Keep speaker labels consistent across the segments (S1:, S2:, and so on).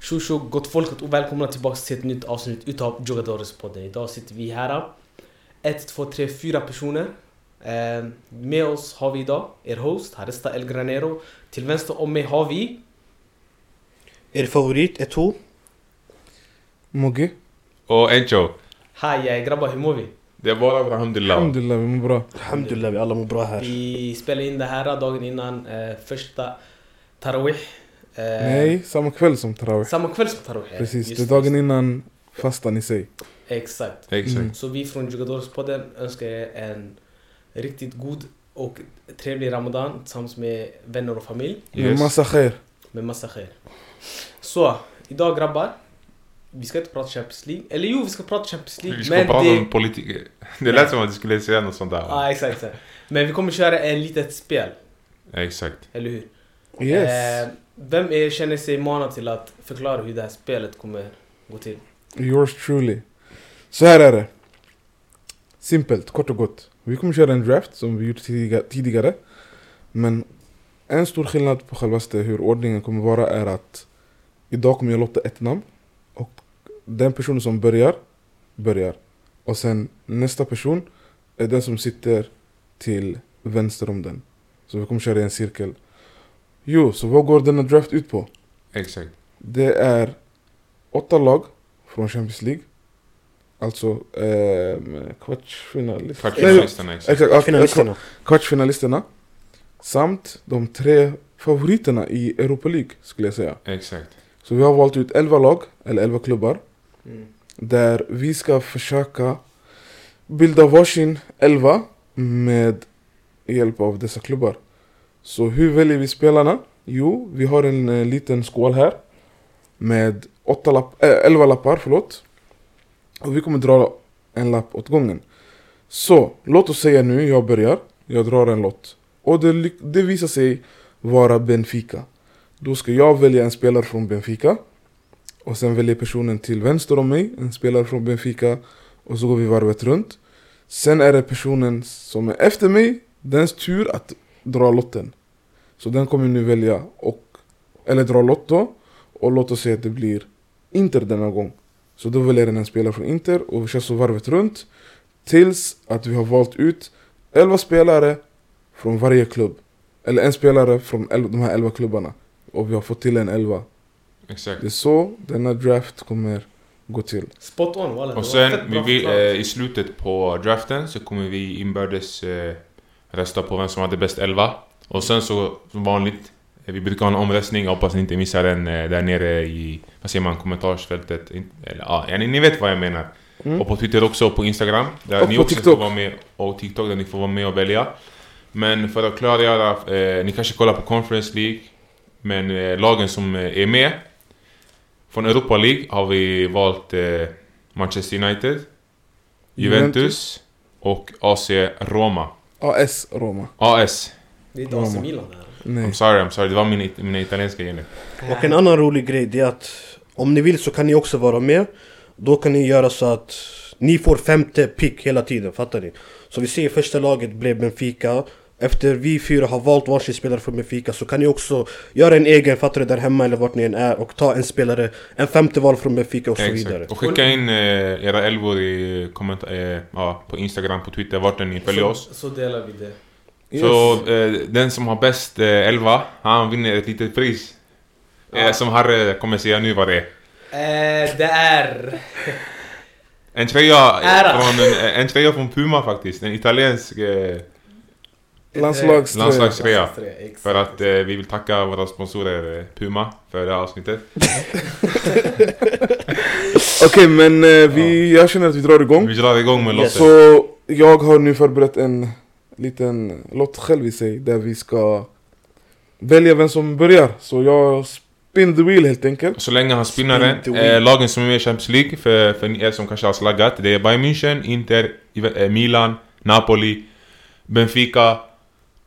S1: Tjo tjo gott folket och välkomna tillbaks till ett nytt avsnitt utav Jogadores-podden. Idag sitter vi här. ett, två, tre, fyra personer. Eh, med oss har vi idag er host Harista El Granero. Till vänster om mig har vi
S2: Er favorit Eto'o?
S3: Mogge?
S4: Och Oh, Encho,
S1: Hej grabbar, hur mår vi?
S4: det är bara alhamdulillah.
S3: Alhamdulillah, vi mår bra.
S2: Alhamdulillah, vi alla mår bra här.
S1: Vi spelade in det här dagen innan eh, första Tarawih. Eh,
S3: Nej, samma kväll som Taraweh.
S1: Samma kväll som Tarawih. eh,
S3: Precis,
S1: just
S3: det är dagen innan fastan i sig.
S1: Exakt.
S4: Exakt.
S1: Så vi från Jugadorspodden önskar er en riktigt god och trevlig Ramadan tillsammans med vänner och familj.
S3: Med massa khair.
S1: Med massa khair. Så, idag grabbar. Vi ska inte prata Champions League. Eller jo, vi ska prata Champions League.
S4: Vi ska prata
S1: det...
S4: om politik. Det lät som att du skulle säga något sånt där.
S1: Ah, exakt, exakt. Men vi kommer köra en litet spel.
S4: Exakt.
S1: Eller hur?
S3: Yes.
S1: Eh, vem är, känner sig manad till att förklara hur det här spelet kommer gå till?
S3: Yours truly. Så här är det. Simpelt, kort och gott. Vi kommer köra en draft som vi gjort tidiga- tidigare. Men en stor skillnad på självaste hur ordningen kommer vara är att idag kommer jag lotta ett namn. Och den personen som börjar, börjar. Och sen nästa person är den som sitter till vänster om den. Så vi kommer köra i en cirkel. Jo, så vad går denna draft ut på?
S4: Exakt.
S3: Det är åtta lag från Champions League. Alltså ehm, kvartsfinalisterna. Nej,
S4: Kvartsfinalisterna, exakt.
S3: Exakt, ja,
S2: Finalisterna.
S3: kvartsfinalisterna. Samt de tre favoriterna i Europa League skulle jag säga.
S4: Exakt.
S3: Så vi har valt ut 11 lag, eller 11 klubbar.
S1: Mm.
S3: Där vi ska försöka bilda varsin 11 med hjälp av dessa klubbar. Så hur väljer vi spelarna? Jo, vi har en eh, liten skål här med åtta lapp, äh, 11 lappar. Förlåt. Och vi kommer dra en lapp åt gången. Så, låt oss säga nu, jag börjar. Jag drar en lott. Och det, ly- det visar sig vara Benfica. Då ska jag välja en spelare från Benfica. Och sen väljer personen till vänster om mig en spelare från Benfica. Och så går vi varvet runt. Sen är det personen som är efter mig, dens tur att dra lotten. Så den kommer nu välja och, eller dra lott då. Och låt oss säga att det blir Inter denna gång. Så då väljer den en spelare från Inter och vi kör så varvet runt. Tills att vi har valt ut 11 spelare från varje klubb. Eller en spelare från el- de här 11 klubbarna. Och vi har fått till en 11.
S4: Exakt.
S3: Det är så denna draft kommer gå till.
S1: Spot on, walla.
S4: Och
S1: Det var fett
S4: sen vi
S1: bra
S4: vill,
S1: förklarat.
S4: eh, i slutet på draften så kommer vi inbördes eh, rösta på vem som hade bäst elva. Och sen så, som vanligt, eh, vi brukar ha en omröstning. Jag hoppas ni inte missar den eh, där nere i, vad säger man, kommentarsfältet. In, eller, ja, ja, ni, ni vet vad jag menar.
S3: Mm.
S4: Och på Twitter också, och på Instagram. Där
S3: Och
S4: ni
S3: på
S4: också
S3: TikTok.
S4: får vara med. Och TikTok där ni får vara med och välja. Men för att klargöra, eh, ni kanske kollar på Conference League. Men eh, lagen som eh, är med från Europa League har vi valt eh, Manchester United, Juventus, och AC Roma.
S3: AS Roma.
S4: AS.
S1: Det är inte AC Milan det här.
S3: Nej.
S4: I'm sorry, I'm sorry. Det var min, mina italienska gener.
S2: Och en annan rolig grej det är att om ni vill så kan ni också vara med. Då kan ni göra så att ni får femte pick hela tiden, fattar ni? Så vi ser första laget blev Benfica. Efter vi fyra har valt varsin spelare från Benfica så kan ni också göra en egen, fattar ni, där hemma eller vart ni än är och ta en spelare, en femte val från Benfica och så vidare.
S4: Exakt. Och skicka in eh, era elvor i komment- eh, ja, på Instagram, på Twitter, vart än ni följer oss.
S1: Så, så delar vi det.
S4: Så eh, den som har bäst eh, elva, han vinner ett litet pris. Eh, som Harry kommer säga nu vad det är.
S1: Eh, det är...
S4: En tröja,
S1: Ära.
S4: eh, från, en, en tröja från Puma faktiskt. En italiensk eh,
S3: Landslagströja.
S4: landslagströja.
S1: exakt.
S4: För att eh, vi vill tacka våra sponsorer eh, Puma för det här avsnittet.
S3: Okej, men eh, vi, jag känner att vi drar igång.
S4: Vi drar igång med
S2: Yes.
S4: låten.
S3: Så jag har nu förberett en liten låt själv i sig där vi ska välja vem som börjar. Så jag spin the wheel helt enkelt.
S4: Så länge han spinnar
S2: Spin
S4: den.
S2: the wheel.
S4: Eh, lagen som är med i Champions League, för, för ni er som kanske har slaggat, det är Bayern München, Inter, Juve- eh, Milan, Napoli, Benfica,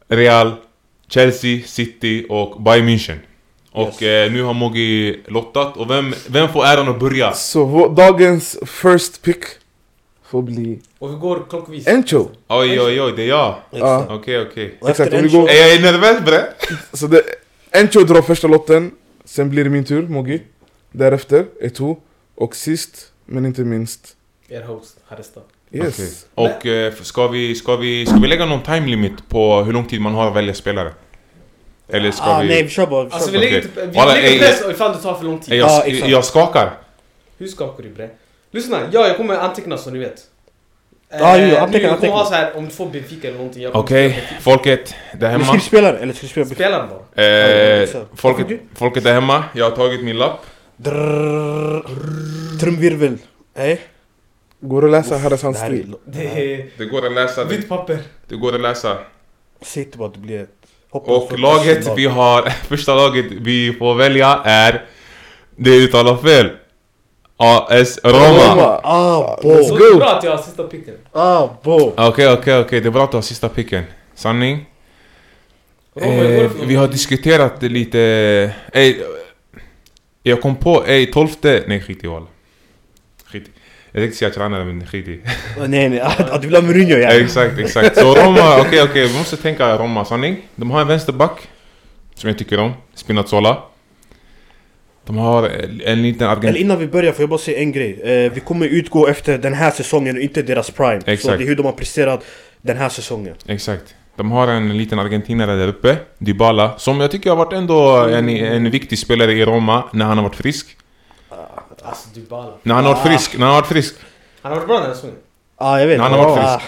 S4: Real, Chelsea, City och Bayern München.
S2: Yes.
S4: Och eh, nu har Mogi lottat, och vem, vem får äran att börja?
S3: Så vår, dagens first pick får bli
S1: Och vi går klockvis.
S3: Encho.
S4: Oj, oj, oj, det är jag.
S3: Ja.
S4: Okej, okej.
S2: Och efter
S3: Exakt, om vi
S2: Encho-
S3: går-
S4: Är jag är nervös bre?
S3: Så det, Encho drar första lotten, sen blir det min tur, Mogi. Därefter Eto'o och sist men inte minst
S1: Er host, Harista.
S3: Yes.
S4: Okej. Och eh, ska, vi, ska, vi, ska vi lägga någon time limit på hur lång tid man har att välja spelare? Eller ska
S2: ah,
S4: vi...
S2: Nej vi kör bara. Vi kör
S1: Alltså vi
S2: bara.
S4: Okej. eh,
S1: lägger typ, vi
S4: Walla,
S1: lägger
S4: ey,
S1: press ifall det tar för lång tid.
S4: Eh, Jag,
S2: Ja, ah, exakt.
S4: jag skakar.
S1: Hur skakar du bre? Lyssna, ja, jag kommer anteckna så ni vet.
S2: Ja, jo,
S1: Eh, nu,
S2: anteckna,
S1: jag kommer
S2: anteckna.
S1: ha så här om du får Benfica eller någonting. jag kommer
S4: Okej,
S1: skriva Benfica.
S4: folket där
S2: Eller
S4: hemma.
S2: ska vi spela det? Eller ska vi spela?
S1: Spela den bara.
S4: Eh,
S2: exakt.
S4: folket, folket där hemma, jag har tagit min lapp.
S2: Drrrr. Trumvirvel. Eh?
S3: Går att läsa Harris
S2: Det
S3: hans
S2: här är
S3: stil.
S2: lo-
S1: Det är
S4: Det går att läsa. Det,
S1: vitt papper.
S4: det går att läsa.
S2: Säg inte bara att det blir ett... hoppas på
S4: Och
S2: ett
S4: laget vi har, första laget vi får välja är... Det uttalar fel. AS Roma.
S3: Roma.
S2: Ah
S3: Let's
S1: Så
S2: bo!
S1: det är
S3: go.
S1: bra att jag har sista picken.
S2: Ah bo!
S4: Okej, okej, okej. Det är bra att du har sista picken. Sanning.
S1: Roma, hur går det
S4: Eh,
S1: för
S4: vi
S1: dem?
S4: har diskuterat det lite... Ey, eh, jag kom på, ey, 12... Nej, skit i val. Skit i. Jag tänkte säga tränare, men skit i. Eh,
S2: Ah, Nej nej, att att du vill ha Mourinho ja.
S4: exakt, exakt. Så Roma, okej, okej. Vi måste tänka Roma, sanning. De har en vänsterback. Som jag tycker om. Spinazzola. De har eh, en liten
S2: Eller
S4: argentin...
S2: innan vi börjar får jag bara säga en grej. Eh, vi kommer utgå efter den här säsongen och inte deras prime. Så
S4: Exakt.
S2: det är hur de har presterat den här säsongen.
S4: Exakt. De har en liten argentinare där uppe, Dybala, som jag tycker har varit ändå en, en viktig spelare i Roma när han har varit frisk.
S1: Alltså Dybala.
S4: När han har varit frisk, när han har varit frisk.
S1: Han har varit bra den här säsongen.
S2: Ah jag vet.
S4: Han har varit
S2: ah,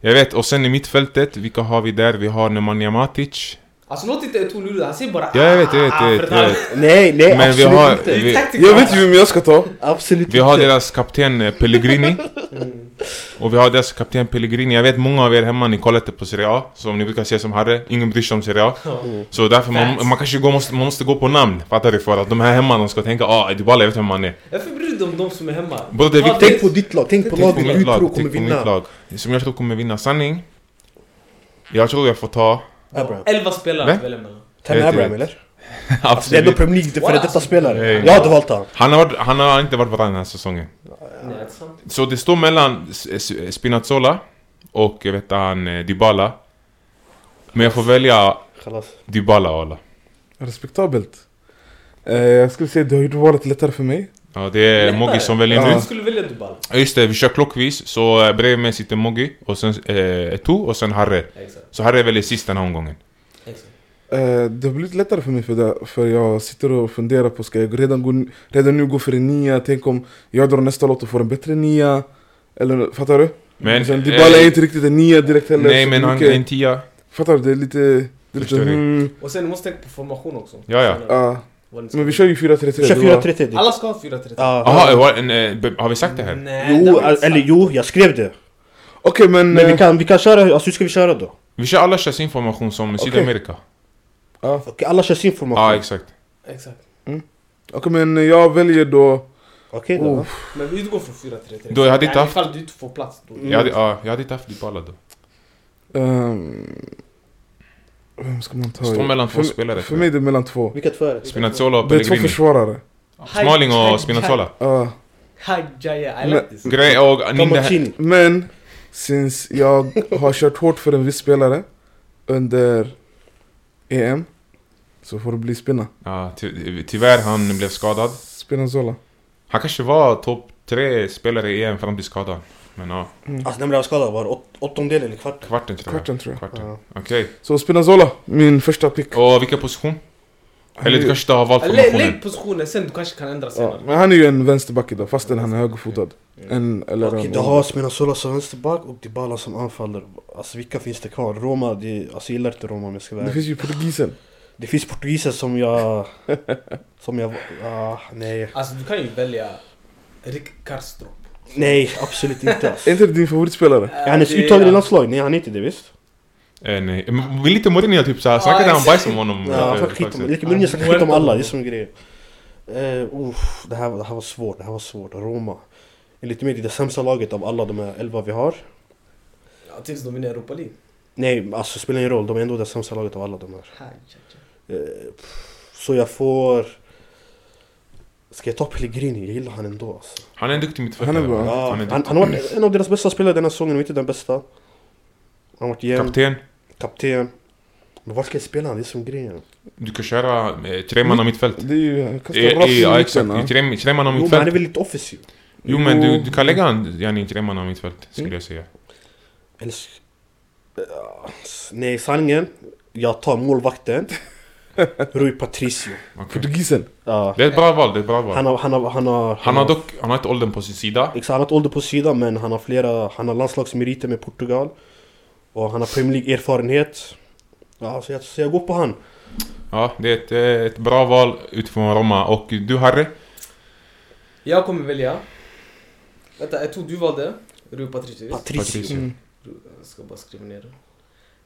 S4: Jag vet, och sen i mittfältet, vilka har vi där? Vi har Nemanja Matic.
S1: Alltså låt inte Eto'o lura, han säger bara
S4: Ja, jag vet, jag vet, jag vet. Jag vet.
S2: Nej nej
S4: Men vi
S2: Ah, Eh, absolut
S4: har,
S2: inte.
S1: Det är
S4: vi,
S1: taktikal.
S3: Jag vet ju vem jag ska ta.
S2: Absolut
S4: vi har
S2: inte. Mm.
S4: deras kapten eh, Pellegrini. Och vi har deras kapten Pellegrini. Jag vet många av er hemma, ni kollar inte på Serie A. Som ni brukar säga som Harry, ingen bryr sig om Serie A. Så därför man,
S1: Facts.
S4: man kanske går, måste, man måste gå på namn. Fattar du? För att de här hemma, de ska tänka ah, Dybala, jag vet vem han är.
S1: Varför bryr du dig om de som är hemma?
S4: Bro, det är
S1: Ja,
S4: viktigt.
S2: Tänk på ditt lag, tänk på
S1: Tänk på
S2: laget
S4: mitt
S2: du
S4: lag,
S2: tror
S4: tänk
S2: kommer
S4: på mitt
S2: vinna.
S4: lag. Som jag tror kommer vinna. Sanning. Jag tror jag får ta...
S2: Abraham.
S1: Elva spelare
S4: Vem?
S1: att välja mellan.
S2: Ten
S4: vet,
S2: Abraham
S4: vet.
S2: eller? Det är ändå
S4: Absolut.
S2: Premier League, det är före detta spelare.
S4: Nej.
S2: Jag hade valt han.
S4: Han har, varit- han har inte varit bra den här säsongen.
S1: Nej, det är sant.
S4: Så det står mellan S- S- Spinazzola och jag vet han, eh, Dybala. Men jag får välja
S2: Chalas.
S4: Dybala alla.
S3: Respektabelt. Eh, jag skulle säga du har gjort valet lättare för mig.
S4: Ja, det är
S1: Lättare.
S4: Moggi som väljer
S3: Ja.
S4: nu.
S1: Du skulle välja Dybala.
S4: Ja, Just det, vi kör klockvis. Så eh, bredvid mig sitter Moggi och sen eh, Eto och sen Harre.
S1: Exakt.
S4: Så Harre väljer sist den här omgången.
S1: Exakt.
S3: Eh, det har blivit lättare för mig för, det, för jag sitter och funderar på ska jag redan, gå, redan nu gå för en nia? Tänk om jag drar nästa låt och får en bättre nia? Eller fattar du?
S4: Men,
S3: Sen Dybala
S4: eh,
S3: är inte riktigt en nia direkt heller.
S4: Nej
S3: så
S4: men
S3: det är
S4: han är
S3: mycket-
S4: en tia.
S3: Fattar du? Det är lite... Det är lite
S4: Förstår dig.
S3: hmm,
S1: Och sen du måste tänka på formation också.
S4: Ja, ja.
S1: Spelare.
S3: ja.
S1: Vad ni ska-
S3: Men vi kör ju 4-3-3.
S2: Vi kör
S3: det
S2: 4-3 till.
S1: Alla ska ha 4-3-3.
S2: Ja.
S4: Jaha, eh, var- en, eh, be- har vi sagt det här?
S1: Nej, det
S2: Jo,
S1: har vi inte
S2: eller
S1: sagt.
S2: jo, jag skrev det.
S3: var- Okej men...
S2: Men vi
S3: eh,
S2: kan, vi kan köra, alltså hur ska vi köra då?
S4: Vi kör alla kör sin formation som Sydamerika.
S3: ja.
S2: Okej, alla kör sin
S4: Ja,
S2: formation.
S4: ah, exakt.
S1: Exakt.
S3: Okej men jag väljer då...
S2: Okej då.
S3: Oh.
S1: Men vi utgår från 4-3-3.
S4: Då jag hade inte
S1: Ja,
S4: haft-
S1: Ifall du inte får plats då.
S3: Mm.
S4: Jag, hade, ja, jag hade inte haft Dybala då.
S3: ehm, vem ska man ta?
S4: Står mellan
S3: för,
S4: två spelare,
S3: För
S4: tror jag.
S3: mig är det mellan två.
S2: Vilka två är det?
S4: Spinazzola och
S3: Det är två
S4: Pellegrini.
S3: försvarare.
S4: Smalling
S1: Haj-
S4: och Spinazzola.
S3: Ja.
S1: Hajjaya, I
S3: Men-
S1: like this.
S4: Grej och Ninde här.
S2: Tomaccini.
S3: Men, since jag har kört hårt för en viss spelare under EM så får det bli Spinna.
S4: Ja, ty tyvärr han blev skadad.
S3: Spinazzola.
S4: Han kanske var topp tre spelare i EM fram till skadan. Men ja,
S2: Alltså när blev han skadad? Var det åt- åttondel eller kvart?
S4: kvarten tror jag.
S3: Kvarten tror jag.
S4: Kvarten.
S2: Ja.
S4: Okej.
S3: Så Spinazzola, min första pick.
S4: Och vilken position? Eller du kanske inte har valt
S1: Äh, Lä-
S4: formationen?
S1: Lägg positionen, sen du kanske kan ändra
S3: ja,
S1: senare.
S3: men han är ju en vänsterback idag fastän han är högerfotad.
S4: Mm.
S3: En, eller
S2: Okej,
S3: en,
S2: du har Spinazzola som vänsterback och Dybala som anfaller. Alltså vilka finns det kvar? Roma, det, alltså jag gillar inte Roma om jag ska vara
S3: Det
S2: ärlig.
S3: finns ju portugisen.
S2: Det finns portugiser som jag... som jag... Ah, nej.
S1: Alltså du kan ju välja Rick Karstrup.
S2: Nej, absolut inte alltså.
S3: Är inte det din favoritspelare?
S2: Är han ens uttagen i landslaget? Nej, han är inte det visst?
S4: Eh, nej. Men vill inte Mourinho typ såhär, snackade han bajs om honom?
S2: Ja, han
S4: Eh,
S2: snackar skit om...
S4: faktiskt.
S2: Lika Mourinho snackar
S1: Ja,
S2: skit om alla,
S1: Guardiola.
S2: det är som grejen. Uh, uff, det, här, det här var svårt, det här var svårt. Roma. Enligt mig det är det sämsta laget av alla de här elva vi har.
S1: Ja, tills de vinner Europa League.
S2: Nej, alltså spelar ingen roll, de är ändå det sämsta laget av alla de här.
S1: Hajjaya.
S2: Eh, pff, så jag får... Ska jag ta Pellegrini? Jag gillar han ändå alltså.
S4: Han är en duktig mittfältare.
S3: Han är bra.
S2: Ja,
S4: Han är
S2: han,
S4: duktig.
S2: han har varit en av deras bästa spelare den här säsongen, om inte den bästa. Han har varit jämn,
S4: Kapten.
S2: kapten. Men var ska jag spela? Det är som grejen.
S4: Du kan köra eh, tre man av mittfält.
S3: Det är ju, kasta
S4: Eh,
S3: rakt
S4: eh, Ja,
S3: i
S4: exakt.
S3: mitten.
S4: I
S3: ja.
S4: Tre, tre man av
S2: Jo men han är
S4: mittfält.
S2: väl lite offensiv?
S4: Jo, men du,
S3: Jo.
S4: du kan lägga han yani, i tre man av mittfält, skulle
S2: Mm.
S4: jag säga.
S2: Eller... s- Ja, s- Nej, sanningen. Jag tar målvakten. Rui Patricio.
S4: Okej.
S3: Portugisen.
S2: Ja.
S4: Det är ett bra val, det är ett bra val.
S2: Han har... Han har... Han har,
S4: Han har dock, han har inte åldern på sin sida.
S2: Exakt, han har ett ålder på sidan men han har flera... Han har landslagsmeriter med Portugal. Och han har Premier League-erfarenhet. Ja, så jag, så jag går på han.
S4: Ja, det är ett, eh, ett bra val utifrån Roma. Och du Harry?
S1: Jag kommer välja... Vänta, jag tror du valde Rui Patricio. visst?
S2: Patricio.
S4: Mm.
S1: Jag ska bara skriva ner det.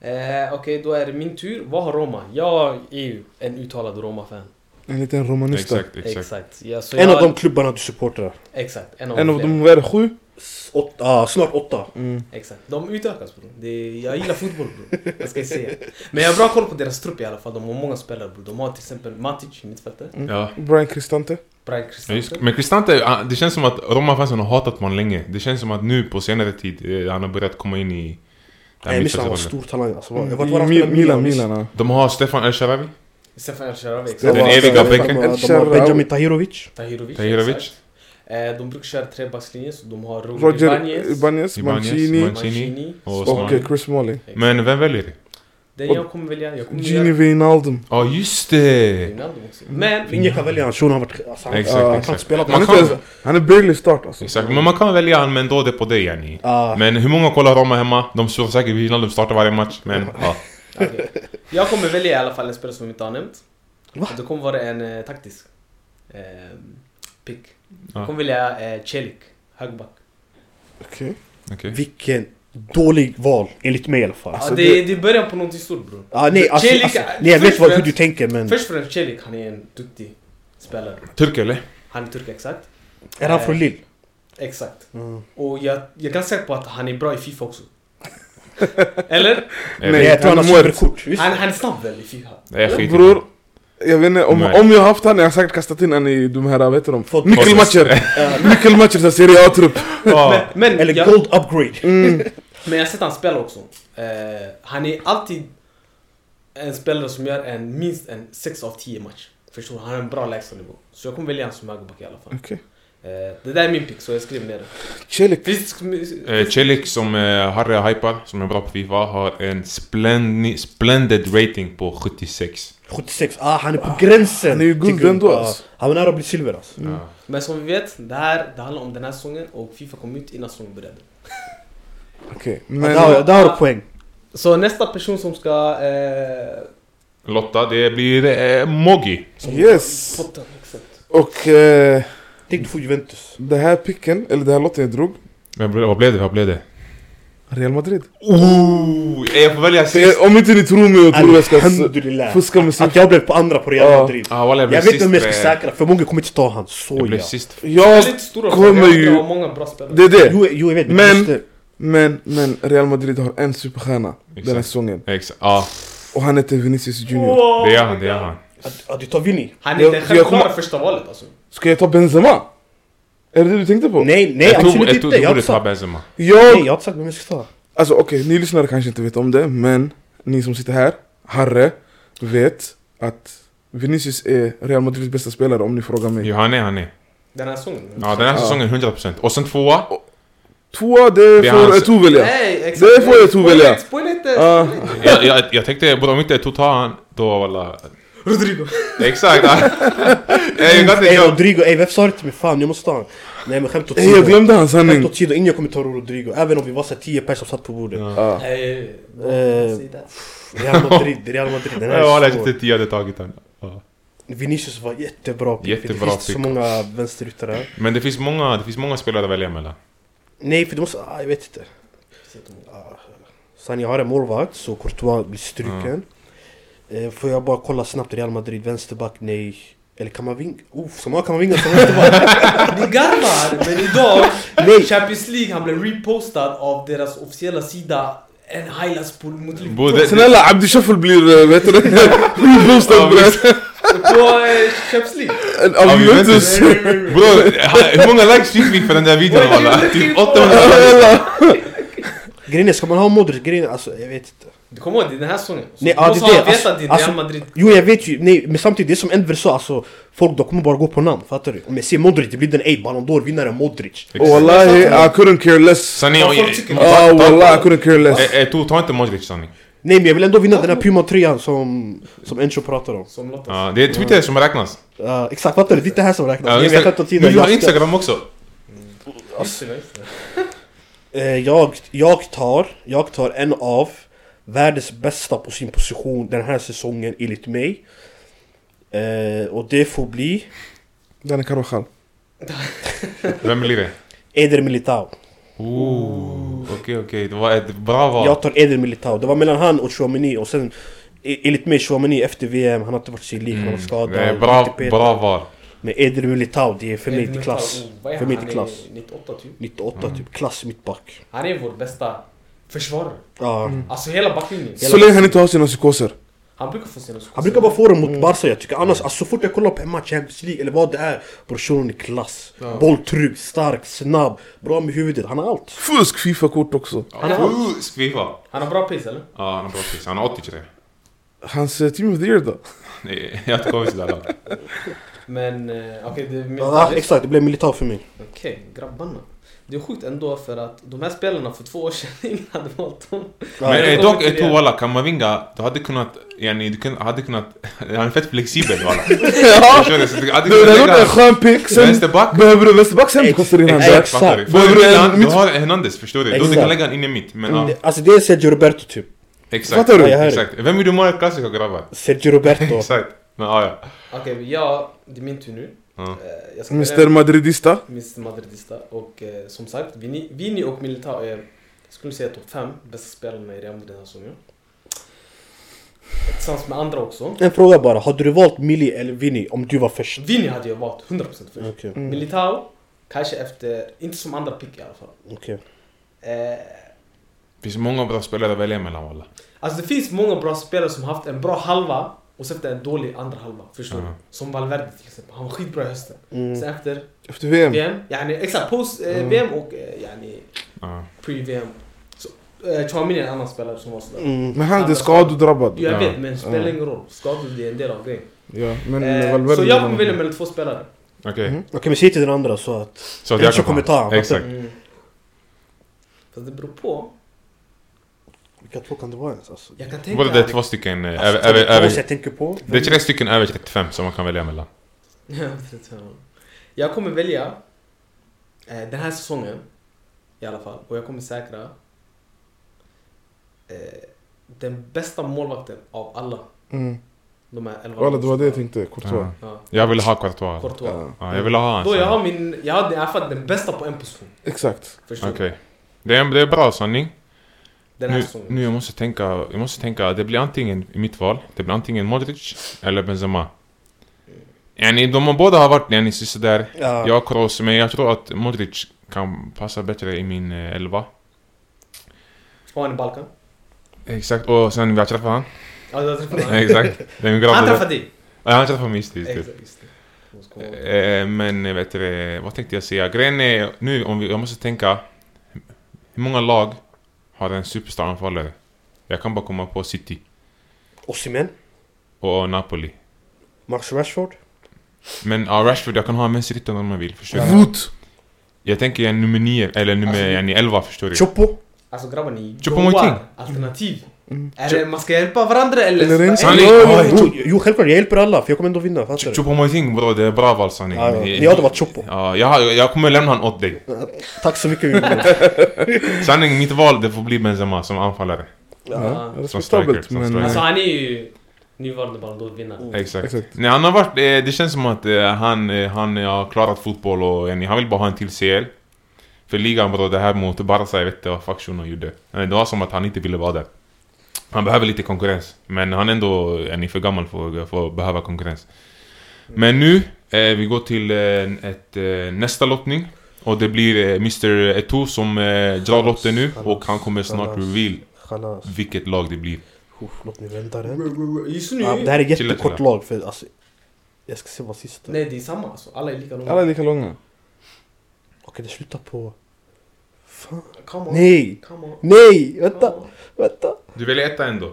S1: Eh, Okej, då är det min tur. Vad har Roma? Jag är ju en uttalad Roma-fan.
S3: En liten eh, romanista.
S4: Exakt,
S1: Exakt.
S4: exakt.
S1: Ja, så
S2: En
S1: jag,
S2: av de klubbarna du supportrar.
S1: Exakt, en av,
S3: En
S1: de
S3: av
S1: flera.
S3: dem, vad är det, sju?
S2: S- Åtta, ah, snart åtta.
S3: mm,
S1: Exakt. De utökas bror. Det är- Jag gillar fotboll bror. Jag ska säga. Men jag har bra koll på deras trupp i alla fall. De har många spelare bror. De har till exempel Matic i mittfältet.
S4: Ja.
S3: Brian Cristante.
S1: Brian
S4: Ja, just,
S1: Christensen.
S4: men Cristante, ah, det känns som att Roma-fansen har hatat honom länge. Det känns som att nu på senare tid, eh, han har börjat komma in i... det här
S2: Nej, Miss han var
S4: mittfältsrollen.
S2: stor talang alltså. Vart
S3: Mm.
S2: var han
S3: Mi-
S2: spelade?
S3: Milan,
S2: visst.
S3: Milan. ah. ja.
S4: De har Stefan El-Sharawi,
S1: Stefan Sharawi.
S2: Det
S4: Den
S2: var-
S4: eviga
S2: de har-
S4: bänken.
S2: de har
S3: Elsharawi.
S2: Benjamin Tahirovic.
S1: Tahirovic.
S4: Tahirovic.
S1: exakt. Eh, De brukar köra trebackslinje. Så de har Roger,
S3: Roger
S1: Ibanez.
S3: Ibanez,
S4: Ibanez,
S3: Mancini
S4: Mancini. och
S3: och
S4: Osman.
S3: eh, Chris Molly.
S1: Exakt.
S4: Men vem väljer du?
S1: Den jag kommer välja. Jag kommer
S3: Gini
S1: välja
S3: Wijnaldum.
S4: Ja, just det!
S1: Wijnaldum också. Men
S2: Ingen kan välja han, shunon har varit... Alltså, han,
S4: Exakt,
S2: han kan
S4: exakt.
S2: inte spela på
S4: Man
S3: Han
S2: honom.
S3: är,
S4: kan-
S3: inte, ens- han är barely start alltså.
S4: Exakt, men man kan välja han men då det är på dig yani.
S2: Ah,
S4: Men hur många kollar Roma hemma? De står säkert vid innan de startar varje match, men ja.
S1: Okej. Jag kommer välja i alla fall en spelare som vi inte har nämnt.
S2: Va?
S1: Det kommer vara en eh, taktisk eh, pick.
S4: Ja.
S1: Jag kommer välja eh, Celik, högback.
S3: Okej.
S4: Okej.
S2: vilken dålig val, enligt mig i alla fall.
S1: Ja,
S2: Alltså,
S1: det, det... är början på någonting stort bror.
S2: ah, nej, alltså,
S1: Celik-
S2: alltså, nej, jag vet
S1: först och
S2: vad, hur
S1: främst-
S2: du tänker men...
S1: Först och främst Celik, han är en duktig spelare.
S4: Turk eller?
S1: Han är turk exakt.
S2: Är han från Lille?
S1: Exakt.
S2: Mm.
S1: Och jag, jag kan säga på att han är bra i Fifa också. Eller?
S4: Nej,
S2: Nej, jag tror han
S3: han
S2: har
S3: är muerto.
S2: silverkort. visst?
S1: Han, han är snabb väl i Fifa?
S4: Nej, skit i det.
S3: Bror, jag vet inte, om,
S4: Nej.
S3: om jag haft han, jag har säkert kastat in han i de här, vet du de?
S2: Fotboll.
S3: Nyckelmatcher! Nyckelmatcher så Serie A-trupp!
S4: Ja.
S1: Men, men
S2: Eller
S1: jag-
S2: gold upgrade.
S1: Men jag har sett han spela också. Eh, han är alltid en spelare som gör en, minst en 6 av 10 match. Förstår du? Han har en bra lägstanivå. Så jag kommer välja honom som högerback i alla fall.
S3: Okej.
S1: Eh, det där är min pick, så jag skriver ner det.
S3: Celik.
S1: Visst,
S4: Eh, Celik som eh, Harry hypar, som är bra på Fifa, har en splendid, splendid rating på 76.
S2: 76, ah han är på gränsen!
S3: han är ju
S2: till
S3: guld ändå,
S2: Ah,
S3: alltså.
S2: Han är nära att bli silver alltså.
S4: Ja.
S1: men som vi vet, det här det handlar om den här säsongen och Fifa kom ut innan säsongen började.
S3: Okej,
S2: Men,
S3: men...
S2: Ah, där, har jag- där har du poäng.
S1: Så nästa person som ska... Eh,
S4: Lotta, det blir eh, Mogi.
S1: dus-
S3: Yes!
S1: potten, exakt.
S3: Och eh,
S2: Tänk du får Juventus.
S3: det här picken, eller det här lotten jag drog,
S4: Men ble- Vad blev det? Vad blev det?
S3: Real Madrid.
S4: Ooh, eh, jag får välja
S3: Så jag-
S4: sist.
S3: om inte ni tror mig och tror jag ska s-
S2: Alhamdulillah.
S3: fuska med siffror.
S2: Att jag blev på andra på Real
S3: Ja.
S2: Madrid.
S4: Ah, walla, jag blev
S2: Jag vet
S4: sist.
S2: inte om jag ska
S4: eh,
S2: säkra, för många kommer inte ta han. Så
S4: Jag blev
S2: ja.
S4: sist.
S3: Jag...
S1: Väldigt stora
S3: kommer
S1: frågor,
S3: ju-
S1: ju... har många bra spelare.
S3: Det är det!
S2: Jo, jo jag vet, men,
S3: Men-
S2: just det.
S3: Men, men Real Madrid har en superstjärna den här
S4: Exakt.
S3: säsongen.
S4: Exakt. Ja,
S3: Och han heter Vinicius Junior.
S1: Wow!
S4: det är han, det är han.
S2: Att, att du tar Vinny?
S1: Han är
S3: Jag-
S1: det
S3: jag
S1: självklara
S3: kommer-
S1: första valet alltså.
S3: Ska jag ta Benzema? Är det det du tänkte på?
S2: Nej, nej
S4: Jag tror
S2: absolut
S4: jag
S2: inte.
S4: tror
S2: Jag
S4: du
S2: har
S4: borde
S2: inte
S4: ta
S2: sagt,
S4: Benzema.
S3: Jag
S2: nej, jag har inte sagt vem jag ska ta.
S3: Alltså okej, ni lyssnare kanske inte vet om det, men ni som sitter här, Harre, vet att Vinicius är Real Madrids bästa spelare om ni frågar mig.
S4: Jo, han är, han är.
S1: Den här säsongen.
S4: Ja, den här säsongen 100%. Och sen tvåa.
S3: Tvåa, det
S4: Det är
S3: får
S4: hans-
S3: Eto'o välja.
S1: Nej, exakt.
S3: Det får jag tro
S1: Spoila
S3: välja.
S1: inte, Spoila inte!
S3: Ah,
S4: jag, jag, jag tänkte, bara om inte Eto'o tar han, då walla...
S1: Rodrigo.
S4: Exakt! Ey, jag kan inte
S2: Ey
S4: göra...
S2: Rodrigo, ey varför sa du till mig? Fan jag måste ta honom. Nej men skämt
S3: ey, Eh, jag
S2: åsido.
S3: glömde hans
S2: Skämt
S3: sanning.
S2: åsido, ingen kommer ta Rodrigo. Även om vi var såhär 10 personer som satt på bordet.
S4: Ja.
S3: Ah.
S1: Eh,
S2: Eh, Real Madrid, Real Madrid. Den här
S4: Jag
S2: är
S4: hade inte
S2: svår.
S4: tio hade tagit han. Ja.
S2: Vinicius var jättebra pick.
S4: Jättebra
S2: det finns
S4: pick.
S2: så många vänsteryttrar.
S4: Men det finns många, det finns många spelare att välja mellan.
S2: Nej för du måste, ah, jag vet inte. Sen jag har en målvakt så Courtois blir struken. Eh, får jag bara kolla snabbt Real Madrid, vänsterback, nej. Eller Kamavinga? Oh, så många Kamavinga som vänsterback!
S1: Ni garvar, men idag,
S2: Nej.
S1: Champions League, han blev repostad av deras officiella sida. En highlights på mot Liverpool.
S4: Både, det,
S3: Snälla, Abdi Shuffle blir, eh, vet du det? Reboostad
S4: Ja, visst.
S3: bror.
S1: På eh, Champions League.
S3: Av Juventus.
S4: Juventus. bror, ha- hur många likes fick vi för den där videon walla? Typ 800
S2: Grejen är, ska man ha Modric? Grejen är, alltså jag vet inte.
S1: Du kommer ihåg, det är den här säsongen. Så
S2: Nej,
S1: du
S2: ja,
S1: måste
S2: det
S1: ha
S2: är det.
S1: vetat
S2: Alltså-
S1: din
S2: alltså-
S1: Real Madrid.
S2: Jo jag vet ju, nej men samtidigt det är som Enver sa alltså Folk de kommer bara gå på namn, fattar du? Om jag ser Modric, det blir den ey Ballon d'Or vinnaren Modric
S3: Och wallahi, I couldn't care less.
S4: Sanni,
S1: Vad folk tycker.
S3: Ah wallahi, I couldn't care less.
S4: Eh, ta inte Modric Sanni.
S2: Nej men jag vill ändå vinna den här Puma-tröjan som, som Encho pratar om
S1: Som Lotta
S4: Ja, det är Twitter som räknas.
S2: Ja, Exakt, fattar du? Det är inte det här som räknas
S4: Ja,
S2: Nej, men jag kan
S4: Instagram.
S2: ta
S4: Men
S2: tiden
S4: vi har
S2: Jag ska-
S4: Instagram också.
S1: Just det, just det.
S2: Eh, jag, jag, tar, jag tar en av världens bästa på sin position den här säsongen enligt mig. Eh, och det får bli
S3: Den är Carvajal.
S4: Vem blir det?
S2: Eder Militao.
S4: Ooh, Okej, okej. Det var ett bra val.
S2: Jag tar Eder Militao. Det var mellan han och Chouameni och sen e- enligt mig Chouameni efter VM, han har inte varit sig lik, han har
S4: Mm.
S2: varit skadad.
S4: Det är
S2: han har
S4: bra,
S2: inte petat.
S4: bra val.
S2: Men Eder Militao, det är för mig
S1: Edmund
S2: klass.
S1: Falk, oh, vad är
S2: För
S1: han?
S2: mig inte klass.
S1: Han är 98 typ.
S2: 98 typ, klass mittback.
S1: Han är vår bästa försvarare.
S2: Ja.
S1: Alltså hela backlinjen.
S3: Så länge han inte har sina psykoser.
S1: Han brukar få sina skor.
S2: Han brukar bara få dem mot
S1: Mm.
S2: Barca jag tycker annars, alltså, så fort jag kollar på hemma Champions League eller vad det är Brorsan är klass, bolltrygg, stark, snabb, bra med huvudet, han har allt
S3: Fusk Fifa-kort också.
S1: Han har-
S4: Ooh, Skvifa.
S1: Han har bra pace eller?
S4: Ja, han har bra pris. Han har 83.
S3: Hans eh, team of the year då?
S4: Nej, Jag har inte kommit till
S1: Men eh, okej, det är min
S2: ja, Exakt, det blev militär för mig
S1: Okej, grabbarna. Det är sjukt ändå för att de här spelarna för två år sedan, ingen hade valt dem.
S4: Men
S1: det
S4: eh,
S1: kommer
S4: dock,
S1: till
S4: jag tror
S1: det.
S4: walla, Kamavinga, du hade kunnat... Yani, du kun- hade kunnat... Han är fett flexibel walla.
S3: Ja!
S4: Jag kör det, så Du hade
S3: Du
S4: kunnat
S3: har gjort en
S4: lägga
S3: skön pick, sen
S4: vänsterback.
S3: behöver du vänsterback, sen kastar du in han där.
S2: Exakt.
S4: Fattar du?
S3: Vad
S4: För
S3: är det?
S4: Milan, Du
S3: Mitt-
S4: har Hernandez, förstår du? Då du
S2: Exakt.
S4: kan lägga han in i mitt. Men ja,
S2: Det- Alltså det är Sergio Roberto typ
S4: exakt.
S3: Fattar du?
S2: Ja, jag hör
S4: Exakt. Vem gjorde målet i Classico grabbar?
S2: Sergio Roberto
S4: Exakt. Men ja, ja.
S1: Okej, ja, det är min tur nu.
S4: Ja.
S1: Eh, Jag ska
S3: Mr
S1: börja
S3: Madridista.
S1: med Mr. Madridista och eh, som sagt, Vini, Vini och Militao är, jag skulle säga topp fem bästa spelarna i Real Madrid den här säsongen. Tillsammans med andra också.
S2: En fråga bara, hade du valt Milli eller Vinny om du var först?
S1: Vini hade jag valt 100% först.
S4: Mm.
S2: Okej,
S1: Militao, kanske efter, inte som andra pick i alla fall.
S2: okej
S1: Eh,
S4: Det finns många bra spelare att välja mellan walla.
S1: Alltså det finns många bra spelare som haft en bra halva och sen efter en dålig andra halva. Förstår
S4: Ja.
S1: du? Som Valverde till exempel. Han var skitbra i hösten.
S2: Mm.
S1: Sen efter
S3: Efter VM.
S1: VM, yani, exakt post eh,
S4: Mm.
S1: VM och eh, yani,
S4: Ja.
S1: pre-VM. Så, eh, Chouamini är en annan spelare som var sådär.
S2: Mm.
S3: Men han är skadodrabbad.
S1: Jag
S4: Ja.
S1: vet men det spelar ingen roll. Skador det är en del av grejen.
S3: Ja, men eh,
S1: Eh,
S3: Valverde...
S1: så jag kommer välja mellan två spelare.
S4: Okej.
S2: Okej men säg till den andra så att...
S4: Så att
S2: Enzo
S4: jag kan
S2: kommer ta han,
S4: ta.
S2: Mm. fattar
S4: Exakt.
S1: Mm. Fast det beror på.
S2: Vilka två kan det vara ens alltså?
S1: Jag kan tänka...
S4: Både det är två stycken eh, över...
S2: Alltså,
S4: över-
S2: det är två
S4: över-
S2: som jag tänker på
S4: Det är tre stycken över 35 som man kan välja mellan.
S1: Ja, precis. jag kommer välja eh, den här säsongen i alla fall och jag kommer säkra eh, den bästa målvakten av alla
S3: Mm.
S1: de här elva.
S3: Walla, det var det jag tänkte. Courtois.
S4: Ja.
S1: Ja,
S4: Jag vill ha Courtois.
S1: Courtois.
S3: Ja.
S4: Ja, jag vill ha han.
S1: Då jag
S4: så.
S1: har min, jag har i alla fall den bästa på en position.
S3: Exakt.
S1: Förstår
S4: Okej.
S1: du?
S4: Det är, det är bra sanning.
S1: Den här
S4: Nu,
S1: säsongen.
S4: nu jag måste tänka, jag måste tänka, det blir antingen i mitt val, det blir antingen Modric eller Benzema. Yani, de har båda har varit yani, sådär.
S2: Ja.
S4: Jag och Kroos, men jag tror att Modric kan passa bättre i min eh, elva.
S1: Har han i Balkan?
S4: Exakt, och sen vi har träffat han.
S1: Ja, jag träffade honom.
S4: Exakt. Det är min grabb.
S1: Han träffade dig!
S4: Ja, han träffade mig, just det. just det.
S1: Exakt, just det. Måste komma ihåg.
S4: Eh, men eh, vet du, det, vad tänkte jag säga? Grejen är, nu om vi, jag måste tänka. Hur många lag har en superstar-anfallare? Jag kan bara komma på City
S2: Osimhen,
S4: och Napoli.
S2: Max Rashford
S4: Men ja, Rashford, jag kan ha Messi Rytter om jag vill, förstår du?
S3: Woot!
S4: Jag tänker jag är nummer 9, eller nummer
S1: Alltså-
S4: yani 11, förstår du?
S2: Chopo
S1: Alltså grabbar ni
S4: Choupo-Moting.
S1: jobbar alternativ. Är det, man ska hjälpa varandra eller?
S3: Mm.
S1: Eller
S3: Eller inte.
S4: Sanning!
S3: Ja, ja,
S4: Ja,
S3: ja.
S2: Jo, Jo självklart, jag hjälper alla för jag kommer ändå vinna, fattar du?
S4: Choupo-Moting bror, det är bra val sanning.
S2: Ja, ja. Det hade varit Chopo
S4: Ja, jag, har- jag kommer lämna han åt dig.
S2: Tack så mycket Jonas.
S4: Sanning, mitt val det får bli Benzema som anfallare.
S3: Ja,
S1: Som
S3: respektabelt
S4: striker,
S3: men...
S4: som
S1: Alltså
S4: striker.
S3: eh,
S1: han är ju nuvarande Ballon d'Or-vinnare.
S4: Exakt.
S3: Exakt.
S4: Nej, han har varit, eh, det känns som att eh, han, eh, han eh, har klarat fotboll och yani, han vill bara ha en till CL. För ligan bror, det här mot Barca, jag vet inte vad fuck shunon gjorde. Eh, Det var som att han inte ville vara där. Han behöver lite konkurrens, men han är ändå yani, för gammal för för att behöva konkurrens. Men nu, eh, vi går till eh, ett, eh, nästa lottning. Och det blir eh, Mr. Eto'o som eh, drar lotten nu och han kommer snart reveal
S2: Chalas.
S4: vilket lag det blir.
S2: alltså. Uff, Låt mig vänta den.
S1: Just nu...
S2: Ja, det här är
S4: Chilla,
S2: jättekort
S4: chilla.
S2: lag för alltså, jag ska se vad sista...
S1: Nej det är samma alltså, alla är lika långa.
S3: Alla är lika långa.
S2: Okej det slutar på Fan.
S1: Come on.
S2: Nej!
S1: Come on.
S2: Nej! Vänta!
S1: Come on.
S2: Vänta!
S4: Du väljer etta ändå.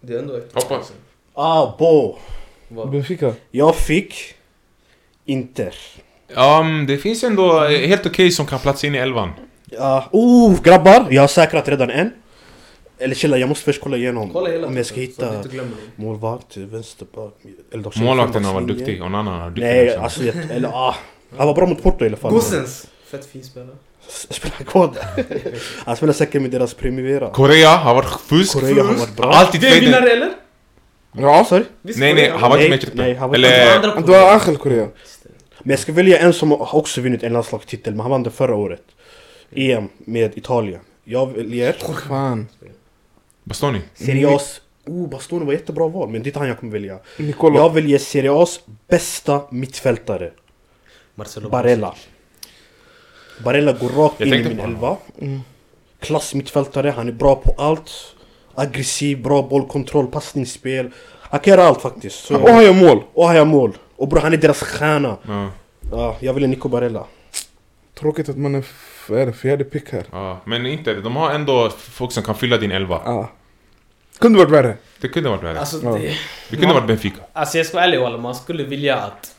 S1: Det är ändå ett.
S4: Hoppas.
S2: Ah, bo!
S1: Vad?
S3: Benfica.
S2: Jag fick... Inter.
S4: Ja, mm, det finns ändå eh, helt okej som kan platsa in i elvan.
S2: Ja, oh grabbar! Jag har säkrat redan en. Eller chilla, jag måste först kolla igenom
S1: Kolla hela
S2: om jag ska
S1: tiden, så att du
S2: hitta
S1: inte glömmer någon.
S2: målvakt, typ, vänsterback, eller också
S4: Målvakten har varit
S2: fembackslinje.
S4: duktig, Onana har varit duktig. liksom.
S2: Nej,
S4: också.
S2: alltså jag, eller ah. Han var bra mot Porto i alla fall.
S1: Gossens! Fett fin spelare.
S2: S- Spelar kod. Han spelar säkert med deras primivera.
S4: Korea har varit fusk.
S2: Korea har varit bra.
S4: Alltid
S1: Det är
S4: fejden.
S1: vinnare eller?
S3: Ja.
S2: Sorry?
S1: Visst,
S4: Nej, nej,
S1: Korea.
S4: han var inte
S2: Nej,
S4: med i truppen.
S2: nej, han var inte
S4: Eller...
S1: Andra
S3: Du har
S1: Korea.
S3: Angel Korea.
S2: Men jag ska välja en som har också vunnit en landslagstitel, men han vann det förra året. EM med Italien. Jag väljer...
S3: Fan.
S4: Bastoni.
S2: Serias... Oh, Bastoni var jättebra val, men det är inte han jag kommer välja.
S3: Nicola.
S2: Jag väljer Serias bästa mittfältare.
S1: Marcelo
S2: Barella. Barella går rakt
S4: Jag
S2: in i
S4: tänkte
S2: min
S4: på honom. Mm.
S2: elva. Klass mittfältare, han är bra på allt. Aggressiv, bra bollkontroll, passningsspel. Han kan göra allt faktiskt. Så
S3: Och han gör Ah, oh, mål.
S2: Och han gör mål. Och bror, han är deras stjärna.
S4: Ja,
S2: Ja, jag vill ha Nico Barella.
S3: Tråkigt att man är, f- är det fjärde pick här.
S4: ja. Men inte, de har ändå folk som kan fylla din elva.
S3: Ah. Kunde varit värre.
S4: Det kunde varit värre.
S1: Alltså,
S3: Ja.
S1: det,
S4: Det kunde varit Benfica.
S1: alltså jag ska vara ärlig walla, man skulle vilja att...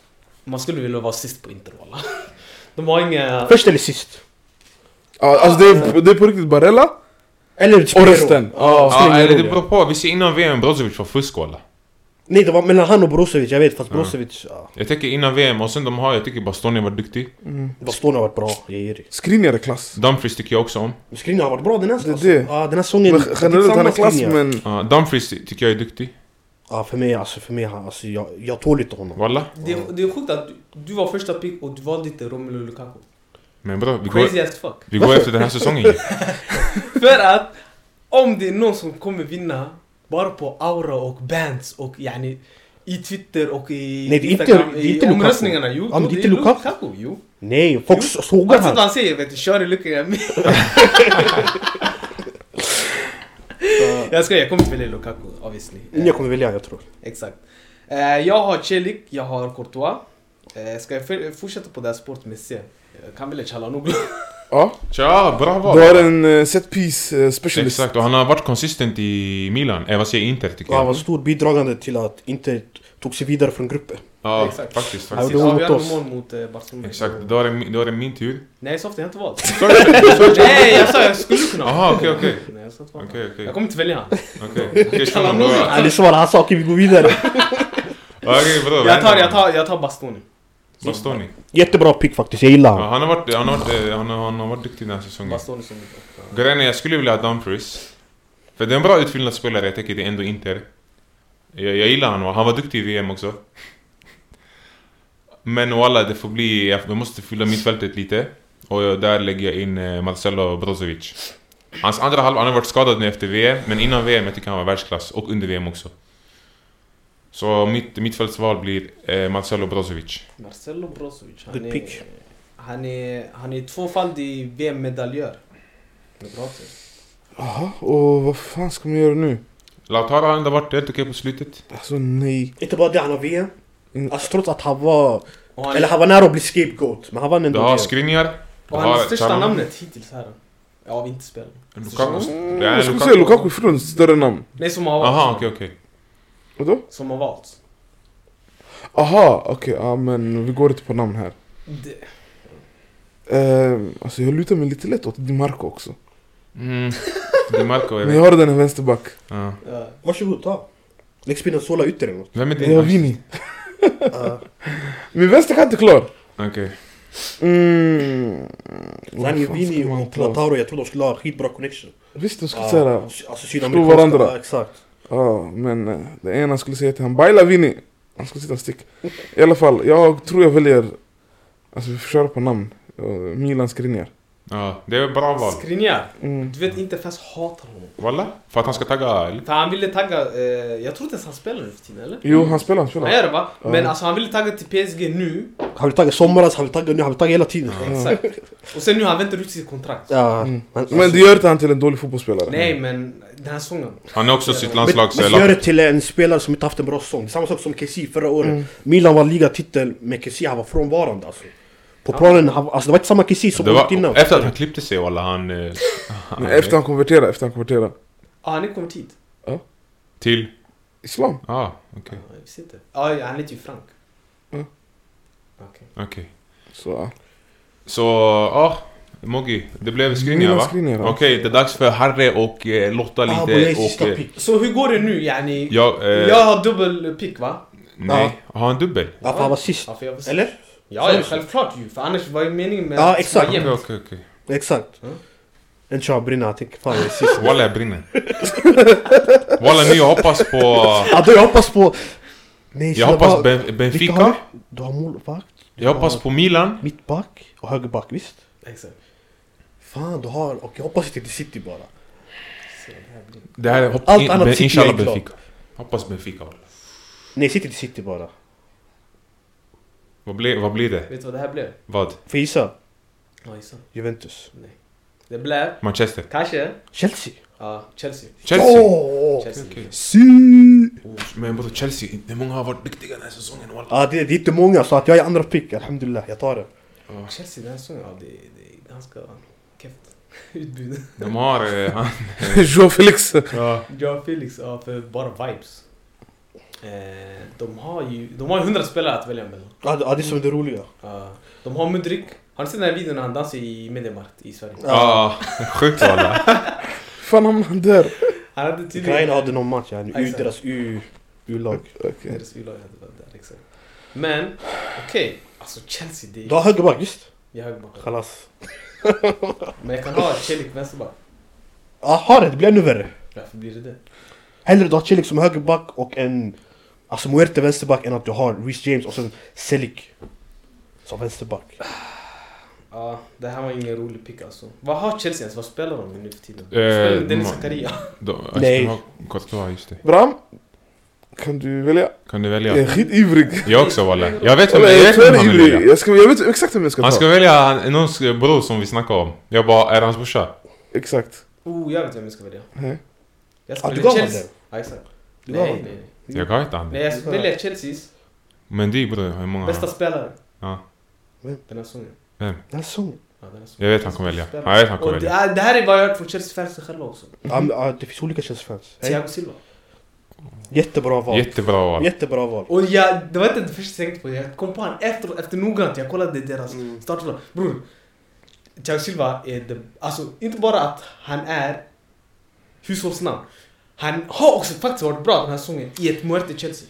S1: Man skulle vilja vara sist på Inter walla. De har inga...
S2: Först eller sist?
S3: Ah, alltså det är, det är på riktigt Barella
S2: Eller
S3: och
S2: Spiro.
S3: resten.
S2: spelar
S3: Ah.
S4: Ja,
S2: ingen
S4: eller
S2: roll,
S4: det beror på. Vi ser innan VM Brozovic var fusk walla.
S2: Nej, det var mellan han och Brozovic, jag vet. Fast Brozovic... Ja.
S4: Jag tänker innan VM och sen de har, jag tycker Bastoni var duktig.
S2: Bastoni har varit bra, jag ger dig.
S3: Skriniar är klass.
S4: Dumfries tycker jag också om.
S2: Men Skriniar har varit bra den här
S3: Det är
S2: alltså.
S3: det.
S2: Ja, den här säsongen...
S3: Men
S2: det är
S3: generellt
S2: samma
S3: han är klass
S2: Skriniar.
S3: men...
S4: Uh, Dumfries tycker jag är duktig.
S2: Ja, för mig alltså, för mig han- alltså, jag, jag tål inte honom.
S4: Walla.
S1: Det, det är sjukt att du, du var första pick och du valde inte Romelu Lukaku.
S4: Men bra, vi går,
S1: Crazy as fuck.
S4: vi går efter den här säsongen ju.
S1: För att om det är någon som kommer vinna bara på aura och bands och yani i Twitter och i
S2: Nej, det är inte-
S1: Instagram,
S2: det är inte
S1: i
S2: Lukaku.
S1: omröstningarna. Jo,
S2: Ja, men
S1: jo,
S2: det är inte Lukaku.
S1: jo.
S2: Nej, folk
S1: Jo.
S2: sågar
S4: Alltså,
S1: Oavsett vad
S2: han.
S1: han säger vet du, kör i luckan. jag ska jag kommer välja Lukaku obviously. Eh,
S2: Jag kommer välja, jag tror.
S1: Exakt. Eh, jag har Celik, jag har Courtois. Eh, ska jag f- fortsätta på det här spåret med C? Jag kan välja Chalanoglu.
S3: Ja.
S4: Tja, bra
S3: Du har
S4: val.
S3: en eh, set piece eh, specialist.
S4: Exakt, och han har varit konsistent i Milan. Eh, vad säger jag? Inter tycker
S2: Ja, han var
S4: jag.
S2: stor bidragande till att inte tog sig vidare från gruppen.
S4: Ja,
S1: Exakt.
S4: faktiskt.
S2: Ja,
S4: faktiskt.
S2: det var mot
S1: Avgörande
S2: oss.
S1: mål mot eh, Barcelona.
S4: Exakt, då är det min- då är det min tur.
S1: Nej, soft, jag har inte valt.
S4: Sorry.
S1: Nej, jag sa jag skulle kunna
S4: Jaha, okej, okej.
S1: Nej, jag sa inte vad.
S4: Okej, okej.
S1: Jag kommer inte välja han.
S4: Okej, okej,
S1: Kan han
S4: bra.
S1: nog-
S2: Han är svår, han sa okej vi går vidare.
S4: Okej, bra.
S1: Jag tar, jag tar, jag tar Bastoni.
S4: Bastoni.
S2: Jättebra pick faktiskt, jag gillar
S4: Ja,
S2: honom.
S4: han, har varit, han, har varit, eh, han, har, han har varit duktig den här säsongen.
S1: Bastoni som mitt åtta.
S4: Grejen är, jag skulle vilja ha Dumfries. För det är en bra utfyllnad spelare, jag tänker det är ändå Inter. Jag, jag gillar honom, han var duktig i VM också. Men walla, det får bli, jag jag måste fylla mittfältet lite. Och jag- där lägger jag in eh, Marcelo Brozovic. Hans andra halva, han har varit skadad nu efter VM, men innan VM jag tycker han var världsklass. Och under VM också. Så mitt mittfältsval blir eh, Marcelo Brozovic.
S1: Marcelo Brozovic. Han
S2: Good pick.
S1: är, han är, han är tvåfaldig VM-medaljör. Med Kroatien.
S3: Jaha, och vad fan ska man göra nu?
S4: Lautaro har ändå varit helt okej på slutet.
S3: Alltså nej.
S2: Inte bara det, han har VM.
S3: Mm.
S2: Alltså trots att han var...
S1: Och han,
S2: Eller han var nära att bli scapegoat, men han vann
S4: Du
S2: ändå
S4: har
S2: VM.
S4: Skriniar.
S1: och han är det största
S4: Chalobah.
S1: namnet hittills här. Ja, av inte
S4: Lukaku.
S3: Mm,
S4: Det är
S3: jag skulle säga Lukaku är från större namn.
S1: Nej, som har valts.
S4: Aha, okej okej.
S3: Vadå?
S1: Som har valts.
S3: Aha, okej. ja men vi går inte på namn här.
S1: Det-
S3: Uh, alltså jag lutar mig lite lätt åt Di Marco också.
S4: Mm. Di Marco är
S3: Men jag har den här vänsterback.
S4: ja.
S1: ja.
S2: Varsågod, ta. Lägg spinnen sola ut eller något.
S4: Vem är din?
S3: Jag har Vini.
S2: Uh,
S3: Min vänsterkant är klar.
S4: Okej.
S3: Mm.
S2: Zanni,
S3: fan
S2: Vini
S3: ska man
S2: och
S3: ta?
S2: Lautaro, jag tror de skulle ha skitbra connection.
S3: Visst, de skulle
S2: Ja,
S3: säga det. här.
S2: alltså sydamerikanska,
S3: varandra.
S2: ja, Exakt.
S3: Ja, men eh, det ena skulle säga till han Baila Vini. Han skulle sitta och stick. I alla fall, jag tror jag väljer... Alltså vi får köra på namn. Eh, Milan Skriniar.
S4: Ja, det är ett bra val.
S1: Skriniar.
S3: Mm.
S1: Du vet inte fans hatar honom.
S4: Walla? För att han ska tagga eller?
S1: För han ville tagga... Eh, jag tror inte ens han spelar nu för tiden, eller?
S3: Jo, han spelar, han
S1: Han
S3: spelar.
S1: gör det va? Men alltså han ville tagga till PSG nu.
S2: Han vill tagga i somras, han vill tagga nu, han vill tagga hela tiden.
S1: Exakt. Och sen nu han väntar ut sitt kontrakt.
S2: Ja,
S3: Mm.
S2: men,
S3: Men det gör inte han till en dålig fotbollsspelare.
S1: Nej men den här sången.
S4: Han är också sitt
S2: Men,
S4: landslags...
S2: men gör det till en spelare som inte haft en bra säsong. Det är Samma sak som Kessie förra året. Milan vann ligatitel, men Kessie han var frånvarande alltså. På planen, han, alltså det var inte samma Kessie som
S4: Det
S2: året innan.
S4: var, efter att han klippte sig walla han... eh,
S3: Men efter han konverterade, efter han konverterade.
S1: Ah, han är konvertit.
S4: Till...
S3: Islam.
S4: Ah, okej.
S1: Ah, jag visste inte. Ah, ja, han heter ju Frank.
S3: Ja.
S1: Okej.
S4: okej.
S3: Så ja.
S4: Så, ja. Moggi, det blev screeningar
S3: Mina
S4: va?
S3: screeningar, va?
S4: Okej, det är dags för Harry och eh, Lotta lite
S2: Ah, Boye är
S4: och...
S2: sista
S4: Eh,
S2: pick.
S1: Så hur går det nu yani?
S4: jag, eh,
S1: Jag har dubbel pick va?
S4: Nej, har han dubbel?
S2: Ja, för han var sist.
S1: Ja, för jag
S2: Eller?
S1: Ja, ja,
S2: Så-
S1: självklart ju. För annars var ju meningen med
S2: Ja,
S1: att det
S2: exakt.
S1: var
S4: Okej,
S1: jämnt.
S4: okej, okej.
S2: Exakt.
S1: Mm.
S2: En tja brinner, jag tänker fan jag är sist.
S4: Walla jag brinner. Walla nu jag hoppas på...
S2: Ja, då jag hoppas på... Nej,
S4: Jag
S2: snälla,
S4: hoppas
S2: vad-
S4: Ben-
S2: vilka har
S4: Benfica.
S2: vi? Du har målvakt,
S4: Jag hoppas på Milan.
S2: mittback och högerback, visst?
S1: Exakt.
S2: Fan du har... Okej, jag hoppas inte till City bara.
S1: Så det här blir-
S4: Det här är hopp-
S2: Allt annat City
S4: Inshallah
S2: är klart.
S4: Benfica. Hoppas Benfica. walla.
S2: Nej, City till City bara.
S4: Vad blir, vad blir det?
S1: Vet du vad det här blev?
S4: Vad?
S2: Får jag gissa?
S1: Ja, gissa.
S2: Juventus.
S1: Det blev
S4: Manchester?
S1: kanske
S2: Chelsea?
S1: ja, Chelsea.
S4: Chelsea?
S2: Åh!
S1: Chelsea.
S4: Okej.
S2: Si!
S4: Oh, men både Chelsea, inte många har varit duktiga den här säsongen walla.
S2: Ja, det, det är inte många så att jag är andra pick, alhamdulillah. Jag tar det.
S1: Chelsea den här säsongen, ja, det, det är ganska keft utbud.
S4: De har... Eh, han,
S3: Joao Felix.
S4: ja.
S1: Ja, Felix, ja, för bara vibes. Eh, de har ju de har ju 100 spelare att välja mellan.
S2: Ja, det, ja, det är som det roliga.
S1: Ja, de har Mudrik. Har ni sett den här videon när han dansar i Mediamarkt i Sverige?
S4: Ja, sjukt walla.
S3: Fan hamnade han där?
S1: Han hade tydligen...
S2: Ukraina hade någon match, yani. U,
S1: Exakt.
S2: deras U... U-lag.
S3: Okej.
S1: Deras U-lag hade varit där, exakt. liksom. Men, okej. Alltså Chelsea, det
S2: Du
S1: är...
S2: har högerback, visst?
S1: Jag har bara...
S2: Chalas.
S1: Men jag kan ha Celik vänsterback.
S2: Ja, har det. Det blir ännu värre.
S1: Varför blir det det?
S2: Hellre du har Celik som högerback och en... Alltså Muerte vänsterback än att du har Reece James och sen Celik som vänsterback.
S1: Ja, det här var ingen rolig pick alltså. Vad har Chelsea ens? Vad spelar de nu för tiden?
S4: Eh,
S1: spelar de Dennis
S4: man-
S1: Zakaria?
S4: De,
S2: Nej.
S4: Nej. Kortua, just det.
S3: Bram. Kan du välja?
S4: Kan du
S3: Jag är
S4: välja?
S3: skitivrig.
S4: Jag också walla. Jag vet vem
S3: Eller,
S4: jag
S3: jag är
S4: vet vem han
S3: tyvärr
S4: vill
S3: ivrig.
S4: välja.
S3: Jag, ska, jag vet exakt vem jag ska ta.
S4: Han ska välja han- någons bror som vi snackade om. Jag bara, är det hans brorsa?
S3: Exakt.
S1: Oh, jag vet vem jag ska välja.
S3: Nej.
S1: Jag ska
S2: Ja, du
S1: välja
S2: gav honom
S1: Chelsea.
S2: den.
S1: Ja, exakt.
S2: Du gav
S1: Nej,
S2: honom
S1: nej.
S4: Jag kan inte han.
S1: Nej,
S2: Alltså-
S1: jag väljer Chelseas
S4: Men det är bror, hur många?
S1: bästa spelare.
S4: Ja.
S2: Vem?
S1: Den här säsongen.
S2: Den här säsongen.
S1: Ja, den här säsongen.
S4: Jag vet han kommer välja. Ja, jag vet han kommer
S1: Och det,
S4: välja.
S1: här- det här är vad jag har hört från Chelsea-fansen själva också.
S2: Ja, men, ja, det finns olika Chelsea-fans. Hey.
S1: Thiago Silva.
S2: Jättebra val.
S4: Jättebra val.
S2: Jättebra val.
S1: Och jag, det var inte det första jag tänkte på. Jag kom på honom efter, efter noggrant. Jag kollade deras
S2: Mm.
S1: startelva. Bror, Thiago Silva är det, Alltså, inte bara att han är hushållsnamn. Han har också faktiskt varit bra den här säsongen i ett Muerte Chelsea.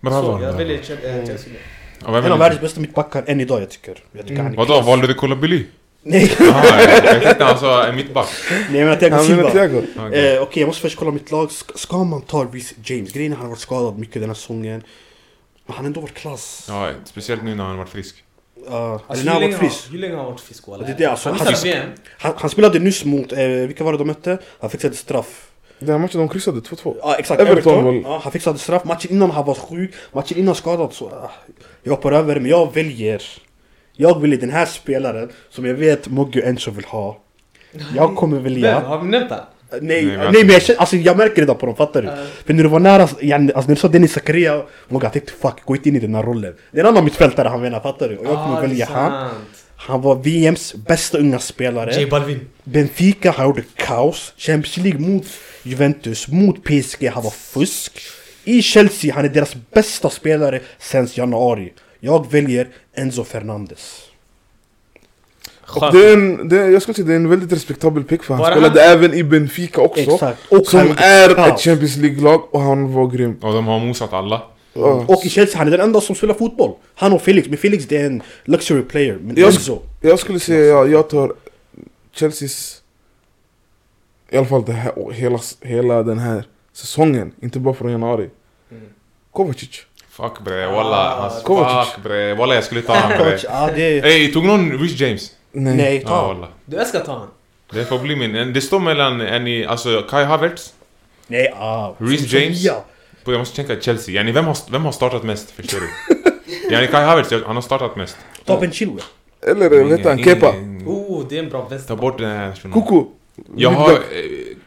S4: Bra
S1: Så
S4: val.
S1: jag
S4: Ja,
S1: väljer Chel-
S2: Mm.
S1: eh, Thiago Silva.
S4: vem
S2: En av
S4: väljer
S2: världens bästa mittbackar än idag, jag tycker. Jag tycker
S3: Mm.
S2: han
S4: du?
S2: är
S4: Vadå,
S2: klass.
S4: valde du Kolobili?
S2: Nej,
S4: Ah, jag jag tänkte han sa en mittback.
S2: nej men att jag
S3: Han menar
S2: Silva. Eh,
S3: Thiago.
S4: Okej.
S2: Okej, jag måste först kolla mitt lag. Ska, ska man ta Reece James? Grejen är att han har varit skadad mycket den här säsongen. Men han har ändå varit klass.
S4: Ja, speciellt nu när han varit frisk.
S2: Ja, eller
S1: Alltså,
S2: när
S1: hur,
S2: han har
S1: länge
S2: varit
S1: har,
S2: frisk.
S1: hur länge har han varit fisk?
S2: Och det är det, alltså,
S1: han
S2: han-
S1: missade VM.
S2: Han, han spelade nyss mot, eh, vilka var det de mötte? Han fixade straff.
S3: Den här matchen de kryssade 2-2.
S2: Ja exakt,
S3: Everton.
S2: Everton. Ja, han fixade straff, matchen innan han var sjuk, matchen innan skadad så... ah, jag hoppar över, men jag väljer... Jag väljer den här spelaren som jag vet Mogge och Enzo vill ha. Jag kommer
S1: Vem?
S2: välja...
S1: Har vi nämnt han?
S2: Nej,
S4: Nej,
S2: nej,
S4: men-
S2: men jag, känner, alltså, jag märker det där på dem, fattar du?
S1: Ja.
S2: För när du var nära, alltså, yani, alltså när du sa Dennis Zakaria, Mogge jag tänkte fuck, gå inte in i den här rollen. Det är en annan mittfältare han menar, fattar du? Och jag kommer
S1: Ah, det är
S2: välja han.
S1: sant.
S2: Han var VMs bästa unga spelare.
S1: J Balvin.
S2: Benfica, han gjorde kaos. Champions League mot Juventus, mot PSG, han var fusk. I Chelsea, han är deras bästa spelare sen januari. Jag väljer Enzo Fernandes.
S3: Och det är en, det är, jag skulle säga det är en väldigt respektabel pick för han
S1: Var det
S3: spelade även i Benfica också.
S2: Exakt. Och han
S3: Som
S2: gjorde
S3: är ett
S2: kaos.
S3: Champions League-lag och han var grym.
S4: Och de har mosat alla.
S3: Ja.
S2: Mm. Och i Chelsea, han är den enda som spelar fotboll. Han och Felix, men Felix det är en luxury player. Men
S3: Jag-
S2: Enzo.
S3: Jag skulle säga jag, jag tar Chelseas... I alla fall det här, och hela, hela den här säsongen, inte bara från januari.
S1: Mm.
S3: Kovacic.
S4: Fuck bre, walla.
S1: Ah,
S4: Hans-
S3: Kovacic.
S4: Fuck bre, walla jag skulle ta han bre.
S2: Ja, det...
S4: Ey, tog någon Rich James?
S3: Nej.
S2: Nej,
S4: Ja,
S2: ta.
S4: walla.
S1: Du älskar att ta han.
S4: Det får bli min. Det står mellan en i, alltså Kai Havertz.
S2: Nej, ah.
S4: Reece
S2: Som-
S4: James?
S2: Ja.
S4: Bro, jag måste tänka Chelsea. Yani, vem, har, vem har startat mest? Förstår du? Yani, Kai Havertz, jag- han har startat mest.
S2: Ta Ben Chilwell.
S3: Eller vad heter han?
S4: Ingen-
S3: Kepa?
S4: ingen-
S1: Oh, det är en bra
S4: Ta
S1: vänsterback.
S4: bort den här shunon.
S3: Kuku?
S4: Jag har eh,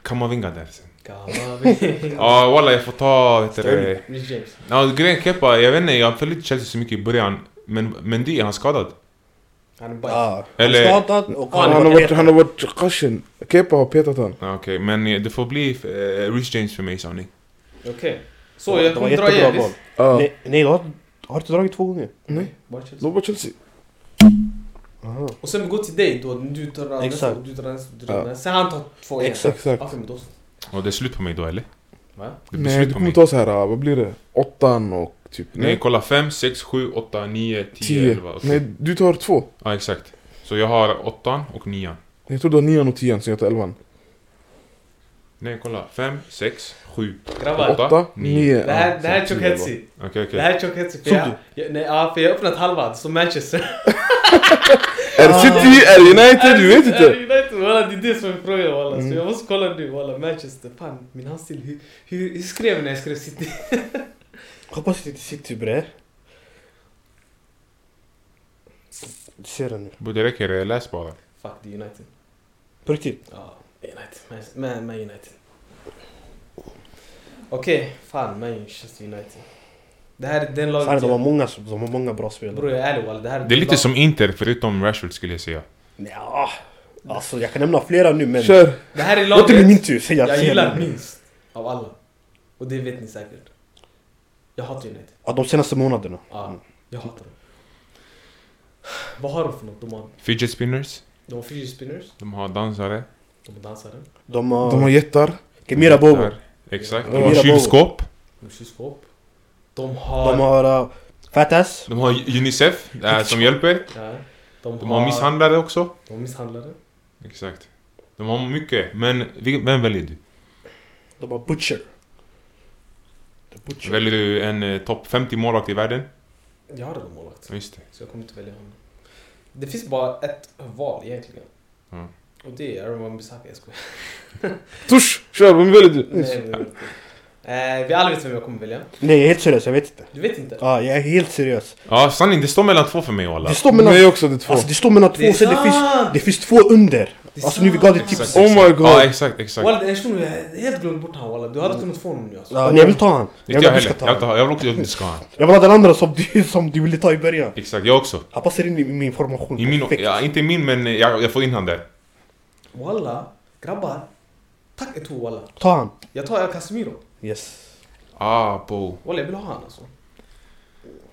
S4: Kamavinga där sen.
S1: Gammal.
S4: Ja, walla jag får ta... Vet du, det.
S1: Rich James.
S4: Ja, grejen Kepa, jag vet inte, jag följde inte Chelsea så mycket i början. Men, men det är han skadad?
S1: Han är bajs.
S2: Ja.
S4: Eller-
S2: Han startat och
S1: Han
S3: Han,
S2: han
S3: har varit,
S2: var
S3: han har varit qashin. Kepa har petat han.
S4: Ja, Okej, men eh, det får bli eh, Rich James för mig sa ni.
S1: Okej. Så jag
S2: Det var
S1: kommer dra
S2: jättebra
S1: igen.
S2: val.
S1: visst?
S3: Ja.
S2: Nej, nej, jag har, har inte dragit två gånger.
S3: Nej.
S1: Bara Chelsea.
S3: Då var Chelsea.
S2: Aha.
S1: Och sen vi går till dig då, du tar nästa
S2: Exakt.
S1: och du tar nästa och du tar
S3: Ja.
S1: nästa. Sen han tar två igen.
S3: Exakt. Exakt.
S1: Okej, men då så.
S4: Och det är slut på mig då eller?
S1: Va?
S4: Det blir
S3: Nej,
S4: slut
S3: det
S4: på
S3: kommer
S4: mig.
S3: ta så här, ah, vad blir det? Åttan och typ...
S4: Nej,
S3: Nej,
S4: kolla 5, 6, 7, 8, 9, 10,
S3: tio.
S4: 11.
S3: Nej, du tar två.
S4: Ja, exakt. Så jag har 8 och 9.
S3: Jag tror du har nian och tian, så jag tar elvan.
S4: Nej, kolla. 5, 6, 7.
S1: Grabbar.
S4: Åtta,
S3: Åtta,
S4: nio.
S3: nio.
S1: Det här,
S3: Ah,
S1: det här är
S3: så
S1: tjock
S3: tio,
S1: hetsig.
S4: Okej,
S1: Det
S4: okej.
S1: här är tjock hetsig. För
S2: Såg
S1: jag, jag, nej, ja, för jag har öppnat halva, som Manchester.
S3: Är det City? Är det United? Vi vet
S1: Ah. Är
S3: inte.
S1: det United, walla, det är det som är frågan walla. Så
S3: Mm.
S1: jag måste kolla nu walla, Manchester. Fan, min handstil. Hur, hur, hur skrev jag när jag skrev City?
S2: Hoppas det inte sitter bre. Du ser den nu.
S4: Bro, Det räcker, eh, läs bara.
S1: Fuck, det är United.
S2: På riktigt.
S1: Ja, United. Man- Man, man United. Okej, fan Manchester United. Det här är den
S2: Fan,
S1: laget
S2: de har
S1: jag...
S2: många, de har många bra spelare.
S1: Bror jag är ärlig walla, det här
S4: Det är lite
S1: lag-
S4: som Inter förutom Rashford skulle jag säga.
S2: Ja, alltså jag kan nämna flera nu men...
S3: Kör!
S1: Det här är
S2: Låt det bli min
S1: laget
S2: tur, säg att
S1: jag
S2: säga
S1: gillar
S2: det.
S1: minst av alla. Och det vet ni säkert. Jag hatar United.
S2: Ja, de senaste månaderna.
S1: Ja, jag hatar dem. Vad har de för något? De har,
S4: Fidget spinners.
S1: de har fidget spinners,
S4: De har dansare.
S1: de har dansare,
S2: De har...
S3: De har jättar.
S2: Kemira Bobo.
S4: Där. Exakt.
S2: Ja.
S4: De har
S2: Mira Bobo.
S4: kylskåp.
S1: de har kylskåp. De har...
S2: De har... Uh, Fatas.
S4: De har Unicef eh, som hjälper.
S1: ja, de,
S4: De har misshandlare också.
S1: De har misshandlare.
S4: Exakt. De har mycket. Men vil- vem väljer du?
S2: De har Butcher. The Butcher.
S4: Väljer du en eh, topp 50 målvakt i världen?
S1: Jag har redan målvakt.
S4: Ja, Just det.
S1: Så jag kommer inte välja honom. Det finns bara ett val egentligen.
S4: Mm.
S1: Och det är Aaron Wan-Bissaka, jag skojar.
S3: Tush! Kör, vem väljer du?
S1: Nej, nej, nej. Eh, vi alla vet vem jag kommer välja.
S2: Nej, jag är helt seriös, jag vet inte.
S1: Du vet inte?
S2: Ja, jag är helt seriös.
S4: Ja, sanning. Det står mellan två för mig walla.
S2: Det står mellan...
S3: Nej, också det två.
S2: Alltså det står mellan två,
S1: Det är
S2: sen det finns...
S1: sant!
S2: Det finns två under.
S1: Det är
S2: Alltså nu vi
S1: sant.
S2: gav det
S4: Exakt,
S2: tips.
S3: Oh
S4: exakt.
S3: my god.
S4: Ja, exakt, exakt.
S1: Walla, jag tror jag har helt glömt bort honom walla. Du hade kunnat få honom nu alltså.
S2: Ja, nej, jag vill ta han. Jag
S4: Inte
S2: vill
S4: jag
S2: att vi ska
S4: heller.
S2: ta han.
S4: Jag vill, ta, jag vill också att du ska ha han.
S2: Jag vill ha den andra som du, som du ville ta i början.
S4: Exakt, jag också.
S2: Han passar in i min formation.
S4: I min,
S2: perfekt.
S4: ja, inte i min, men eh, jag, jag får in han där.
S1: Walla, grabbar. Tack Eto'o walla.
S2: Ta han.
S1: Jag tar El Casemiro.
S2: Yes.
S4: Ah, bo.
S1: Walla, jag vill ha honom alltså.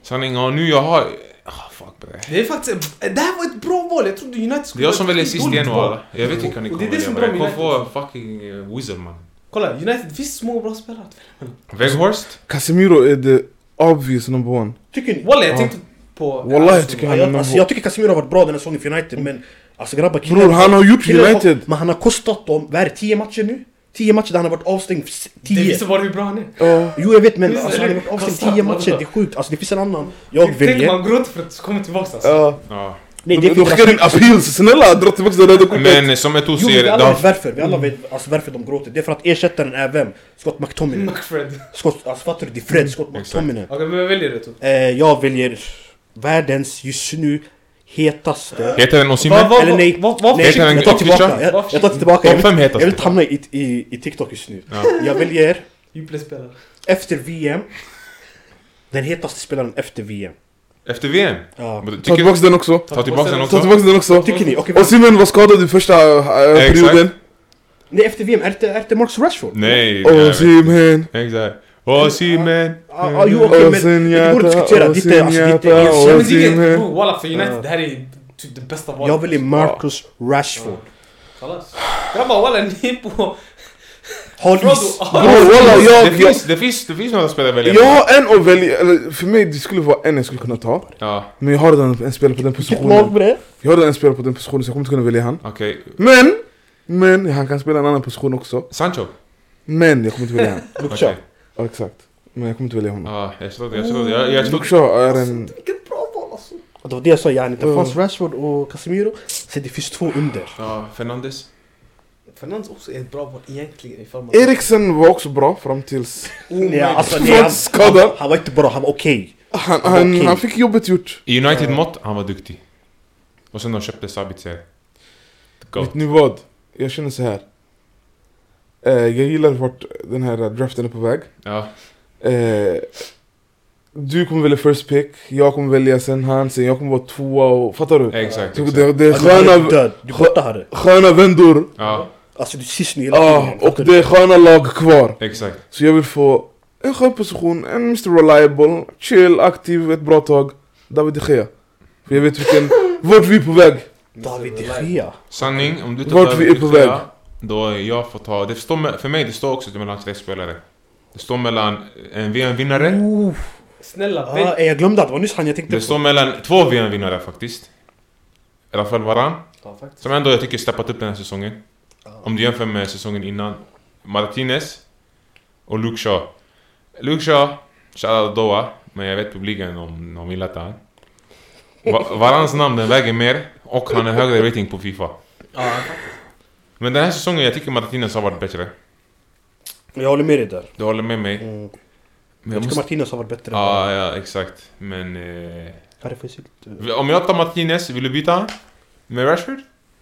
S4: Sanning, ja nu jag har... Ah, fuck bre.
S1: Det är faktiskt... Det här var ett bra val. Jag trodde United
S4: Det är
S1: skulle...
S4: jag som väljer
S1: ett
S4: sist
S1: dåligt
S4: igen
S1: val.
S4: walla. Jag vet vilka ni
S1: Och det
S4: kommer
S1: är det som
S4: välja bre.
S1: är bra
S4: Kom
S1: med
S4: få fucking eh, Weasel man.
S1: Kolla, United. Det finns så många bra spelare att välja mellan.
S4: Weghorst?
S3: Casemiro är the obvious number one.
S2: Tycker ni?
S1: Walla, jag
S3: Ja.
S1: tänkte på...
S3: Walla, jag
S1: Alltså,
S3: tycker
S2: Ja,
S3: han är
S2: jag,
S3: number
S2: alltså,
S3: one.
S2: jag tycker Casemiro har varit bra den här säsongen för United men Alltså grabbar killen
S3: Bror, han har gjort
S2: killen
S3: United.
S2: men han har kostat dem, vad är det, 10 matcher nu? 10 matcher där han har varit avstängd för
S1: Det
S2: 10
S1: visar bara hur bra han är.
S3: Ja.
S2: Jo jag vet men
S1: Visst,
S2: alltså, han har varit
S1: det är
S2: avstängd
S1: kostat
S2: 10 matcher,
S1: alla.
S2: det är sjukt Alltså det finns en annan jag
S1: Tänk
S2: väljer
S1: man gråter för att komma tillbaka alltså.
S2: Oh.
S3: Ja.
S4: Ja.
S2: Nej det är
S3: De
S2: för
S3: skickar
S2: deras
S3: in appeals, snälla dra tillbaka det röda kortet!
S4: Men eh, som Eto'o
S2: Jo
S4: säger,
S2: vi
S4: det
S2: alla vet
S4: har-
S2: varför, vi alla vet alltså, varför de gråter Det är för att ersättaren är vem? Scott McTominay
S1: McFred. Okej,
S2: Scott, alltså fattar du? Det är Fred Scott
S4: Exakt.
S2: McTominay
S1: men jag väljer det typ.
S2: eh, Jag väljer världens just nu hetaste
S4: heter den
S1: Vad
S4: Osimhen?
S1: var,
S2: Eller nej.
S1: Vad, vad,
S2: Nej,
S4: Heter den
S2: jag tar
S4: Official?
S2: tillbaka, jag, jag tar tillbaka.
S4: Topp
S2: Jag
S4: fem
S2: vill,
S4: hetaste.
S2: jag vill inte hamna i, i, i TikTok just nu.
S4: Ja.
S2: Jag väljer,
S1: spelare
S2: Oh, efter VM, den hetaste spelaren efter VM.
S4: Efter VM?
S2: Ja.
S4: Men
S3: Ta
S4: tycker-
S3: tillbaka den också!
S4: Ta tillbaka den
S3: Ta
S4: också.
S3: tillbaka den också!
S2: Tycker ni? Okej, men-
S3: Osimhen var skadad i första eh,
S4: Exakt.
S3: perioden.
S2: nej, efter VM, är det, är det Marcus Rashford?
S4: Nej. nej, nej.
S3: Osimhen!
S4: Exakt. Osimhen.
S2: Ah, ah, jo okej men det går att diskutera, det är inte, alltså, det är inte
S3: Osinjata,
S2: jag-
S1: Ja, men det
S3: Osimhen.
S1: är walla för
S2: Ah.
S1: United, det här är typ det bästa valet.
S2: Jag väljer Marcus
S1: Ah.
S2: Rashford.
S1: Kallas. Grabbar walla, ni är på...
S2: Har
S1: Frodo,
S2: is.
S1: ah.
S3: Bror walla,
S4: Det
S3: jag... jag-
S4: finns, det finns, det finns några spelare att välja
S3: Jag har en att välja, eller för mig det skulle vara en jag skulle kunna ta.
S4: Ja,
S3: Men jag har redan en spelare på den
S2: Vilket lag
S3: positionen.
S2: bre?
S3: Jag har redan en spelare på den positionen så jag kommer inte kunna välja han.
S4: okej.
S3: Men! Men han kan spela en annan position också.
S4: Sancho?
S3: Men jag kommer inte välja han.
S2: Luke Shaw.
S4: Okej.
S3: Ja, exakt. Men jag kommer inte välja honom.
S4: Ja, jag trodde, jag trodde, jag, jag
S3: Luke
S4: trodde...
S3: Shaw är en...
S1: Vilket bra val alltså.
S2: Det var det jag sa yani, det
S3: Mm.
S2: fanns Rashford och Casemiro, så det finns två under.
S4: Ja, Fernandes.
S1: Fernandes också är ett bra val egentligen ifall man...
S3: Eriksen var också bra fram tills...
S1: Oh
S2: Ja, alltså, nej,
S3: Från
S2: han,
S3: skadan.
S2: han var inte bra, han var okej.
S3: Han, han,
S2: Okej.
S3: han fick jobbet gjort.
S4: I United-mått, han var duktig. Och sen de köpte Sabitzer. Go.
S3: Vet ni vad? Jag känner så här. Eh, jag gillar vart den här draften är på väg.
S4: Ja,
S3: Eh, Du kommer välja first pick, jag kommer välja sen han, sen jag kommer vara tvåa och... Fattar du?
S4: Exakt,
S3: Typ,
S4: exakt.
S3: det, det är
S2: Alltså, du är
S3: sköna,
S2: död, du fattar det.
S3: sköna vändor
S4: Ja,
S2: Alltså du syns nu hela
S3: ah,
S2: tiden.
S3: och
S2: fattar du?
S3: det är sköna lag kvar.
S4: exakt.
S3: Så jag vill få en skön position, en Mr Reliable, chill, aktiv ett bra tag. David de Gea. För jag vet vilken... Vart vi är på väg.
S2: David de Gea.
S4: Sanning, om du tar
S3: Vart
S4: över
S3: vi är på
S4: Victoria,
S3: väg.
S4: Då är jag får ta, det står, me- för mig det står också mellan tre spelare. Det står mellan en VM-vinnare,
S3: Mm.
S2: Oof.
S1: Snälla,
S2: Ah,
S1: välj.
S2: eh, jag glömde att det var nyss han jag tänkte
S4: det
S2: på.
S4: står mellan två VM-vinnare faktiskt. Rafael Varan,
S1: Ja, faktiskt.
S4: som ändå jag tycker steppat upp den här säsongen. Om du jämför med säsongen innan. Martinez och Luke Shaw. Luke Shaw, shoutout Doha, men jag vet publiken om de vill att han. Va- Varans namn den väger mer och han har högre rating på Fifa.
S1: Ja,
S4: Men den här säsongen jag tycker Martinez har varit bättre.
S2: Jag håller med dig där.
S4: Du håller med mig?
S2: Mm.
S4: Men
S2: Jag
S4: jag
S2: tycker
S4: måste...
S2: Martinez har varit bättre.
S3: Ah.
S4: Ja, ja, exakt. Men... Eh,
S2: Här är för uh,
S4: om jag tar Martinez, vill du byta han? Med Rashford?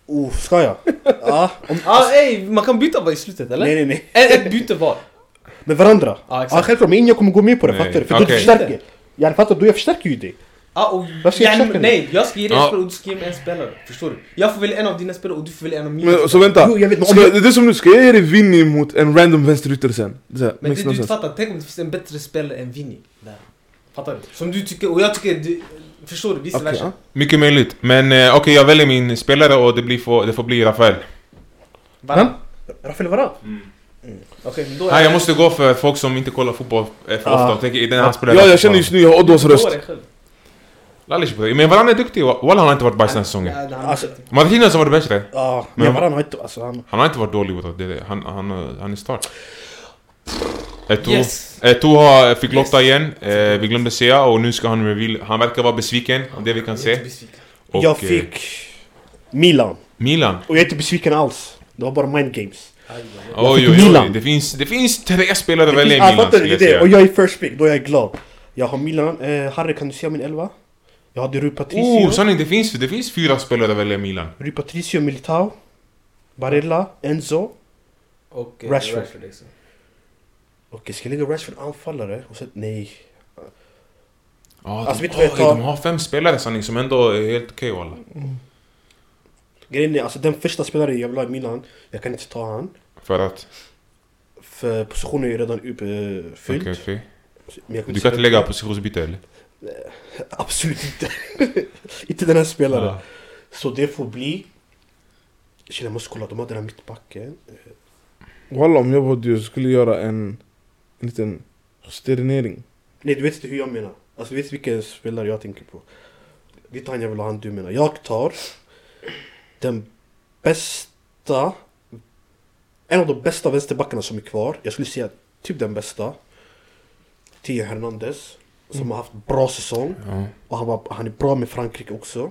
S2: oh, ska jag? Ja. om,
S1: ah, ey, man kan byta bara i slutet eller?
S2: nej nej nej.
S1: Ett, ett byte var.
S2: Med varandra?
S1: Ja,
S2: Ja
S1: exakt.
S2: ah, självklart, men jag kommer gå med på det
S4: Nej.
S2: fattar du? För
S4: Okej.
S2: du förstärker. Jag fattar du? Jag förstärker ju dig.
S1: Ah, och,
S2: Vad ska jag
S1: yani,
S2: köpa nu?
S1: nej, jag ska ge dig en
S4: Ja.
S1: spelare och du ska ge mig en spelare. Förstår du? Jag får välja en av dina spelare och du får välja en av mina.
S3: Men,
S1: Men,
S3: så vänta.
S2: Jo, jag vet, men om
S3: ska,
S2: jag-
S3: det är som nu, ska jag dus ge dig Vinny mot en random vänsterytter sen? Det är så här,
S1: men
S3: makes
S1: det
S3: no
S1: du inte
S3: sense.
S1: fattar, tänk om det finns en bättre spelare än Vinny. Där. Fattar du? Som du tycker, och jag tycker, du, förstår du? Vice
S3: Okej,
S1: versa.
S3: ja.
S4: Mycket möjligt. Men eh, okej, jag väljer min spelare och det, blir få, det får bli Rafael.
S1: Varann.
S2: Vem? Rafael Varan?
S1: Okej, men då
S4: Nej, jag måste gå för folk som inte kollar fotboll eh, för
S2: Ja.
S4: ofta och tänker "Är den här
S2: Ja,
S4: spelaren...
S3: Ja, jag känner just nu, jag har Oddos
S1: Då
S3: röst.
S1: är det själv.
S4: Lalish på det. Men Varane är duktig. Walla, han har inte varit bajs den här säsongen.
S1: Ja, det handlar
S2: Alltså-
S1: inte om-
S4: Martinez har varit bättre.
S2: Ja,
S4: Men-
S2: men Varan har inte... Alltså han...
S4: Han har inte varit dålig bror. Det är det. Han, han, eh, han är stark. Eh, Eto,
S1: Yes.
S4: Eto har, fick
S1: Yes.
S4: lotta igen. Eh, vi glömde säga och nu ska han reveal. Han verkar vara besviken, det vi kan
S1: Jag är inte
S4: se.
S1: besviken.
S4: Och,
S2: jag
S4: eh,
S2: fick Milan.
S4: Milan.
S2: Och jag är inte besviken alls. Det var bara mind games.
S1: Aj, aj, aj.
S4: Oj,
S2: fick
S4: oj, oj.
S2: Milan.
S4: Det finns, det finns tre spelare att välja i
S2: Ja,
S4: Milan
S2: fattar du?
S4: skulle
S2: Det är
S4: jag
S2: det. Och
S4: säga.
S2: jag är first pick, då är jag glad. Jag har Milan. Eh, Harry, kan du se min elva? Jag hade Rui Patricio.
S4: Oh, sanning, det finns, det finns fyra spelare att välja i Milan.
S2: Rui Patricio, Militao. Barella, Enzo.
S1: Och eh,
S2: Rashford.
S1: Rashford liksom.
S2: Okej, ska jag lägga Rashford anfallare? Och sen, nej.
S4: Ja,
S2: Alltså,
S4: de,
S2: vet du vad jag
S4: oj,
S2: tar?
S4: de har fem spelare sanning som ändå är helt okej walla.
S2: Grejen är, alltså den första spelaren jag vill ha i Milan, jag kan inte ta han.
S4: För att...
S2: För positionen är ju redan upp, eh,
S4: Okej,
S2: fylld.
S4: okej.
S2: Men jag
S4: Du kan inte lägga positionsbyte eller?
S2: Absolut inte. inte den här spelaren.
S4: Ja.
S2: Så det får bli... Shit, jag måste kolla, de har den här mittbacken.
S3: Walla, om jag var du jag skulle göra en, en liten justerinering.
S2: Nej, du vet inte hur jag menar. Alltså, du vet vilken spelare jag tänker på. Det är inte han jag vill ha, han du menar. Jag tar den bästa... En av de bästa vänsterbackarna som är kvar. Jag skulle säga typ den bästa. Tio Hernandez. Som har haft bra säsong.
S4: Ja,
S2: Och han, var, han är bra med Frankrike också.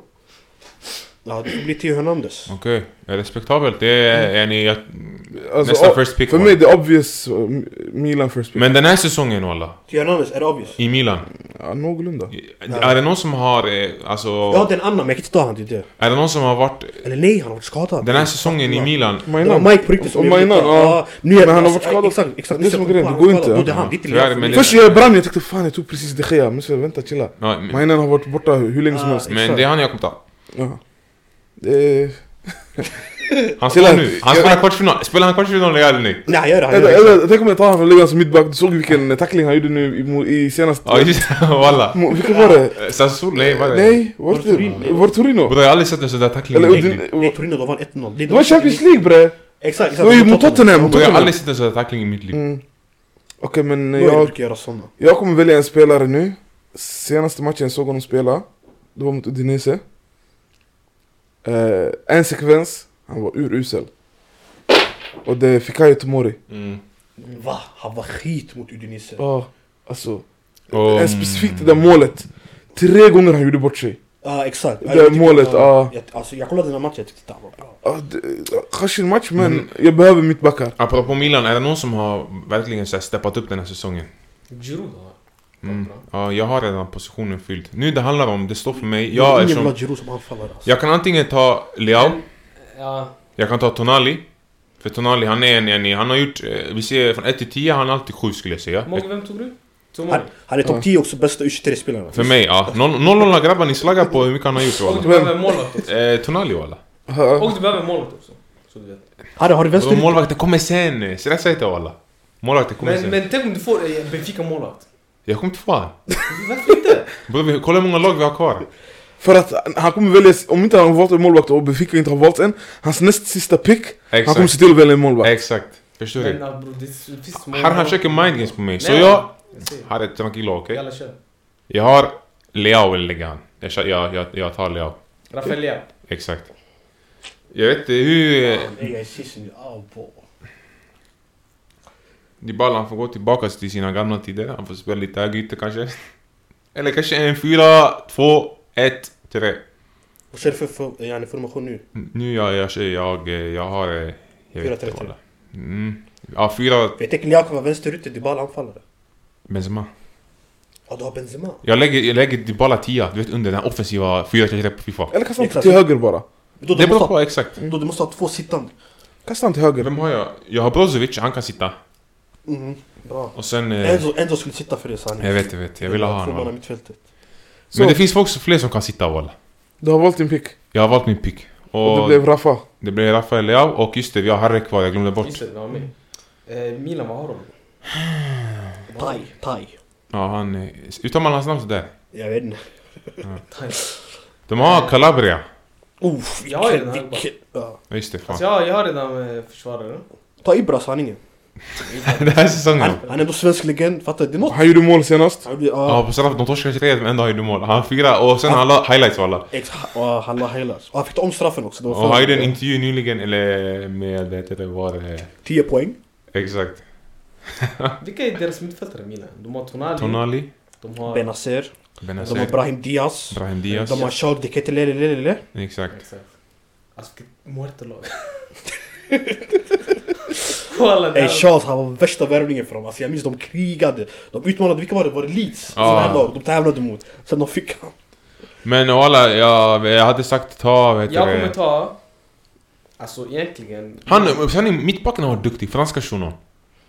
S2: Ja, det får bli Theo Hernandez.
S4: Okej, respektabelt. Det
S2: Mm.
S4: är, är ni, jag,
S3: Alltså,
S4: nästa
S3: o-
S4: first pick.
S3: För
S4: va?
S3: mig det är obvious eh, Milan first pick.
S4: Men den här säsongen walla,
S2: Theo Hernandez, är det obvious?
S4: i Milan.
S3: Ja, någorlunda.
S4: Är det någon som har, eh, alltså...
S2: Ja, den andra, men jag kan inte ta han, det är det.
S4: Är det någon som har varit
S2: Eller nej, han har varit skadad.
S4: den här säsongen i Milan?
S2: Det var
S3: Mainan.
S2: Mike på riktigt som
S3: Och
S2: jag ville
S3: Mainan,
S2: ta.
S3: ja.
S2: nu är
S3: Men han har
S2: alltså,
S3: varit skadad.
S2: Exakt, exakt.
S3: Det
S2: Nu
S3: är som
S2: sätter
S3: grejen,
S2: på, han
S3: det går
S2: är skadad.
S3: inte.
S2: Då det är han, det är inte
S4: Tyvärr,
S2: Leao.
S4: men-
S3: Först jag är Bram, jag tänkte fan jag tog precis de Gea, men så vänta chilla.
S4: Ja, men,
S3: Mainan har varit borta hur länge som
S2: Ah,
S3: helst.
S4: men det är han jag kommer ta.
S3: Ja. Eh, Killar,
S4: Han spelar nu. Han
S3: jag-
S4: spelar kvartsfinal. Spelar han kvartsfinal eller nu?
S2: Nej, han gör det. Han gör
S3: Eller,
S2: det.
S3: eller, tänk om jag tar honom och lägger honom som mittback, du såg vilken tackling han gjorde nu i, mo- i senaste...
S4: Ja just det, walla. Eh,
S3: Mo- Vilken var det?
S4: Sassuolo, nej vad är det?
S3: Nej, var
S2: Var det Torino?
S3: det var det Torino?
S4: Bror jag har aldrig sett en sån där tackling.
S3: Eller
S4: i mitt
S3: Udin-
S4: liv.
S2: Nej, Torino, de vann 1-0. Det är
S3: Det var
S2: de-
S3: Champions League bre!
S2: Exakt, exakt.
S3: Det var ju mot Tottenham.
S4: Bror jag har aldrig sett en sån där tackling i mitt liv.
S3: Mm. Okej men
S2: Norge
S3: jag,
S2: brukar göra sådana.
S3: jag kommer välja en spelare nu. Senaste matchen jag såg honom spela, det var mot Udinese. Eh, en sekvens, han var urusel. Och det fick han ju Tomori.
S4: Mm.
S2: Va? Han var skit mot Udinese.
S3: Ja, alltså.
S4: Och-
S3: En specifikt det där målet. Tre gånger han gjorde bort sig.
S2: Ja, exakt.
S3: Det är målet, ja.
S2: Jag, alltså, jag kollade den här matchen, jag tyckte han var bra.
S3: Ja, det- Kanske en match men jag behöver mittbackar.
S4: Apropå Milan, är det någon som har verkligen så här steppat upp den här säsongen?
S1: Giroud har
S4: Mm.
S1: Bra.
S4: Ja, jag har redan positionen fylld. Nu det handlar om, det står för mig.
S2: Det är
S4: Jag,
S2: Ingen vill ha
S4: eftersom,
S2: Giroud som anfallare. Alltså.
S4: jag kan antingen ta Leao,
S1: Ja,
S4: jag kan ta Tonali. För Tonali han är en, en han har gjort, eh, vi ser från 1 till 10, han är alltid 7 skulle jag säga.
S1: Mogge, vem tog du? Two
S2: Han,
S1: more.
S2: han är
S3: Ja.
S2: topp 10 också bästa alltså. U23-spelarna.
S4: För mig, ja. Någon någon av grabbarna ni slaggar på hur mycket han har gjort
S1: Och du
S4: walla.
S1: behöver en målvakt också.
S4: Eh, Tonali walla.
S3: Ha-
S1: Och du behöver en målvakt också. Så du vet.
S2: Harry, har du
S4: Och
S2: vänster?
S4: Alltså, Målvakten kommer sen, eh, så det säger jag walla. Målvakten kommer
S1: Men,
S4: sen.
S1: men tänk om du får eh, Benfica målvakt.
S4: Jag kommer inte få han.
S1: Varför inte?
S4: Bror, vi- kolla hur många lag vi har kvar.
S3: För att han kommer välja, om inte han har valt en målvakt och Benfica inte har valt en, hans näst sista pick, han kommer
S4: Exakt.
S3: se till att välja en målvakt.
S4: Exakt. Förstår
S1: Men
S4: du?
S1: ah, bror, det finns så många...
S4: Här han försöker mind games på mig. Så
S1: Nej.
S4: jag
S1: Jag säger,
S4: har ett tranquilo, okej?
S1: Jalla kör.
S4: Jag har Leao vill lägga han. Jag, kör- jag, jag, jag tar Leao.
S1: Rafaelia.
S4: Exakt. Jag vet inte hur... eh, Dybala han får gå tillbaka till sina gamla tider. Han får spela lite högerytter kanske. Eller kanske en 4, 2, 1, 3.
S2: Vad kör du för- för yani, formation nu?
S4: Nu jag, jag, jag, jag, jag har... eh, Jag vet inte
S2: 4-3-3.
S4: vad det är. Mm. Ja, 4...
S2: Jag tänker Liao kan vara vänsterytter, Dybala anfallare.
S4: Benzema.
S2: Ja, du har Benzema.
S4: Jag lägger, jag lägger Dybala 10, du vet under den här offensiva 4-3-3 på Fifa.
S3: Eller kasta honom
S2: Exakt.
S3: till höger bara.
S2: Då,
S4: Det
S2: du,
S4: beror
S2: måste ha,
S4: på, exakt.
S2: då du måste ha två sittande.
S3: Kasta honom till höger.
S4: Vem har jag? Jag har Brozovic, han kan sitta.
S2: Mm, bra.
S4: Och sen... eh,
S2: Enzo, Enzo skulle sitta för det sanningen.
S4: Jag vet, jag vet. Jag ville ha honom.
S2: Två man i
S4: walla.
S2: mittfältet.
S4: Men det
S3: Så,
S4: finns också fler som kan sitta walla.
S3: du har valt din pick.
S4: Jag har valt min pick.
S3: Och det
S4: Och
S3: blev Rafa.
S4: det blev Rafael Leao och just det, vi har Harry kvar, jag glömde bort.
S1: Just det, det var med. Eh, Milan, vad har de?
S2: Thai, thai.
S4: Ja, han... eh, Uttalar man hans namn sådär?
S2: Jag vet inte.
S1: Times.
S4: De har Calabria.
S2: Uff,
S1: Jag har ju den här
S2: ja.
S4: Ja, Just det,
S1: Alltså
S4: fan.
S1: jag, jag har redan eh, försvarare.
S2: Ta Ibra sanningen.
S4: Det här är säsongen.
S2: Han, han är ändå svensk legend, fattar du? Det är något.
S3: Han gjorde mål senast.
S2: Han blir- ja.
S4: Ja, på straff, de torskade 3 men ändå har ju du mål. Han fyra och sen han la highlights walla.
S2: Ex- ja, han la hela. Och han fick ta om straffen också. Det var
S4: Och
S2: fan-
S4: han gjorde en intervju nyligen, eller med... Det heter det var... eh,
S2: 10 poäng.
S4: Exakt.
S1: Vilka är deras mittfältare Milan? De har Tonali.
S4: Tonali.
S1: De har...
S2: Benazer. De har
S4: Benazer.
S2: Brahim Diaz.
S4: Brahim Diaz.
S2: De har Charles de Ketelelelelele.
S4: Exakt.
S1: Exakt. Alltså vilket muerto-lag. Walla, det
S2: Ey
S1: här-
S2: Eh, Charles, han var värsta värvningen för dem. Alltså, jag minns de krigade. De utmanade, vilka var det? Var det Leeds?
S4: Ja.
S2: Såna här lag. De tävlade mot. Sen de fick han.
S4: Men walla, jag, jag hade sagt ta... Vet
S1: Jag
S4: du, eh,
S1: kommer ta... Alltså egentligen...
S4: Han, sanning, mittbacken har varit duktig, franska shunon.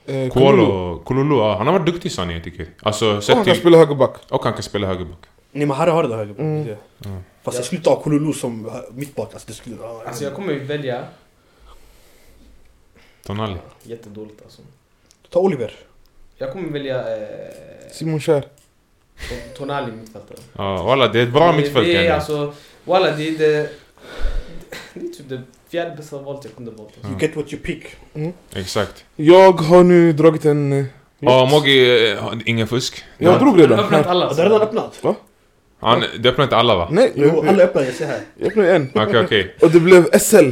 S3: Eh, Kalulu.
S4: Kolo, Kololo, ja, han har varit duktig sanning jag tycker. Alltså,
S3: Och han
S4: sett
S3: kan
S4: till...
S3: spela högerback.
S4: Och han kan spela högerback.
S2: Nej men Harry har det höger
S3: Mm.
S2: mm. Fast jag skulle ta Kololo som eh, mittback. Alltså det skulle... ah,
S1: Alltså jag kommer ju välja...
S4: Tonali.
S1: Jättedåligt alltså.
S2: Ta Oliver.
S1: Jag kommer välja... Eh,
S3: Simon Kjær.
S1: Ton- Tonali mittfältare.
S4: Ja, walla, det är ett bra
S1: Det-
S4: mittfält
S1: Det
S4: kan
S1: är
S4: jag säga.
S1: alltså... Walla det är det... Det är typ det fjärde bästa valet jag kunde valt. Alltså.
S4: Mm.
S2: You get what you pick.
S4: Exakt.
S3: Jag har nu dragit en... eh,
S4: Ja, Mogi, eh, har ingen fusk.
S3: Jag
S1: Han har
S3: drog redan.
S1: öppnat
S3: Nej,
S1: alla.
S2: Ja, det är redan öppnat.
S4: Han, det öppnar inte alla va?
S3: Nej,
S2: Jo,
S3: jag-
S2: alla öppnar. Jag ser här.
S3: jag öppnade en.
S4: Okej, okej.
S3: Och det blev SL.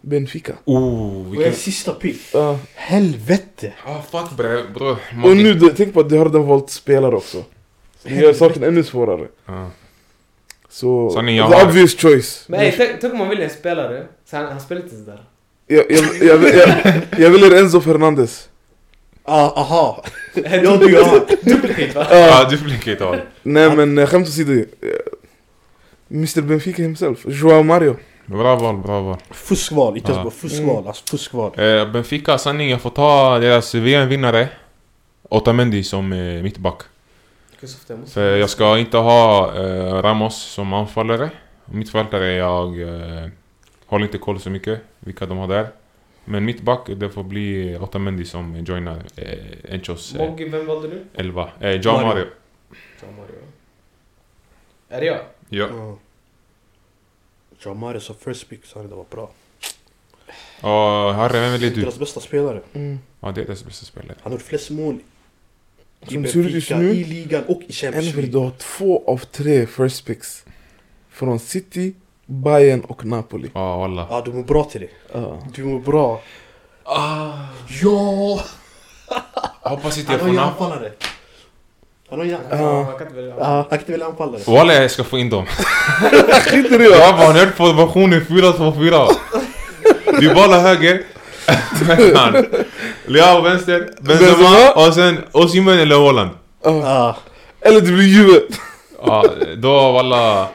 S3: Benfica.
S4: Oh,
S2: Och jag är
S4: vilken...
S2: sista pick.
S3: Ja.
S2: Helvete!
S4: Ah, fuck bre, bror.
S3: Och nu, du- tänk på att du har redan valt spelare också. Det gör saken ännu svårare.
S4: Ja.
S3: Så...
S4: Sanning, jag
S3: The
S4: har-
S3: obvious choice.
S1: Men ey, tänk- tänk om man väljer en spelare. Så han, han spelar inte sådär.
S3: Jag, jag, jag, jag, jag väljer Enzo Fernandes.
S2: Ah, aha! Ja, du, ja.
S1: Duplicate va?
S4: Ja, du blinkar inte av.
S3: Nej men eh, skämt åsido. eh, Mr Benfica himself. Joao Mario.
S4: Bra val, bra val.
S2: Fuskval, inte ens
S4: Ja.
S2: bara
S3: Mm.
S2: fuskval. Alltså fuskval.
S4: Eh, Benfica, sanning, jag får ta deras VM-vinnare. Otamendi som eh, mittback.
S1: Kristoff, jag måste-
S4: För Eh, jag ska inte ha eh, Ramos som anfallare. Mittfältare, jag eh, håller inte koll så mycket vilka de har där. Men mittback, det får bli Otamendi som joinar eh, Enchos eh,
S1: Moggi, vem valde du?
S4: elva. Eh, John
S2: Mario.
S4: Mario.
S1: Ja, Mario. Är det jag?
S4: Ja.
S2: Ja. John Mario som first pick sa han det var bra.
S4: Och Harry, vem väljer du?
S2: Deras bästa spelare.
S4: Ja, det är deras bästa spelare.
S2: Han har gjort flest mål i
S3: Som det ser ut just
S2: Benfica,
S3: nu-
S2: i ligan och i Champions
S3: Elver,
S2: League.
S3: du har två av tre first picks. Från City, Bayern och Napoli.
S4: Ja, walla.
S2: Ja, du mår bra till det.
S3: Ja.
S2: Du mår bra. Ja!
S4: Jag hoppas inte
S2: Han
S4: jag
S2: har ju
S4: får namn.
S2: anfallare. Han har ju anfallare.
S1: Ja, man kan inte välja.
S2: Ja, han kan inte välja anfallare.
S4: Walla, jag ska få in dem.
S3: Skiter du
S4: Grabbar, har ni hört formationen 4-2-4? Dybala höger. Han. Leao vänster.
S3: Benzema.
S4: Benzema. Och sen Osimhen eller Holland.
S2: Ja.
S3: Ah, Eller det blir Juve.
S4: Ja, då walla...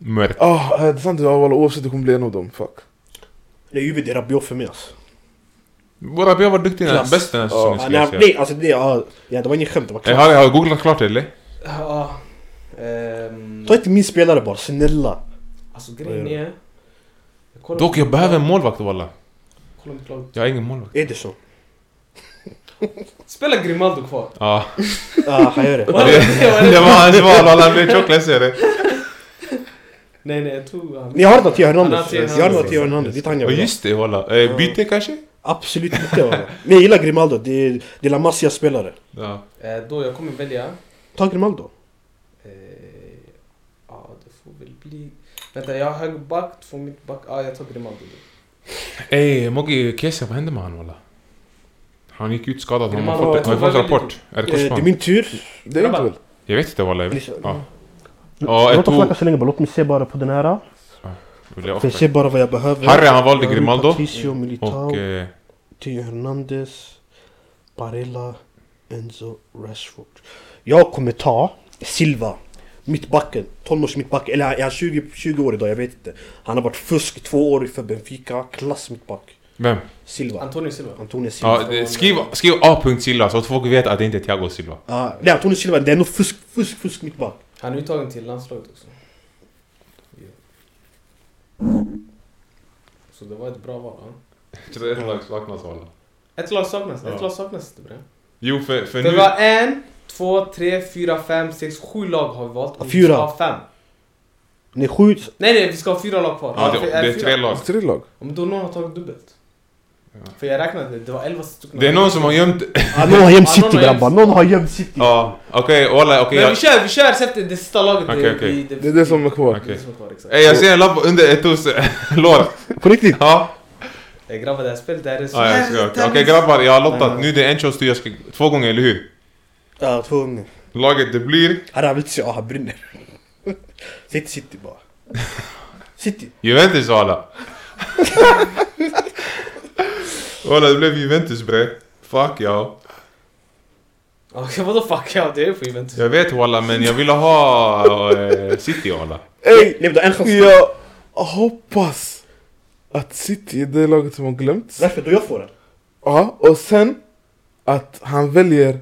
S4: Mörkt.
S3: Ah, eh, det är sant, ja, walla, oavsett det kommer bli en av dem. Fuck.
S2: Det är ju det Rabiot för mig alltså.
S4: Våra vi har varit duktiga, den här-
S2: Klass.
S4: bäst den här
S3: Ja.
S4: säsongen
S2: Ja,
S4: skulle jag
S2: nej,
S4: säga.
S2: nej, alltså det, ja, ja, det var inget skämt, det var
S4: Eh,
S2: klart.
S4: Har har jag googlat klart eller?
S1: Ja. ehm,
S2: Ta inte min spelare bara, snälla.
S1: alltså grejen är... Jag kollar-
S4: Dock, jag behöver en målvakt walla.
S1: Kolla mitt lag.
S4: Jag har ingen målvakt.
S2: Ederson.
S1: Spela Grimaldo kvar.
S4: Ja.
S2: Ah, han gör det.
S1: Walla,
S4: Det, det var hans val walla, han blev tjock ledsen jag det.
S1: Nej nej, jag tror han...
S2: Ni har något till
S1: Han har
S2: Hernandez.
S1: till
S2: Jag har något till Hernandez, det är han jag
S4: Och
S2: vill ha.
S4: just det walla. Eh, byte kanske?
S2: Absolut inte. va. Men jag gillar Grimaldo, det är, det är La Masia spelare.
S4: Ja.
S1: Eh, då jag kommer välja...
S2: Ta Grimaldo.
S1: Eh, ja, det får väl bli... Vänta, jag har högerback, två mittback. Ja, ah, jag tar Grimaldo.
S4: Ey Mogge Kesa, vad hände med han walla? Han gick ut skadad, har man
S1: Grimaldo,
S4: fått,
S1: jag
S4: har vi
S1: tror
S4: fått
S1: väldigt-
S4: rapport? Är det
S2: Eh, det är
S4: korsband?
S2: min tur.
S3: Det är inte
S1: Grabbar.
S3: väl?
S4: Jag vet inte walla. jag vet-
S2: Lisa-
S4: Ja. Ja,
S2: Låt oss
S4: Eto'o.
S2: snacka så länge bara, låt mig se bara på den här.
S4: Vill jag
S2: För jag
S4: offra?
S2: ser bara vad jag behöver.
S4: Harry han valde
S2: Jag har
S4: Grimaldo
S2: Patricio, Militao,
S4: och... eh,
S2: Theo Hernandez, Barella, Enzo, Rashford. Jag kommer ta Silva. Mittbacken, 12 års mittback, eller är han 20, 20 år idag? Jag vet inte. Han har varit fusk två år för Benfica, klass mittback.
S4: Vem?
S2: Silva.
S1: Antonio Silva.
S2: Antonio Silva.
S4: Ja, det- skriv, skriv A. Silva så att folk vet att det inte är Thiago Silva.
S2: Ah, nej, Antonio Silva, det är nog fusk, fusk, fusk mittback.
S1: Han är uttagen till landslaget också. Så det var ett bra val. Ja.
S4: Typ
S1: Ett lag saknas. Ett
S4: Ja.
S1: lag saknas inte bre.
S4: Jo, för, för
S1: Det
S4: nu...
S1: var en, två, tre, fyra, fem, sex, sju lag har vi valt. Och vi
S2: Fyra.
S1: ska ha fem.
S2: Ni skjuts
S1: Nej nej, vi ska ha fyra lag kvar.
S4: Ja, det, det är
S1: fyra?
S4: tre lag.
S3: Alltså, Tre lag?
S1: Om då någon har tagit dubbelt.
S4: Ja.
S1: För jag räknade, det var elva stycken.
S4: Det är någon som har gömt...
S2: Ja, Ah, någon har gömt
S1: Ja,
S2: city
S1: någon har gömt-
S2: grabbar, någon har gömt city.
S4: Ja, okej, walla, okej.
S1: Men vi
S4: jag-
S1: kör, vi kör efter det sista laget.
S4: Okej, okej.
S3: Det är det som är kvar.
S1: Det är
S4: Okej.
S1: det som är kvar, exakt.
S4: Ey, jag ser en lapp under Etos lår.
S2: På riktigt?
S4: Ja,
S1: Eh, Grabbar det här spelet, det här är så
S4: ja jag
S1: här
S4: ska. Okej
S1: tävlings-
S4: grabbar, jag har lottat. Nu är det en chans jag ska... Två gånger, eller hur?
S2: Ja, Ah, två gånger. Ah,
S4: Laget det blir...
S2: Här har han inte ja han brinner. Säg till city bara. City.
S4: Juventus walla. Walla, det blev Juventus bre. Fuck ja.
S1: Okej, vadå fuck ja, det är på Juventus.
S4: Jag vet walla, men jag ville ha eh, City walla.
S2: Ey! Lev då en chans.
S3: Jag hoppas att City är det laget som har glömts.
S2: Därför då jag får den.
S3: Ja, och sen att han väljer...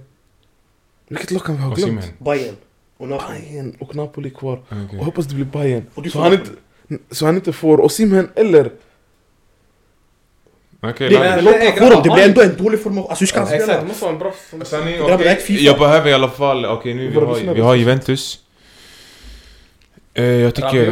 S3: Vilket lag kan vi ha
S4: Osimhen.
S3: glömt?
S2: Bayern. Och Napoli.
S3: Bayern och Napoli kvar.
S4: Okej.
S3: Och hoppas det blir Bayern.
S2: Och du
S3: Så
S2: får
S3: han, inte,
S2: Napoli.
S3: så han inte får Osimhen eller...
S4: Okej,
S1: Det-
S4: laget.
S2: Men
S1: Nej,
S2: låt
S1: nej,
S2: han få
S1: grabbar,
S2: den, det
S1: har
S2: blir
S1: ni-
S2: ändå en dålig formation. Alltså hur ska han
S1: Exakt, det
S2: spela?
S1: måste vara en bra form.
S4: Sani,
S2: Grabbar,
S4: okej,
S2: ett FIFA.
S4: Jag behöver i alla fall, okej nu vi
S3: Vad
S4: har,
S3: lyssnar
S4: vi
S3: du?
S4: har Juventus. Eh, jag tycker...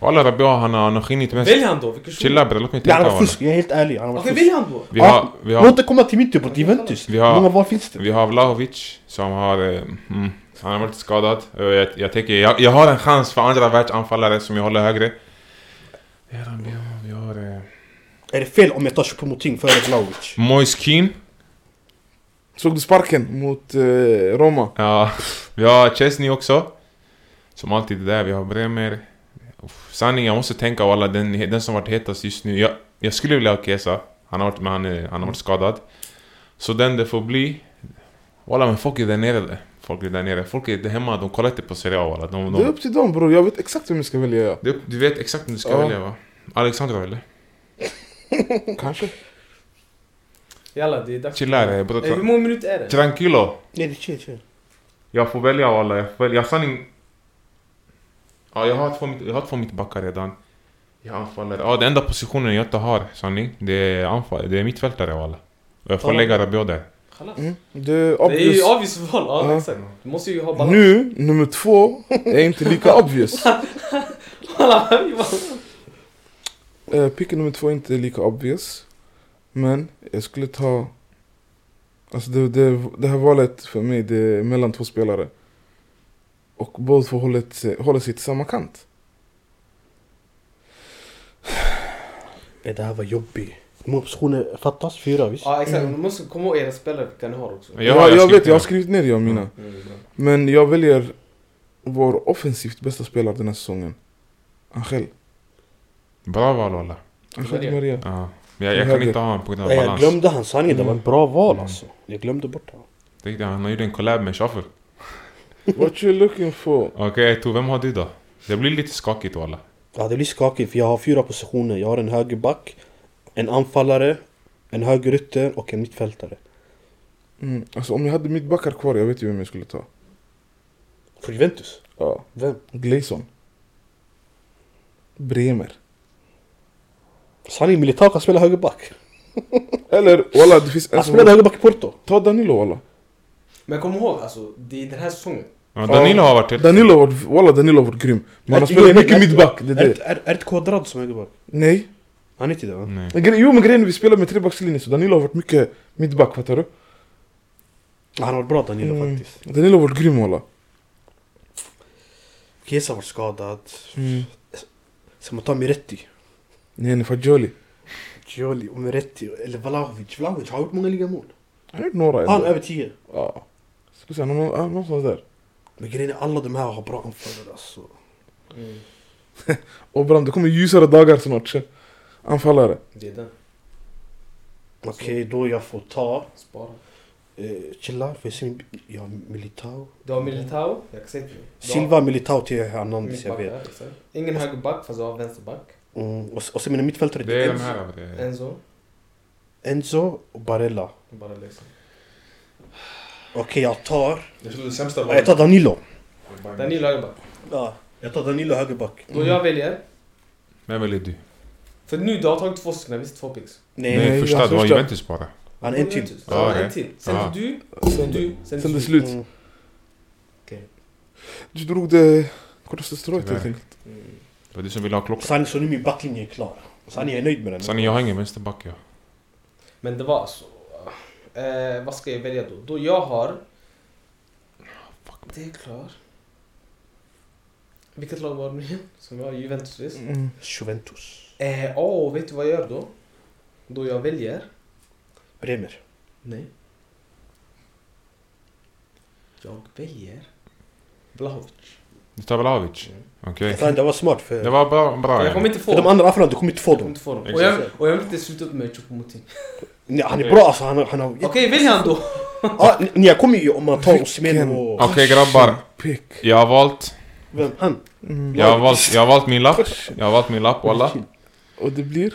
S4: Walla Rabiot han har han har skinit mest.
S1: Välj han då, vilken shuno?
S4: Chilla bre, låt mig
S2: Ja, han
S4: tänka
S2: var
S4: walla.
S2: fusk, jag är helt ärlig. Han var
S1: Okej,
S2: fusk.
S1: välj han då.
S4: Vi har, vi
S2: Låt
S4: har,
S2: det komma till min tur på Juventus.
S4: Vi
S2: Hur
S4: har-
S2: många val finns det?
S4: vi har Vlahovic som har... eh, Mm, han har varit skadad. Eh, Jag, jag tänker, jag, jag har en chans för andra världsanfallare som jag håller högre. Vi har Rabiot, vi har... Eh,
S2: Är det fel om jag tar Choupo-Moting före Vlahovic?
S4: Moise Kean.
S3: Såg du sparken mot eh, Roma?
S4: Ja, vi har Chesney också. Som alltid är där, vi har Bremer. Uff, Sanning, jag måste tänka alla den, den som varit hetast just nu. Jag, jag skulle vilja ha Kesa. Han har varit, men han, är- han har varit skadad. Så den det får bli. Walla men folk är där nere. Folk är där nere. Folk är där hemma, de kollar inte på Serie A walla. De,
S3: Det är
S4: de,
S3: upp till dem bror, jag vet exakt vem jag ska välja. ja.
S4: det är upp- du vet exakt vem du ska
S3: Ja.
S4: välja va? Alexandra eller?
S3: Kanske.
S1: Jalla, det är dags.
S4: Chilla här
S1: Eh, Hur
S4: bror.
S1: många minuter är det?
S4: Tranquilo.
S2: Nej, det är chill, chill.
S4: Jag får välja walla, jag får välja. Jag har sanning... Ja, jag har två, mitt- jag har två mittbackar redan. Jag anfaller. Ja, den enda positionen jag inte har, sanning, det är, anfall, det är mittfältare walla. Och Jag får
S2: Ja.
S4: lägga Rabiot där.
S1: Chalas.
S3: Mm. Det är
S1: Det är
S3: obvious.
S1: ju obvious val, ja
S3: Ja.
S1: exakt. Du måste ju ha balans.
S3: nu, nummer två, är inte lika obvious. Eh, picken nummer två är inte lika obvious. Men jag skulle ta... Alltså det, det, det här valet för mig, det är mellan två spelare. Och båda två håller, sig- håller sig till samma kant.
S2: Nej, det här var jobbigt. Hur många optioner fattas? Fyra, visst?
S1: Ja exakt, du måste komma ihåg era spelare vilka ni har också.
S4: Men
S3: Jag,
S4: har-
S3: jag,
S4: skrivit
S3: vet, jag har
S4: ner.
S3: skrivit ner jag mina.
S1: Mm, bra.
S3: Men jag väljer vår offensivt bästa spelare den här säsongen. Angel.
S4: Bra val walla.
S3: Angel
S1: Maria.
S3: Di Maria.
S4: Ja. Men Jag, jag kan
S3: Höger.
S4: inte ha honom på grund av
S2: Nej, jag
S4: balans.
S2: glömde han sanningen, det var ett bra val
S4: Mm.
S2: alltså. Jag glömde bort honom.
S4: Tänk dig, Han har gjort en collab med Shuffle.
S3: What you looking for?
S4: Okej, Tor, vem har du då? Det blir lite skakigt walla.
S2: Ja, det är lite skakigt för jag har fyra positioner. Jag har en högerback, en anfallare, en högerytter och en mittfältare.
S3: Mm. Alltså om jag hade mittbackar kvar, jag vet ju vem jag skulle ta.
S2: För Juventus?
S3: Ja.
S2: Vem?
S3: Gleison. Bremer.
S2: Sanni Militao kan spela högerback.
S3: Eller walla, det finns en
S2: Han
S3: som...
S2: spelade högerback i Porto.
S3: Ta Danilo walla.
S1: Men kom ihåg alltså, det är den här säsongen.
S4: Ja, Danilo har varit helt...
S3: Danilo har varit, walla Danilo har varit grym. Men han har
S2: Är-
S3: spelat
S2: är- är-
S3: mycket mittback, det är
S2: Är,
S3: det.
S2: är, är det Quadrado som är högerback?
S3: Nej.
S2: Han är inte det va?
S4: Nej.
S3: Men gre- Jo men grejen är vi spelar med trebackslinje så Danilo har varit mycket mittback, fattar du?
S2: Han har varit bra Danilo
S3: Mm.
S2: faktiskt.
S3: Danilo har varit grym walla.
S2: Chiesa har varit skadad. Sen man tar Miretti.
S3: Nej, nej Fagioli.
S2: Gioli och Miretti. Eller Vlahovic. Vlahovic har gjort många ligamål.
S3: Han har gjort några
S2: Han är
S3: ändå.
S2: över 10.
S3: Ja. Ska säga, någon- ja, någonstans där.
S2: Men grejen är alla de här har bra anfallare alltså.
S1: Mm.
S3: Och Bram, det kommer ljusare dagar snart. tjö. Anfallare.
S1: Det är den.
S2: Okej, då jag får ta...
S1: Alltså, Spara.
S2: Eh, chilla, för jag ser... Jag har Militao.
S1: Du har Militao, jag kan säga till dig. Du har
S2: Silva, Militao till Hernandez, jag
S1: mittback
S2: vet.
S1: där, exakt. Ingen högerback fast du har vänsterback.
S2: Mm. Och, och sen mina mittfältare
S4: Det är de
S2: Enzo-
S4: här. av det.
S1: Enzo.
S2: Enzo och Barella.
S1: Bara liksom.
S2: Okej, jag tar...
S4: Jag tror det sämsta
S2: Jag tar Danilo.
S1: Danilo högerback.
S2: Ja, jag tar Danilo högerback.
S1: Då jag väljer.
S4: Vem väljer du?
S1: För nu, du har tagit två stycken, visst? Två picks.
S2: Nej,
S4: Nej, första.
S3: jag
S4: Det var
S3: första.
S4: Juventus bara.
S2: han är en typ. till.
S1: Så har
S4: Ja,
S1: en till. Sen
S4: Ja.
S1: du,
S3: Sen-
S1: du, sen
S3: Sen det är
S1: du.
S3: slut.
S2: Mm.
S3: Du drog det kortaste strået
S4: Tyvärr.
S3: helt enkelt.
S1: Mm.
S4: Det var du som ville ha klockan.
S2: Sen, så nu min backlinje är klar. Sen jag är nöjd med den.
S4: Sanni, jag har ingen vänsterback jag.
S1: Men det var så. Eh, vad ska jag välja då? Då jag har... Det är klart. Vilket lag var det nu igen? Som var Juventus visst?
S3: Mm.
S2: Juventus.
S1: Eh, åh, vet du vad jag gör då? Då jag väljer?
S2: Bremer.
S1: Nej. Jag väljer Blahovic.
S4: Du tar Vlahovic?
S1: Mm.
S4: Okej.
S2: Fan, det var smart för,
S4: Det var bra. bra
S1: För jag kommer
S4: eller?
S1: inte få
S2: för de
S1: dem.
S2: andra affärerna, du kommer inte få
S1: Jag kommer
S2: dem.
S1: inte få dem. Och jag,
S4: Exakt.
S1: och jag vill inte sluta upp med Choupo-Moting.
S2: Nej, han är bra alltså, han, har- han har...
S1: Okej, välj han då!
S2: Ja, ni- ni kommer ju om man tar Osimhen
S3: Vilken-
S2: och...
S4: Okej grabbar.
S3: Pick.
S4: Jag har valt.
S2: Vem? Han?
S3: Mm.
S4: Jag har valt, jag har valt min lapp. Jag har valt min lapp walla.
S3: Och det blir?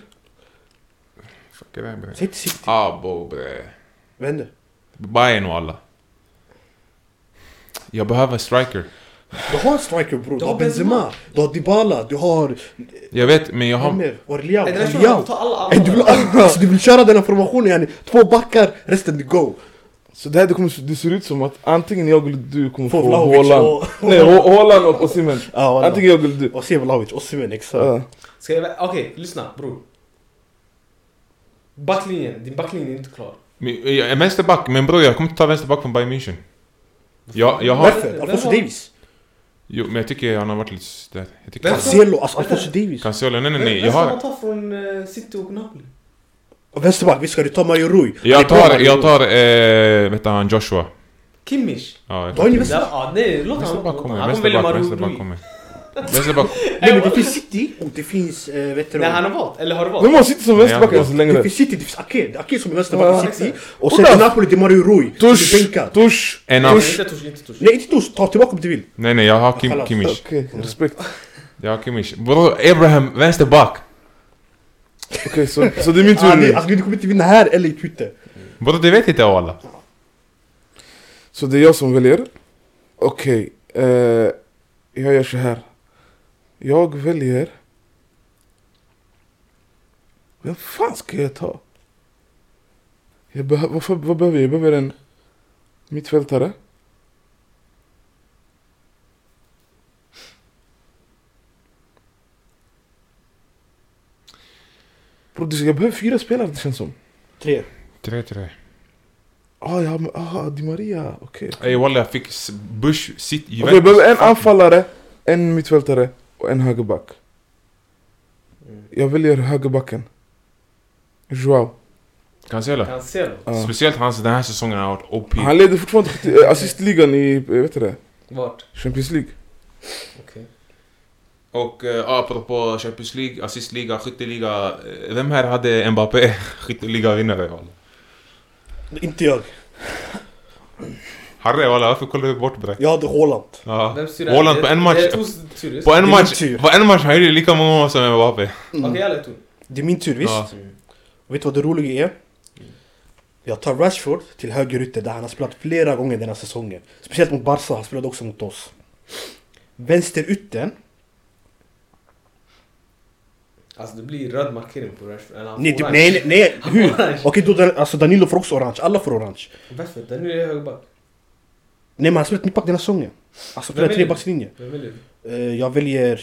S4: Fuck är det här, bre?
S2: Säg till
S4: آه.
S2: City.
S4: Abo bre.
S2: Vad händer?
S4: Bayern walla. Jag behöver en striker.
S2: Du har en striker bror, du
S1: Du
S2: har
S1: har Benzema.
S2: Benzema, du har Dybala, du har...
S4: Jag vet men jag har...
S2: Amer, Orliao,
S1: Nej, den här kör
S2: Orliao.
S1: jag. Ta alla
S2: Ey, Du vill,
S1: andra.
S2: alltså, du vill köra den här formationen yani, två backar, resten det go.
S3: Så det här det, kommer, det ser ut som att antingen jag eller du kommer
S2: Få
S3: få
S2: Vlahovic
S3: Haaland.
S2: och-
S3: Nej, Ho- Haaland och Osimhen.
S2: Ja, wallah.
S3: Antingen jag eller du.
S2: Och se Vlahovic, Osimhen exakt.
S3: Ja.
S1: Ska jag... vä- Okej, lyssna bror. Backlinjen, din backlinje är inte klar.
S4: Men- jag är Vänsterback, men bror jag kommer inte ta vänsterback från Bayern München. Jag, jag har...
S2: Varför?
S1: Den
S2: Alfonso
S1: har-
S2: Davis?
S4: Jo men jag tycker han har varit lite sådär. Jag tycker...
S1: Vem-
S2: Cancelo, alltså Alfonso Davis.
S4: Cancelo, nej nej
S1: Vem-
S4: nej. Jag
S1: vem ska
S4: har...
S1: man ta från eh, City och Napoli?
S2: Och vänsterback, vi ska du ta Mario Rui? Han är
S4: Jag
S2: bra,
S4: tar,
S2: Mario
S4: jag
S2: Rui.
S4: tar, eh, vet han, Joshua.
S1: Kimmich?
S4: Ja, jag
S2: Du har ingen
S1: Ja,
S2: vänsterback?
S1: ah, nej, låt honom.
S4: Vänsterback
S1: Han
S4: kommer,
S1: kommer välja
S4: vänsterback,
S1: Mario
S4: vänsterback
S1: Rui.
S4: kommer. Vänsterback.
S2: Nej men det finns City och det finns, eh, vet du
S1: Nej, han
S2: vad?
S1: har valt. Eller har du
S3: Men
S1: valt?
S3: man sitter som vänsterback
S4: Ja.
S3: än så
S2: Det
S3: länge.
S2: finns City, det finns Ake, det är Ake som är
S3: Ja,
S2: vänsterback i City. Och sen
S3: Kolla!
S2: i Napoli det är Mario Rui, som
S3: Tush!
S2: är bänkad.
S3: Tush!
S4: Enough.
S1: Inte Tush, inte Tush.
S2: Nej inte Tush, ta tillbaka om du vill.
S4: Nej nej, jag har Kim,
S2: Kallas.
S4: Kimmich.
S3: Okej, respekt.
S4: Jag har Kimmich. Bror, Abraham, vänsterback.
S3: Okej, så, så det är min tur
S2: Ah, nej,
S3: nu.
S2: Alltså du kommer inte vinna här eller i Twitter.
S4: Bror, det vet inte jag alla.
S3: Så det är jag som väljer. Okej, eh, jag gör så här. Jag väljer... Vem fan ska jag ta? Jag behöver, varför, vad behöver jag? Jag behöver en mittfältare. Bro, det- jag behöver fyra spelare det känns som.
S2: Tre.
S4: 3-3.
S3: Ah, jag har, ah, Di Maria, okej.
S4: Ey walla, jag fick s- Bush, City,
S3: Okej, vi behöver en anfallare, en mittfältare och en högerback. Jag väljer högerbacken. Joao.
S4: Cancelo.
S1: Cancelo.
S3: Ja.
S4: Speciellt hans, den här säsongen har varit OP.
S3: Han leder fortfarande skit- eh, assistligan i eh, vet du det,
S1: Vart?
S3: Champions League.
S1: Okej.
S4: Och eh, apropå Champions League, assistliga, skytteliga. eh, Vem här hade Mbappé skytteliga-vinnare walla?
S2: Inte jag.
S4: Harry walla, varför kollar du bort bre?
S2: Jag hade Haaland.
S4: Ja.
S1: Vem styr
S4: Haaland på en
S1: Det Eh,
S4: match.
S1: är Tors tur. just.
S4: På en
S2: Det är min
S4: match,
S2: tur.
S4: på en match han gjorde lika många mål som Mbappé.
S1: Okej, alla är Alltså, tur.
S2: Det är min tur visst?
S4: Ja.
S2: Vet du vad det roliga är?
S1: Mm.
S2: Jag tar Rashford till högerytter där han har spelat flera gånger den här säsongen. Speciellt mot Barca, han spelade också mot oss. Vänsteryttern,
S1: Alltså det blir röd markering på Rashford. Eller han får
S2: nej, typ,
S1: orange.
S2: nej, nej, nej, hur?
S1: Orange.
S2: Okej, då, Dan- alltså Danilo får också orange, alla får orange.
S1: Varför? Den är högerback.
S2: Nej men han spelat mittback den här säsongen. Alltså
S1: Vem är
S2: spelat
S1: det?
S2: trebackslinje.
S1: Vem vill du?
S2: Eh, Jag väljer...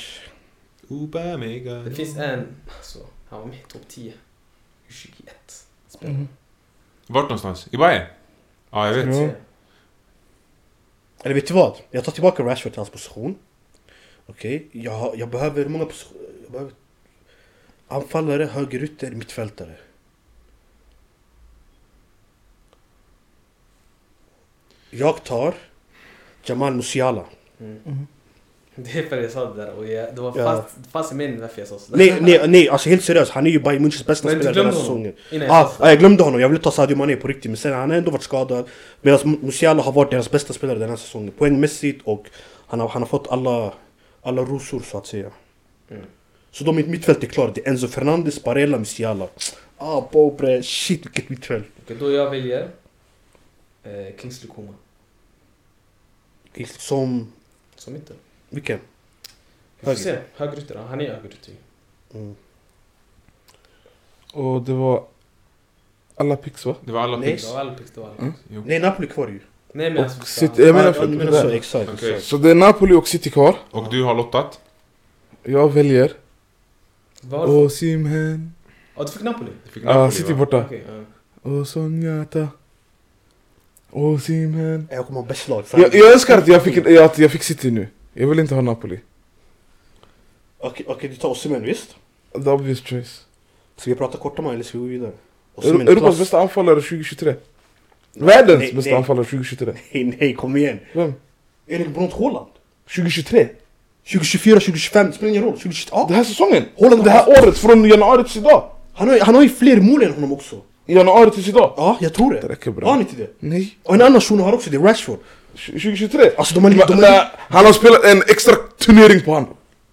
S4: Obamega.
S1: Det finns en. Alltså, han var med i topp 10. 21. Spelare.
S4: Mm. Vart någonstans? I Bayern? Ja, jag vet.
S3: Ja.
S1: Mm.
S2: Eller vet du vad? Jag tar tillbaka Rashford till hans position. Okej, jag, har- jag behöver hur många positioner? Jag behöver... Anfallare, högerytter, mittfältare. Jag tar Jamal Musiala.
S1: Det är för jag sa det där och jag, det var
S2: Ja.
S1: fast, fast i min E varför jag sa sådär.
S2: Nej, nej, nej, alltså helt seriöst. Han är ju Bayern Münchens bästa
S1: Men du
S2: spelare den här
S1: glömde honom.
S2: säsongen.
S1: Innan jag
S2: Ah,
S1: sa
S2: ja, jag glömde honom, jag ville ta Sadio Mané på riktigt men sen han har ändå varit skadad Medan Musiala har varit deras bästa spelare den här säsongen Poängmässigt och han har, han har fått alla, alla rosor så att säga
S1: Mm.
S2: Så de mitt mittfält är klart, det är Enzo Fernandes, Barella, Musiala Ah pobre, shit vilket mittfält
S1: Okej, då jag väljer eh, Kingsley Coman.
S2: Som,
S1: Som inte.
S2: vilken?
S1: Vi får se. Högerytter. ja, Han är högerytter.
S2: Mm.
S3: Och det var alla picks va?
S4: Det var alla
S2: Nej.
S4: picks.
S1: Det var Alpix, det var Alpix.
S3: Mm.
S4: Jo.
S2: Nej Napoli kvar ju
S1: Nej men
S3: Och
S1: alltså...
S3: City- jag menar-
S2: Ja, du menar så, exakt
S4: Okej.
S2: exakt.
S3: Så det är Napoli och City kvar.
S4: Och du har lottat?
S3: Jag väljer
S1: Var? Ja,
S3: Osimhen.
S1: du fick Napoli?
S4: Du fick
S3: Ja,
S4: Napoli,
S3: City
S4: va?
S3: borta.
S1: Okej. ja.
S3: Och Sonjata. Osimhen.
S2: Jag kommer ha bäst lag Mm.
S3: Jag, jag önskar att jag, fick, att jag fick City nu. Jag vill inte ha Napoli.
S2: Okej, okej, du tar Osimhen visst?
S3: The obvious choice.
S2: Ska vi prata kort om honom eller ska vi gå vidare?
S3: Euro-
S2: Osimhen,
S3: Europas
S2: klass.
S3: bästa anfallare 2023. Världens
S2: Nej,
S3: bästa
S2: nej.
S3: anfallare 2023.
S2: Nej, nej kom igen
S3: Vem?
S2: Erik Bront Haaland
S3: 2023?
S2: 2024, 2025, det spelar ingen roll. 2028.
S3: Det
S2: Ja,
S3: här säsongen?
S2: Håland-
S3: Det här året? Från januari tills idag?
S2: han, har, ju- han har ju fler mål än honom också.
S3: Januari tills idag?
S2: Ja, jag tror det.
S3: Det räcker bra.
S2: Har han inte det?
S3: Nej.
S2: Och en annan shuno har också det, Rashford.
S3: 2023?
S2: Alltså de har,
S3: Va-
S2: de har,
S3: nej, Han har spelat en extra turnering på han.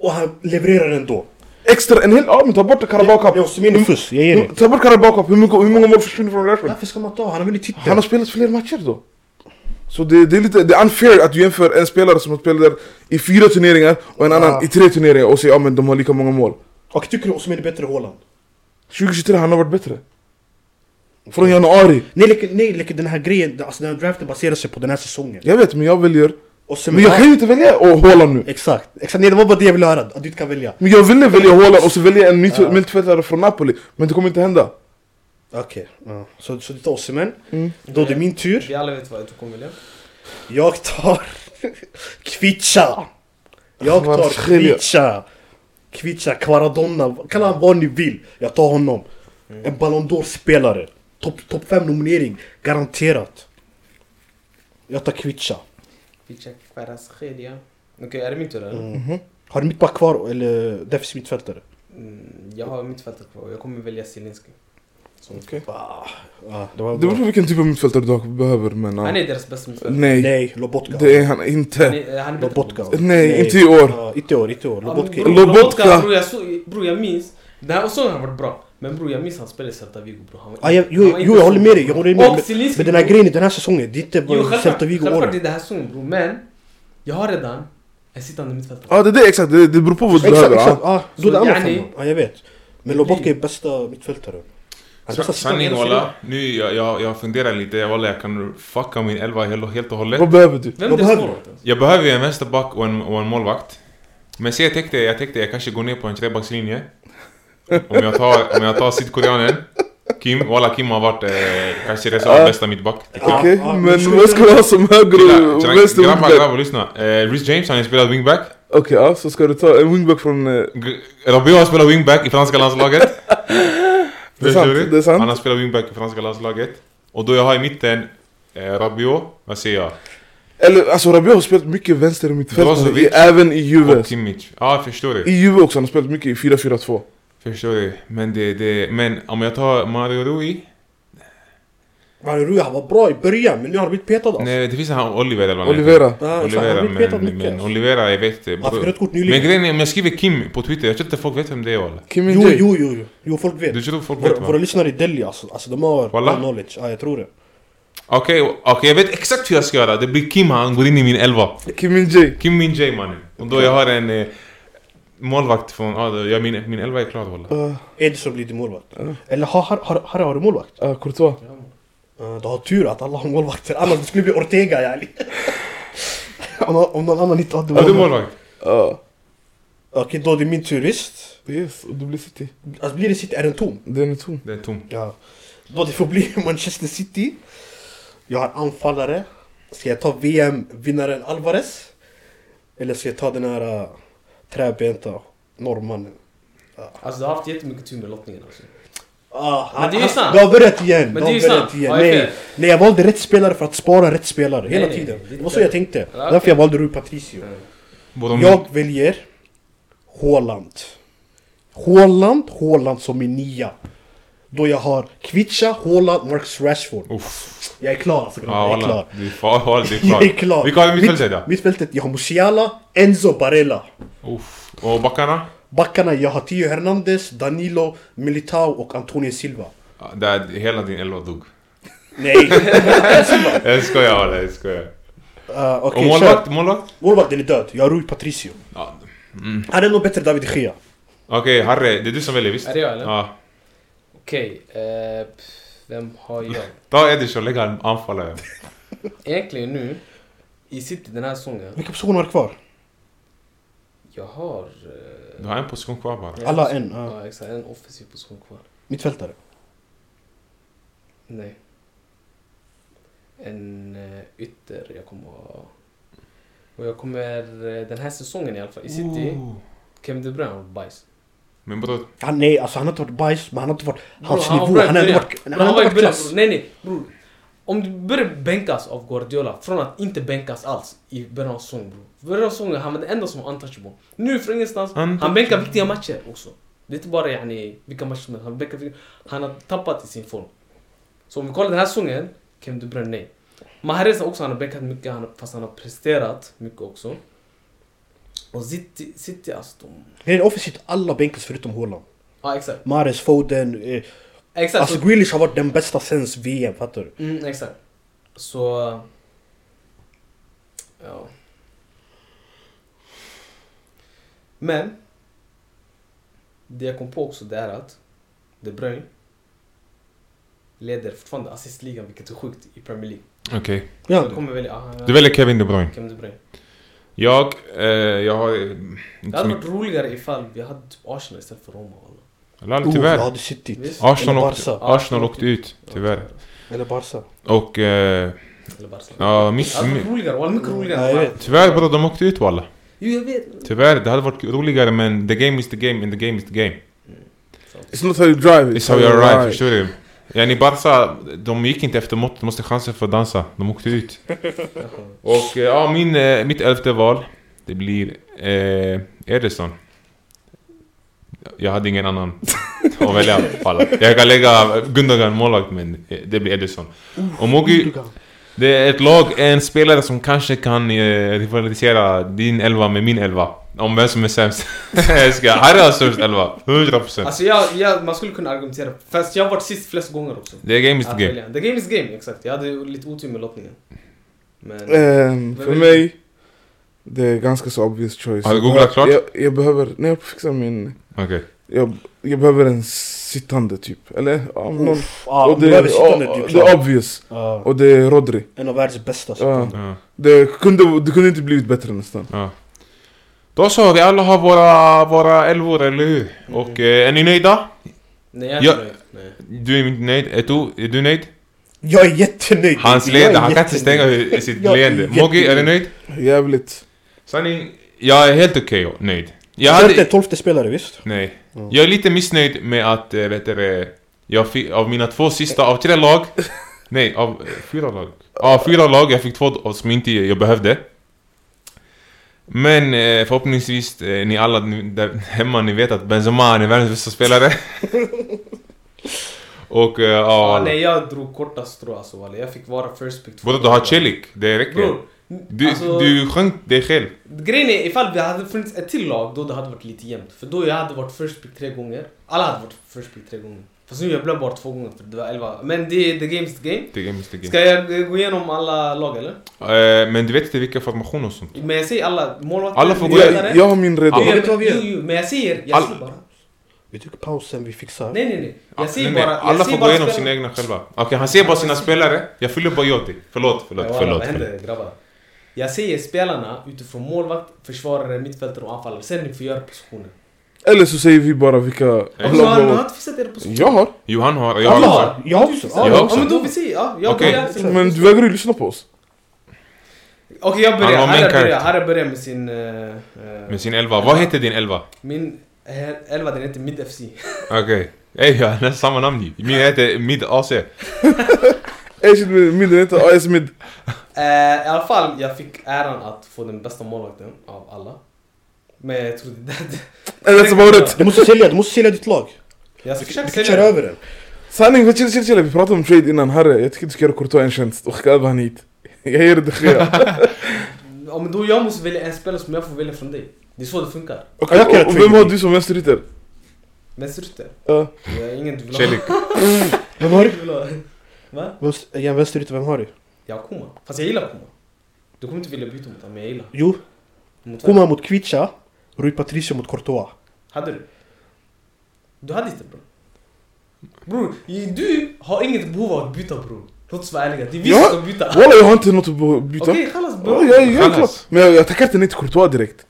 S2: och han levererar ändå.
S3: Extra, en hel... Ja men ta bort Carabao Cup.
S2: Det är Osimhen i fuss, jag ger
S3: Mm,
S2: det.
S3: Ta bort Carabao Cup. Hur, mycket- hur många mål försvinner från Rashford?
S2: Varför ska man ta? Han har vunnit titeln.
S3: Han har spelat fler matcher då. Så det, det är lite det är unfair att du jämför en spelare som spelar i fyra turneringar och en annan
S2: Ja.
S3: i tre turneringar och säger ja men de har lika många mål.
S2: Och tycker du Osimhen är bättre än Haaland?
S3: 2023 han har varit bättre. Från januari.
S2: Nej, like, nej like, den här grejen, alltså den här draften baserar sig på den här säsongen.
S3: Jag vet men jag väljer.
S2: Osimhen,
S3: Men jag kan ju inte välja och Haaland nu.
S2: Exakt, exakt. Nej, det var bara det jag ville höra. Att du inte kan välja.
S3: Men jag ville välja Haaland och så välja en mitt- mittfältare från Napoli. Men det kommer inte hända.
S2: Okej, ja. så, så du tar Osimhen.
S3: Mm.
S2: Då är det min tur.
S1: Vi alla vet vad du kommer välja.
S2: Jag tar Kvitsa. Jag
S3: Vad
S2: tar
S3: skiljer?
S2: Kvitsa. Kvitsa, Kvaradonna, kalla han vad ni vill. Jag tar honom.
S3: Mm.
S2: En Ballon d'Or-spelare. Topp top 5 nominering, garanterat. Jag tar Kvitsa.
S1: Vi checkar Kvaratskhelia. Okej, är det min tur eller?
S2: Mm. Har du mittback kvar eller defensiv mittfältare?
S1: Mm, jag har mittfältet kvar och jag kommer välja Zielinski. Som
S3: Okej.
S2: Ah, ah, det var
S3: Det beror på
S2: bra.
S3: vilken typ av mittfältare du behöver men... ja.
S1: Han är deras bästa mittfältare.
S3: Nej,
S2: Nej, Lobotka.
S3: det är han
S1: Han
S3: inte.
S1: är, han är bättre på
S2: Lobotka.
S1: boll.
S3: Nej, inte i år.
S2: Ah, inte i år, inte i år.
S1: Ja, men
S2: Lobotka.
S1: bror,
S3: Lobotka.
S1: Bror jag, såg, bror jag minns. Den här säsongen har varit bra. Men bror jag minns han spelade i Celta Vigo bror. Han var-
S2: Ah, jag, jo,
S1: han var
S2: jo,
S1: inte
S2: jag
S1: så
S2: håller med dig.
S1: bra.
S2: Jag håller med
S1: Och
S2: dig. Men-
S1: Zielinski,
S2: Men den här
S1: bror.
S2: grejen i den här säsongen, det är inte
S1: Jo,
S2: bara
S1: självklart,
S2: Celta Vigo-åren.
S1: självklart det är det här säsongen bror. Men jag har redan en sittande mittfältare.
S3: Ja Ah, det är det exakt, det, det beror på vad du
S2: Exakt,
S3: behöver. ja.
S2: exakt. Ah, då är det
S1: Så
S2: andra
S1: yani-
S2: femman. Ja, jag vet. Men Lobotka är bästa mittfältare. Han är bästa sittande
S4: Sanning
S2: hela
S4: walla, nu jag, jag, jag funderar lite, walla jag kan fucka min elva helt, helt och hållet
S3: Vad behöver du?
S1: Vem är
S2: Vad
S1: deras
S2: behöver
S1: målvakt? ens?
S4: Jag behöver ju en vänsterback och en, och en målvakt Men se jag tänkte, jag tänkte jag kanske går ner på en trebackslinje Om jag tar, om jag tar sydkoreanen Kim, walla Kim har varit eh, kanske reservens bästa mittback
S2: Ja,
S3: Okej,
S2: ja, men
S3: men
S2: skulle
S3: vad
S2: du-
S3: ska du ha som höger och
S4: Killar,
S3: vänster
S4: Grabbar,
S3: wingback?
S4: grabbar lyssna eh, Rhys James han har spelat wingback
S3: Okej, ja, så ska du ta en wingback från... eh,
S4: G- Rabiot har spelat wingback i franska landslaget
S3: Det är sant,
S4: Förstår du?
S3: det är sant.
S4: Han har spelat wingback i franska landslaget Och då jag har i mitten eh, Rabiot, vad säger jag?
S3: Eller alltså Rabiot har spelat mycket vänster i mittfältet,
S4: Brozovic.
S3: i- även i Juve.
S4: Och Kimmich. Ja, jag förstår
S3: I
S4: det.
S3: Juve också, han har spelat mycket i 4-4-2. Alltså.
S4: Förstår det. Men, det, det, men om jag tar Mario Rui.
S2: Halleluja, han var bra i början men nu har han blivit petad alltså.
S4: Nej, det finns han Oliver eller vad han heter.
S3: Olivera.
S2: Ja, så Ah, han har
S4: Olivera,
S2: blivit petad
S4: men, men
S2: mycket. alltså.
S4: Olivera, jag vet inte.
S2: Han fick rött kort
S4: Men
S2: nyligen.
S4: grejen är, om jag skriver Kim på Twitter, jag tror inte folk vet vem det är walla.
S3: Kim
S2: Jo,
S3: Min-Jae.
S2: jo, jo, jo. Jo, folk vet.
S4: Du tror folk
S2: Våra,
S4: vet
S2: våra
S4: va?
S2: lyssnare i Delhi alltså, alltså de har
S4: Walla?
S2: all knowledge. Ja, jag tror det.
S4: Okej, okej, jag vet exakt hur jag ska göra. Det blir Kim, han går in i min elva.
S3: Kim Min-Jae.
S4: Kim Min Jae mannen. Och då jag har en eh, målvakt från, ja, då- ja, min, min elva är klar walla.
S3: Ah,
S2: Edison blir din målvakt. Eller har, har, har, har, har du målvakt?
S3: ah, Courtois.
S2: Ja, Du har tur att alla har målvakter, annars det skulle bli Ortega yani. om, någon- om någon annan inte hade
S4: Har du
S2: målvakt.
S4: målvakt?
S3: Ah,
S2: Okej, då är det min tur visst.
S3: yes, och det blir City.
S2: Alltså blir det City, är den tom?
S3: Den är tom.
S4: Det är tom.
S2: Ja. Då det får bli Manchester City. Jag har anfallare. Ska jag ta VM-vinnaren Alvarez? Eller ska jag ta den här äh, träbenta norrmannen?
S1: Alltså du har haft jättemycket tur med lottningen alltså.
S2: Ah, han-
S1: det är ju
S2: han-
S1: sant.
S2: Det har börjat igen!
S1: Men
S2: har
S1: det är ju
S2: börjat
S1: sant.
S2: igen.
S1: Ja, det är
S2: Nej,
S1: fel.
S2: nej, jag valde rätt spelare för att spara rätt spelare
S1: Nej,
S2: hela
S1: nej,
S2: tiden.
S1: det är
S2: Det var så
S1: inte-
S2: jag tänkte.
S1: Ja, okej.
S2: Därför jag valde Rui Patricio.
S4: Både om-
S2: Jag väljer Haaland. Haaland, Haaland som min nia. Då jag har Kvicha, Haaland, Marcus Rashford.
S4: Uff.
S2: Jag är klar alltså grabbar,
S4: Ja
S2: jag är
S4: walla.
S2: klar.
S4: Du är fa- walla, du är
S2: Jag är klar.
S4: klar. Vilka har du mittfältet då?
S2: Mittfältet, jag har Musiala, Enzo Barella.
S4: Uff. Och backarna?
S2: Backarna, jag har Theo Hernandez, Danilo, Militao och Antonio Silva.
S4: Ja, Där, hela din elva dog.
S2: Nej!
S4: Jag skojar walla, jag skojar.
S2: uh,
S4: Och
S2: Okej, kör.
S4: målvakt? Målvakt?
S2: Målvakten är död. Jag har Rui Patricio.
S4: Ja.
S2: Han är nog bättre än David de Gea.
S4: Okej, Harry, det är du som väljer visst?
S1: Är det jag, eller?
S4: Ja.
S1: Okej, eh, pff, vem har jag?
S4: Ta Edison, lägg han anfallare.
S1: Egentligen nu, i City den här säsongen,
S2: Vilka positioner har du kvar?
S1: jag har... eh,
S4: Du har en position kvar bara.
S2: Alla en, ja.
S1: Ja exakt, en offensiv position kvar.
S2: Mittfältare.
S1: Nej. En eh, ytter jag kommer ha. Och jag kommer eh, den här säsongen i alla fall i City,
S4: Ooh.
S1: Kevin De Bruyne och bajs.
S4: Men bror,
S2: Han, nej, alltså han har inte varit bajs, men han har inte varit
S1: Bro,
S2: hans
S1: han var
S2: nivå.
S1: bra i
S2: Han har inte
S1: början.
S2: varit,
S1: Bro,
S2: han har inte
S1: var i
S2: varit
S1: början,
S2: klass.
S1: bro. Nej nej bror. Om du börjar bänkas av Guardiola från att inte bänkas alls i början av säsongen bror. Början av säsongen han var den enda som var untouchable. Nu från ingenstans, han
S4: Untouchable.
S1: bänkar viktiga matcher också. Det är inte bara yani, vilka matcher som helst. Han, bänkar, viktiga- han har tappat i sin form. Så om vi kollar den här säsongen, Kevin De Bruyne nej. Mahrez också, han har bänkat mycket han, har- fast han har presterat mycket också. Och City, City alltså de...
S2: Det är offensivt alla bänkas förutom Haaland.
S1: Ja exakt.
S2: Mahrez, Foden. Eh,
S1: Exakt.
S2: alltså
S1: så-
S2: Grealish har varit den bästa sen VM, fattar du?
S1: Mm, exakt. Så... Ja. Men... Det jag kom på också det är att De Bruyne leder fortfarande assistligan vilket är sjukt i Premier League.
S4: okej.
S2: Ja,
S1: Jag kommer välja... Ah,
S4: Du väljer Kevin De Bruyne.
S1: Kevin De Bruyne.
S4: Jag, eh, jag har... eh,
S1: Det
S4: Inte så
S1: hade
S4: mycket.
S1: varit roligare ifall vi hade typ Arsenal istället för Roma. Alla.
S4: Lall,
S2: oh, jag
S4: tyvärr.
S2: hade City.
S1: Visst.
S4: Arsenal
S2: Eller
S4: åkte,
S2: Barca.
S4: Arsenal åkte ut, tyvärr.
S2: Eller Barca.
S4: Och... Eh,
S1: Eller Barcelona.
S4: ja,
S1: Det
S4: miss,
S1: hade varit
S4: mi-
S1: roligare, walla mycket roligare.
S2: Ja, jag vet.
S4: tyvärr bror, de åkte ut walla.
S1: Jo jag vet.
S4: Tyvärr, det hade varit roligare men the game is the game and the game is the game.
S3: It's not how you drive,
S4: It's how you arrive, förstår du? Yani Barca, de gick inte efter måttet, de måste chansen för att dansa. De åkte ut. Och eh, ja, min, eh, mitt elfte val, det blir eh, Ederson. Jag hade ingen annan att välja alla. Jag kan lägga Gundogan målvakt, men eh, det blir Ederson. Och Mogi,
S2: Gundogan.
S4: det är ett lag, en spelare som kanske kan eh, rivalisera din elva med min elva. Om vem som är sämst. Jag ska, Harry har störst elva, 100%.
S1: Alltså jag, jag, man skulle kunna argumentera. Fast jag har varit sist flest gånger också.
S4: Det är game is the
S1: Att
S4: game.
S1: välja. The game is game, exakt. Jag hade ju lite otur med lottningen. Men...
S3: Ehm, för
S1: Vem-
S3: mig, det är ganska så obvious choice.
S4: Har du googlat klart?
S3: Jag, jag behöver, nej jag fixar min...
S4: Okej.
S3: Jag, jag behöver en sittande typ, eller? Ja, någon,
S2: Uff, ah,
S3: och
S2: om du behöver typ City nu,
S3: ja,
S2: du är
S3: det
S2: klar.
S3: är obvious,
S2: Ja,
S3: och det är Rodri.
S2: En av världens bästa. så.
S3: Ja,
S4: Ja,
S3: det, kunde, det kunde inte blivit bättre nästan.
S4: ja. Då så, vi alla har våra, våra elvor, eller hur?
S2: Mm.
S4: Och eh, är ni nöjda?
S1: nej, jag är
S4: Ja.
S1: inte nöjd. Nej.
S4: Du är inte nöjd. Är du, är du nöjd?
S2: Jag är jättenöjd.
S4: Hans
S2: Jag är
S4: leende, han kan inte
S2: jättenöjd.
S4: stänga sitt
S2: Jag är
S4: leende. Moggi, är du nöjd?
S3: Jävligt.
S4: Sanning, jag är helt okej och nöjd. Jag
S2: Jag inte
S4: hade...
S2: en tolfte spelare visst?
S4: Nej.
S2: Ja.
S4: Jag är lite missnöjd med att, eh, vet du det, jag fick, av mina två sista, av tre lag... Nej, av eh, fyra lag. Av fyra lag, jag fick två av som inte jag behövde. Men eh, förhoppningsvis, eh, ni alla ni- där hemma, ni vet att Benzema han är världens bästa spelare. Och eh, ja...
S1: Ah, nej, jag drog korta strå alltså walla. Jag fick vara first pick.
S4: Bror du har Celik, det räcker.
S1: Bror,
S4: Du,
S1: alltså-
S4: du sjönk dig själv.
S1: Grejen är, ifall det hade funnits ett till lag då det hade varit lite jämnt. För då jag hade varit first pick tre gånger. Alla hade varit first pick tre gånger. Fast nu jag blev bara två gånger för det var elva. Men det är the game's the game.
S4: Det är Mr. Game.
S1: Ska jag eh, gå igenom alla lag eller?
S4: Eh, men du vet inte vilka formationer och sånt.
S1: Men jag säger alla målvakter,
S4: Alla får gå
S1: ledare.
S3: Jag, jag har min redo.
S1: Jo,
S4: Alla.
S2: Vet du vad vi gör?
S1: jo, jo, men jag säger, jag
S4: Alla.
S1: säger bara.
S2: Vi tog pausen, vi fixar.
S1: Nej, nej, nej. Jag
S4: Nej,
S1: säger
S4: nej,
S1: bara. jag
S4: alla får
S1: säger
S4: gå
S1: bara
S4: igenom
S1: spelarna.
S4: sina egna själva. Okej, han ser bara sina spelare. Jag fyller bara Joti. Förlåt, förlåt,
S1: Ja,
S4: förlåt.
S1: Vad
S4: förlåt.
S1: händer grabbar? Jag säger spelarna utifrån målvakt, försvarare, mittfältare och anfallare. Sen ni får göra positioner.
S3: Eller så säger vi bara vilka...
S1: Om
S3: alla
S1: du har
S3: blå-
S1: ni har inte fixat era positioner.
S3: Jag har.
S4: Johan har... Jag
S1: Alla
S4: har
S1: har.
S4: också.
S2: Jag också!
S1: Ja,
S4: Jag
S1: ja,
S4: också.
S1: men då vi säger, ja, jag
S4: Okej.
S1: börjar sen.
S3: Men du vägrar ju lyssna på oss.
S1: Okej, jag
S4: Han var
S1: börjar.
S4: main
S1: Harry börjar.
S4: character.
S1: Harry börjar med sin... eh, eh,
S4: Med sin elva. Vad heter din elva?
S1: min eh, elva, den heter Mid FC.
S4: Okej. Ey, jag har nästan samma namn ju. Min heter Mid AC.
S3: Ey shit, min min är inte AS Mid.
S1: Eh, I alla fall, jag fick äran att få den bästa målvakten av alla. Men jag trodde det...
S3: Ey that's about it.
S2: Du måste sälja, du måste sälja ditt lag.
S1: Jag ska
S2: Du
S1: försöka
S2: kan köra
S1: sälja den.
S2: över den.
S3: Sanning, men chill, chill, chill. Vi pratade om trade innan. Herre, jag tycker du ska göra Courtois en tjänst och skicka över han hit. Jag ger dig det sker.
S1: Ja, men då jag måste välja en spelare som jag får välja från dig. Det är så det funkar.
S3: Okej,
S2: Jag kan göra
S3: och
S2: trade.
S3: vem har du som vänsterytter?
S1: Vänsterytter.
S3: Ja.
S1: Jag är ingen du vill ha.
S4: Celik.
S2: Vem har du?
S1: Du vill ha- Va?
S2: Vem, igen, vänsterytter, vem har du?
S1: Jag har Kuma. Fast jag gillar Kuma. Du kommer inte vilja byta mot honom, men jag gillar honom.
S2: Jo,
S1: Mot vem?
S2: Kuma mot Kvicha, Rui Patricio mot Courtois.
S1: Hade du? Du hade inte bror. Bror, du har inget behov av att byta bror. Låt oss vara ärliga, det är vi som
S3: Ja.
S1: ska byta.
S3: Walla, jag har inte något att byta.
S1: Okej, kallas
S3: Ja,
S1: bror.
S3: jag, jag, är klar.
S4: Kallas.
S3: Men jag, jag tackar inte nej till Courtois direkt.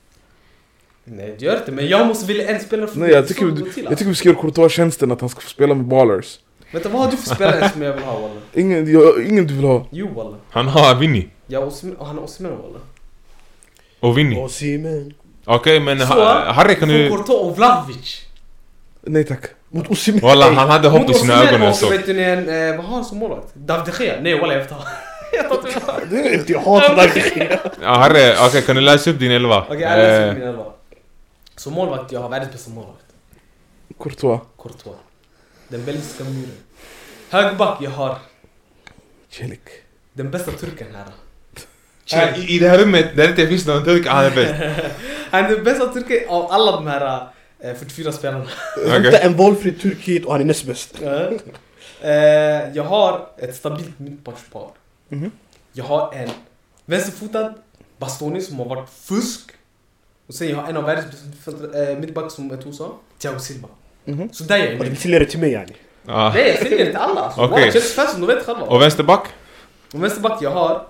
S1: Nej, du gör inte men jag måste vilja en spelare för
S3: Nej,
S1: dig.
S3: jag
S1: Så
S3: tycker,
S1: det går
S3: vi-
S1: till,
S3: jag tycker vi ska göra Courtois tjänsten att han ska få spela med ballers.
S1: alltså. Vänta, vad har du för spelare som jag vill ha walla?
S3: Ingen, jag, ingen du vill ha.
S1: Jo walla.
S4: Han har Vinny.
S1: Jag har Osman, han har Osman walla.
S4: Och Vinny.
S2: Åh Simen.
S4: Okej, men
S1: Så,
S4: ha- Harry kan
S1: Från
S4: du...
S1: Courtois och Vlahovic.
S3: Nej tack.
S2: Mot Osimhen.
S4: Walla, han hade hopp i
S1: Mot
S4: sina
S1: Osimhen
S4: ögon när jag
S1: och så
S4: såg.
S1: vet du, en, eh, vad har han som målvakt? David de Gea? Nej walla, jag vill inte ha. Jag tar inte honom.
S2: Det är inte jag hatar dig.
S4: Ja, Harry, okej, kan du läsa upp din elva?
S1: Okej, jag läser
S4: Eh,
S1: min elva. Som målvakt, jag har världens bästa målvakt.
S3: Courtois.
S1: Courtois. Den belgiska muren. Högerback, jag har
S3: Celik.
S1: den bästa turken här.
S4: Här, Eh, I i det här rummet där det inte finns någon turk, han är bäst.
S1: Han är den bästa turken av alla de här eh, 44 spelarna.
S2: Hämta
S4: Okej.
S2: en valfri turk hit och han är näst bäst.
S1: eh, jag har ett stabilt mittbackspar.
S3: Mhm.
S1: Jag har en vänsterfotad Bastoni som har varit fusk. Och sen jag har en av världens bästa mittfältare- eh, mittback som Eto'o sa, Thiago Silva.
S3: Mhm.
S1: Så där är jag
S2: Och du vill
S1: nöjd.
S2: sälja det till mig yani.
S4: Ja.
S1: Nej, jag säljer inte alla. Alltså.
S4: Okej.
S1: Wow, Chelsea-fansen, de vet själva.
S4: Och vänsterback?
S1: Och vänsterback jag har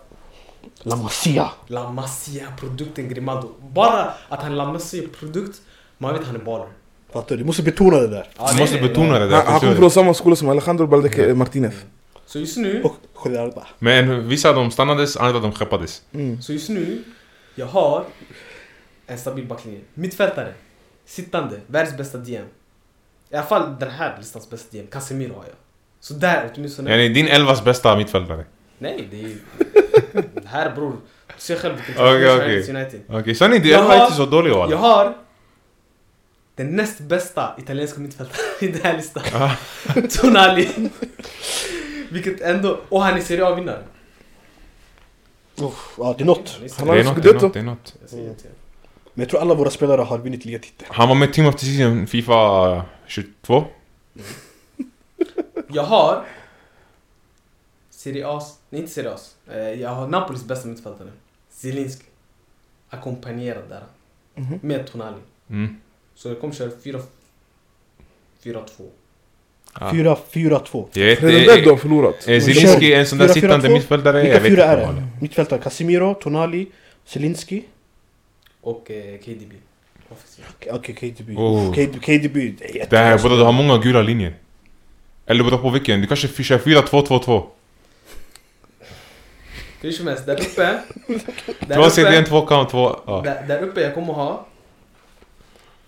S2: La Masia.
S1: La Masia-produkten Grimaldo. Bara att han är La Masia-produkt, man vet han är baller.
S2: Fattar du? Du måste betona det där.
S1: Ja,
S4: Du
S1: nej,
S4: måste
S1: nej,
S4: betona det
S3: Han,
S4: där,
S3: han
S4: förstår
S3: kommer
S4: du?
S3: från samma skola som Alejandro Baldeque Martinez.
S1: Så just nu,
S2: Och Khudjarba.
S4: Men vissa av dem stannades, andra av dem skeppades.
S1: så just nu, jag har en stabil backlinje. Mittfältare, sittande, världens bästa DM. I alla fall den här listans bästa DM, Casemiro har jag. Så där åtminstone.
S4: Yani, din elvas bästa mittfältare.
S1: Nej, det är ju... det här bror, du ser själv vilken
S4: Okej,
S1: situation
S4: okej.
S1: Manchester United.
S4: Okej, Sunny, din
S1: Jag
S4: elva är
S1: har-
S4: inte så dålig
S1: Jag
S4: walla.
S1: har den näst bästa italienska mittfältaren i den här listan.
S4: Ah.
S1: Tonali. Vilket ändå... Och han är Serie A-vinnare.
S2: Uff, Ja, det är något.
S1: Han är Serie
S3: Han
S4: Det
S1: A.
S3: har en
S4: är något, det är något,
S3: scudetto.
S4: det är något.
S1: Jag säger inte.
S2: Men jag tror alla våra spelare har vunnit ligatiteln.
S4: Han var med Team of the Season, Fifa 22.
S1: Jag har... Serie A's... Nej, inte Serie A's. Eh, Jag har Napolis bästa mittfältare. Zielinski. Ackompanjerad där.
S3: Mhm.
S1: Med Tonali.
S4: Mm.
S1: Så jag kommer köra 4... 4-2.
S4: Ja.
S2: 4-4-2.
S4: Jag vet,
S3: Redan
S4: eh,
S3: där du har förlorat.
S4: eh, Zielinski är en sån där
S2: 4-4-2.
S4: sittande mittfältare.
S2: Vilka
S4: Jag vet
S2: fyra är
S4: inte walla.
S2: det? Mittfältare Casemiro, Tonali, Zelinski.
S1: Och eh, KDB. Offensivt.
S2: Okej, okay, KDB.
S4: Oh.
S2: Uff, KD- KDB. det är jätte-
S4: Det här, bror, du har många gula linjer. Eller beror på vilken, du kanske kör 4-2-2-2.
S1: Hur som helst, där uppe... där
S4: Två CDN, två count, två... ja.
S1: Där, där uppe jag kommer ha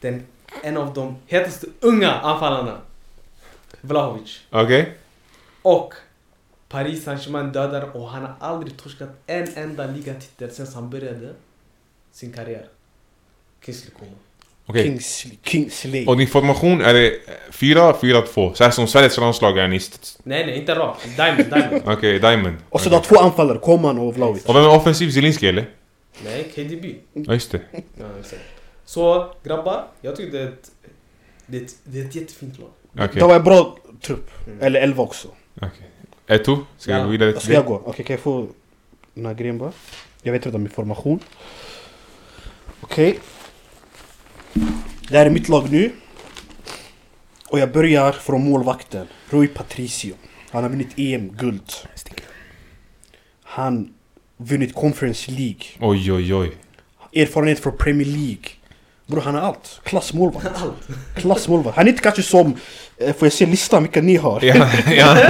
S1: den, en av de hetaste unga anfallarna. Vlahovic.
S4: Okej?
S1: Och Paris Saint-Germain dödar och han har aldrig torskat en enda ligatitel sen han började sin karriär. Kingsley Coman.
S4: Okej.
S2: Kings, Kings League.
S4: Och din formation är eh, det 4-4-2? Så här som Sveriges landslag är ni... st- st-
S1: Nej nej, inte rakt. Diamond, diamond.
S4: Okej, Diamond.
S2: Och så du har två anfallare, Koman och Vlahovic.
S4: Och vem är offensiv? Zielinski eller?
S1: nej, KDB.
S4: Ja just det.
S1: Ja, exakt. Så grabbar, jag tycker det är ett, det är ett, det är ett jättefint lag.
S4: Okej.
S2: Det var en bra trupp.
S1: Mm.
S2: Eller elva också.
S4: okej. Eto, ska
S1: Ja.
S4: vi gå vidare till
S2: Ska jag
S4: dig?
S2: gå? Okej, kan jag få den här grejen bara? Jag vet redan min formation. Okej. Det här är mitt lag nu. Och jag börjar från målvakten. Rui Patricio. Han har vunnit EM-guld. Han vunnit Conference League.
S4: Oj oj oj.
S2: Erfarenhet från Premier League. Bror han har allt. Klassmålvakt. Klassmålvakt. Han är inte kanske som... eh, Får jag se listan vilka ni har? Okej,
S4: Ja, ja.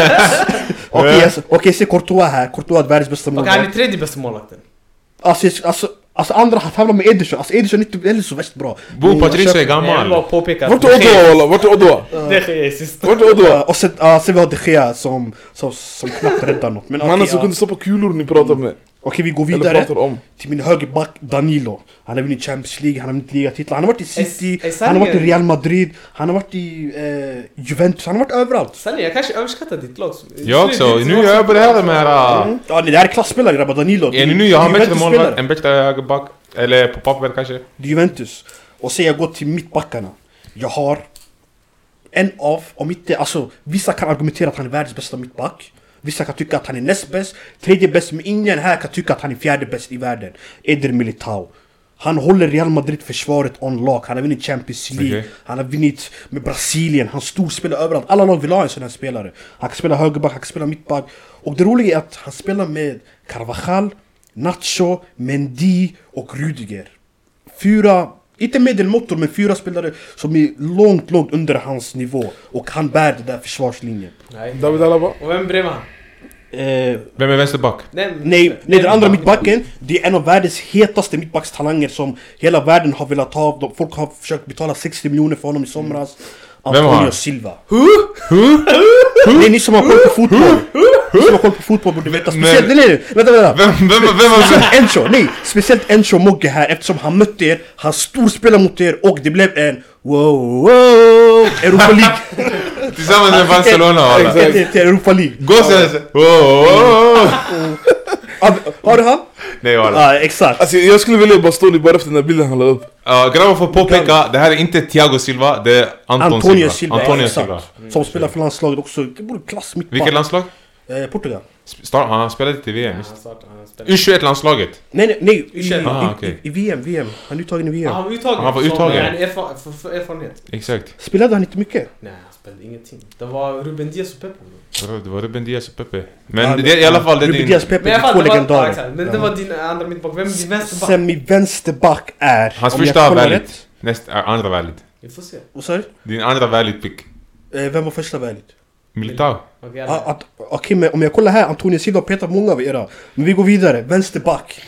S2: jag okej, jag ser Courtois här. Courtois är världens bästa
S1: Och
S2: målvakt.
S1: han är tredje bästa målvakten.
S2: Alltså, jag- alltså, alltså andra han tävlar med Ederson, alltså Ederson är inte heller så värst bra
S4: Bo
S2: Men jag
S4: Patricio är
S2: köper-
S1: Nej, Jag vill bara
S4: gammal.
S1: påpeka
S3: Vart
S1: att
S3: är Odoa walla? Vart är Odoa?
S1: det sker i sista.
S3: Vart är
S2: Ja,
S3: Odoa?
S2: Och sen, ja, sen vi har de Gea som, som, som knappt räddar något Men okej,
S3: Mannen som
S2: ja.
S3: kunde stoppa kulor ni pratar med.
S2: Okej, vi går
S3: Eller
S2: vidare
S3: pratar om.
S2: till min högerback Danilo Han har vunnit Champions League, han har vunnit ligatitlar, han har varit i City,
S1: Är- är
S2: han har varit i
S1: sanningen-
S2: Real Madrid Han har varit i eh, Juventus, han har varit överallt
S1: Sanne, jag kanske överskattar ditt lag.
S4: Jag också. Nu är jag på det här med... äh,
S2: Ja nej, det här är klasspelare grabbar, Danilo
S4: Är
S2: Det
S4: ni nu? Jag har en
S2: det är
S4: bättre målvakt,
S2: Juventus-spelare.
S4: en bättre högerback. Eller på pappret kanske?
S2: Det är Juventus. Och sen jag går till mittbackarna. Jag har en av, om inte, alltså vissa kan argumentera att han är världens bästa mittback. Vissa kan tycka att han är näst bäst, tredje bäst, men ingen här kan tycka att han är fjärde bäst i världen. Eder Militao. Han håller Real Madrid-försvaret on lock, han har vunnit Champions League,
S4: Okej.
S2: han har vunnit med Brasilien, han storspelar överallt. Alla lag vill ha en sån här spelare. Han kan spela högerback, han kan spela mittback. Och det roliga är att han spelar med Carvajal, Nacho, Mendy och Rudiger. Fyra, inte medelmåttor, men fyra spelare som är långt, långt under hans nivå. Och han bär den där försvarslinjen.
S1: Nej.
S3: David Alaba?
S1: Och vem bredvid han?
S2: Eh,
S4: Vem är vänsterback?
S1: Nej, men-
S2: Nej, nej, den andra mittbacken, det är en av världens hetaste mittbackstalanger som hela världen har velat ha. De- Folk har försökt betala 60 miljoner för honom i somras.
S4: Vem var
S2: Antonio
S4: han?
S2: Silva. Nej, ni som har koll på fotboll. Ni som har koll på fotboll borde veta. Speciellt, nej, nej, nej, vänta, vänta.
S4: Vem, vem, vem var det?
S2: Speciellt Encho, nej! Speciellt Encho Mogge här eftersom han mötte er, han storspelade mot er och det blev en wow, wow, Europa League!
S4: Tillsammans med Barcelona
S2: Exakt,
S4: walla.
S2: till- till Europa League!
S4: Gossen! Wow, wow, wow.
S2: Har- Har du han?
S4: Nej walla.
S2: Ja, exakt!
S3: Alltså jag skulle vilja bara stå ni bara efter den där bilden han la upp.
S4: Ja, Grabbar får påpeka, det här är inte Thiago Silva, det är Anton
S2: Antonio Silva,
S4: Antonio
S2: exakt.
S4: Silva.
S2: Som spelar för landslaget också, det borde klass mitt
S4: Vilket landslag?
S2: Eh, Portugal.
S4: Sp- Star, han spelade till VM,
S1: Han
S4: just.
S1: startar, han spelar.
S4: U21-landslaget.
S2: Nej, nej, nej! I,
S1: Ursäkta.
S4: Ah,
S2: i,
S4: okej.
S2: i, i VM, VM. Han är uttagen i VM.
S1: Han var uttagen.
S4: Han var
S1: Så,
S4: uttagen.
S1: men erfa- för- för erfarenhet.
S4: Exakt.
S2: Spelade han inte mycket?
S1: Nej, han spelade ingenting. Det var Ruben Diaz och Pepo.
S4: Det var Ruben Diaz och Pepe. Men det, i alla fall, det är
S2: Ruben
S4: din...
S2: Diaz Pepe,
S1: Men
S2: det
S1: i alla
S2: är
S1: fall,
S2: två
S1: det var- ja, exakt.
S2: legendarer.
S1: Men det var din andra mittback. Vem är din vänsterback?
S2: Sen min vänsterback är...
S4: Hans
S2: om jag
S4: första
S2: kollar
S4: valet.
S2: rätt-
S4: Näst, äh, andra valet.
S1: Vi får se.
S2: Vad sa du?
S4: Din andra valet pick.
S2: Eh, Vem var första valet?
S4: Militao.
S1: Okej,
S2: Ja,
S1: alla.
S2: att- Okej men om jag kollar här, Antonio Silva har petat många av era. Men vi går vidare, vänsterback.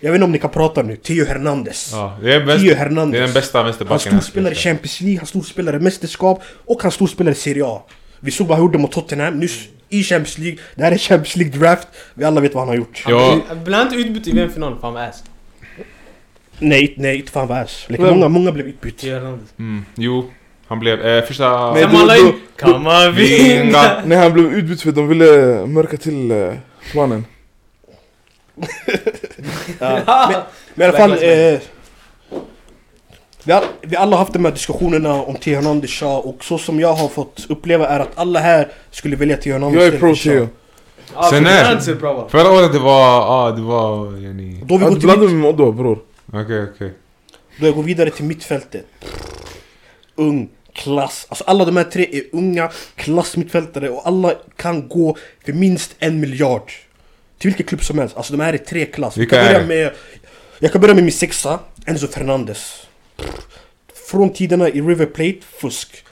S2: Jag vet inte om ni kan prata nu, Theo Hernandez.
S4: Ja, det är, bäst,
S2: Theo
S4: det
S2: Hernandez.
S4: är den bästa
S2: han
S4: vänsterbacken.
S2: storspelare i Champions League, han storspelare i mästerskap och han storspelare i Serie A. Vi såg vad han gjorde mot Tottenham nyss i Champions League. Det här är Champions League draft. Vi alla vet vad han har gjort.
S4: Ja,
S1: Han blev inte utbytt i VM-finalen för han var ass.
S2: Nej, nej, inte fan vad ass. Like,
S3: Vem?
S2: många, många blev utbytta.
S1: Theo Hernandez.
S4: mm, jo. Han blev... Eh, första...
S3: Nej,
S1: Sen
S3: då-
S1: man la in
S3: då-
S1: Kamavinga.
S3: Nej han blev utbytt för de ville mörka till eh, planen.
S2: Men i alla fall...
S1: Black Lives
S2: Eh, vi, all, vi alla har haft de här diskussionerna om Theo Hernandez Shah och så som jag har fått uppleva är att alla här skulle välja Theo Hernandez
S3: Jag är
S2: istället för
S3: pro
S2: Shaw.
S3: Theo.
S1: Ja,
S4: Sen
S1: Sen
S4: är-
S1: är bra va?
S4: Förra året det var... Ja, ah, det var... yani-
S2: Då vi
S3: Ja,
S2: går
S3: Du
S2: till
S3: blandar mig med Odoa bror.
S4: Okej, okej.
S2: Då jag går vidare till mittfältet. Ung, klass. Alltså alla de här tre är unga klassmittfältare och alla kan gå för minst en miljard. Till vilken klubb som helst. Alltså de här är tre klass.
S4: Vilka
S2: jag,
S4: är
S2: kan
S4: det?
S2: börja med, jag kan börja med min sexa, Enzo Fernandes. Från tiderna i River Plate, fusk.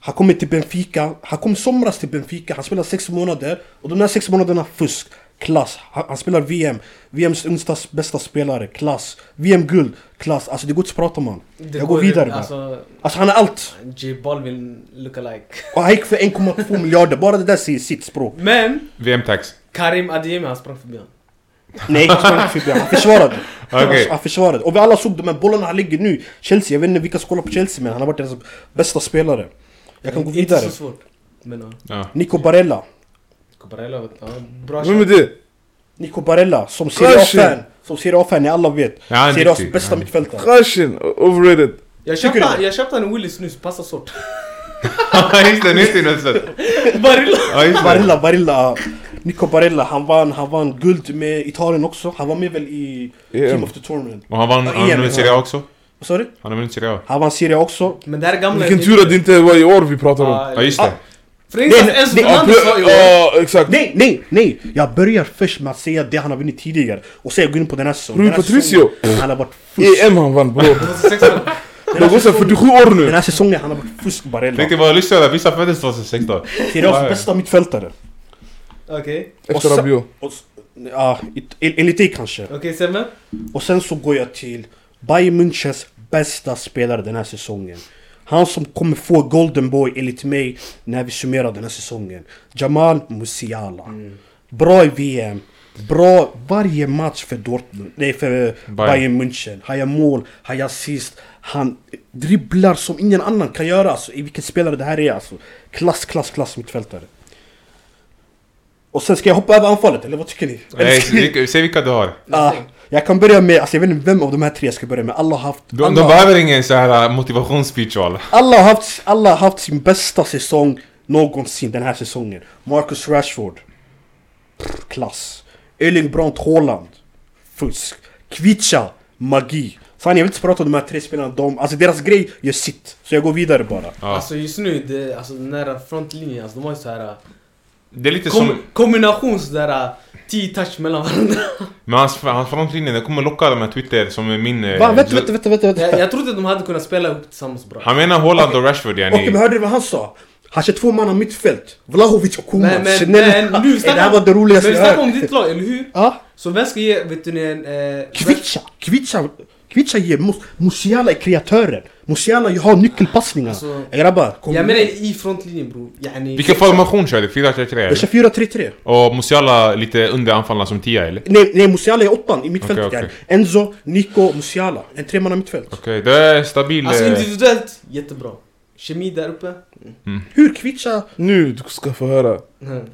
S2: Han kommer till Benfica, han kom somras till Benfica, han spelar sex månader och de där sex månaderna, fusk, klass. Han, han spelar VM, VMs yngsta s- bästa spelare, klass. VM-guld, klass. Alltså det går inte att prata om han.
S1: Det
S2: Jag går vidare bara. Alltså,
S1: Alltså,
S2: han är allt!
S1: J Balvin lookalike.
S2: Och han gick för 1,2 miljarder, bara det där säger sitt språk.
S1: Men
S4: VM-tax.
S1: Karim Adeyemi han sprang förbi honom.
S2: Nej, han sprang förbi, han försvarade.
S4: Okej.
S2: Han försvarade. Och vi alla såg de här bollarna han ligger nu. Chelsea, jag vet inte vilka som kollar på Chelsea men han har varit deras bästa spelare. Jag kan gå
S1: Inte
S2: vidare.
S1: så svårt. Men ja.
S4: Ja.
S2: Nico Barella.
S1: Coparella, ja, bra
S3: Vem är
S1: shot.
S3: det?
S2: Nico Barella, som Serie A-fan. Som Serie A-fan, ni alla vet.
S4: Ja, han är
S2: Serie A's
S4: duktig.
S2: bästa
S4: Han är
S2: mittfältare.
S3: Khashin, overrated.
S1: Jag
S2: Tycker
S1: köpte,
S2: du?
S1: jag köpte en Willys nyss, passar sort.
S4: Just det, nytt innesätt.
S1: Barilla!
S4: Ja, just det.
S2: Barella, Barella. Nico Barella, han vann, han vann guld med Italien också. Han var med väl i
S3: EM.
S2: Team of the Tournament.
S4: Och han vann, han
S2: Igen,
S4: vann Serie A också.
S2: Vad sa du?
S4: Han har vunnit Serie A.
S2: Han vann Serie A också.
S1: Men det här gamla...
S3: Vilken tur att det inte var i år vi pratar om.
S4: Ja, just
S2: Ah.
S4: det.
S1: För inte ens
S2: Nej,
S1: Enzo
S2: nej,
S3: Ja,
S1: Fernandes var ju...
S3: ja, exakt.
S2: Nej, nej, nej! Jag börjar först med att säga det han har vunnit tidigare. Och sen går jag in på den här säsongen.
S3: Rui
S2: Den här
S3: Patricio.
S2: säsongen, Han har varit fusk.
S3: EM han vann e bror. Det har gått sedan 47 år
S2: Den
S3: nu.
S2: här säsongen han har varit fusk Barella.
S4: Tänk dig våra lyssnare, vissa föddes 2016.
S2: Serie
S4: Ja, ja.
S2: A's bästa mittfältare.
S1: Okej,
S3: Efter
S2: Och sen-
S3: Rabiot.
S2: Och, s- ja, it- en- enligt dig kanske.
S1: okej Semme.
S2: Och sen så går jag till Bayern Münchens bästa spelare den här säsongen. Han som kommer få Golden Boy enligt mig när vi summerar den här säsongen. Jamal Musiala.
S4: Mm.
S2: Bra i VM. Bra varje match för Dortmund. Nej för eh,
S4: Bayern.
S2: Bayern München. Han gör mål, han gör assist. Han dribblar som ingen annan kan göra. Alltså, i vilken spelare det här är alltså. Klass, klass, klass mittfältare. Och sen ska jag hoppa över anfallet eller vad tycker ni?
S4: Nej, se vilka- Säg vilka du har.
S2: Ah, jag kan börja med, alltså jag vet inte vem av de här tre jag ska börja med. Alla har haft,
S4: De, de
S2: alla,
S4: behöver ingen så här äh, motivationsspeech walla.
S2: alla har haft, alla har haft sin bästa säsong någonsin den här säsongen. Marcus Rashford. Pff, klass. Erling Brandt Haaland. Fusk. Kvicha. Magi. Fan jag vill inte prata om de här tre spelarna. De, alltså deras grej gör sitt. Så jag går vidare bara.
S4: Ja.
S1: Alltså just nu, det, alltså, den där frontlinjen, alltså, de har ju såhär...
S4: Det är lite
S1: Kom,
S4: som...
S1: kombination sådär... 10 touch mellan varandra.
S4: Men hans, hans frontlinje, den kommer locka de här Twitter som är min... eh,
S2: Va? Vänta, vänta, vänta, vänta. vänta.
S1: Jag, jag trodde att de hade kunnat spela ihop tillsammans bra.
S4: Han menar Holland och Rashford
S2: Okej men
S4: yani.
S2: hörde du vad han sa? Han kör två man av mittfält. Vlahovic och Koman.
S1: Men, men,
S2: Schnell-
S1: men nu
S2: det
S1: snackar
S2: här var det roligaste
S1: Men vi
S2: jag hört.
S1: snackar om ditt lag, eller hur?
S2: Ja.
S1: Så vem ska ge, vet du ni, en... Eh,
S2: Kvicha! Kvicha! Kvicha ger Mus- Musiala är kreatören! Musiala har nyckelpassningar!
S1: Alltså,
S2: Grabbar, kom
S1: jag menar i frontlinjen bror. Yani,
S4: Vilken formation kör du? 4-3-3
S2: Jag kör 4-3-3!
S4: eller? Och Musiala lite under anfallarna som 10 eller?
S2: Nej, nej Musiala är åttan i mittfältet
S4: Okej,
S2: okay,
S4: okej.
S2: Enzo, Nico, Musiala. En tremanna mittfält.
S4: Okej, det är stabil...
S1: Alltså
S4: eh,
S1: individuellt, jättebra. Kemi där uppe.
S2: Hur Kvicha...
S3: Nu du ska få höra.
S1: Mm.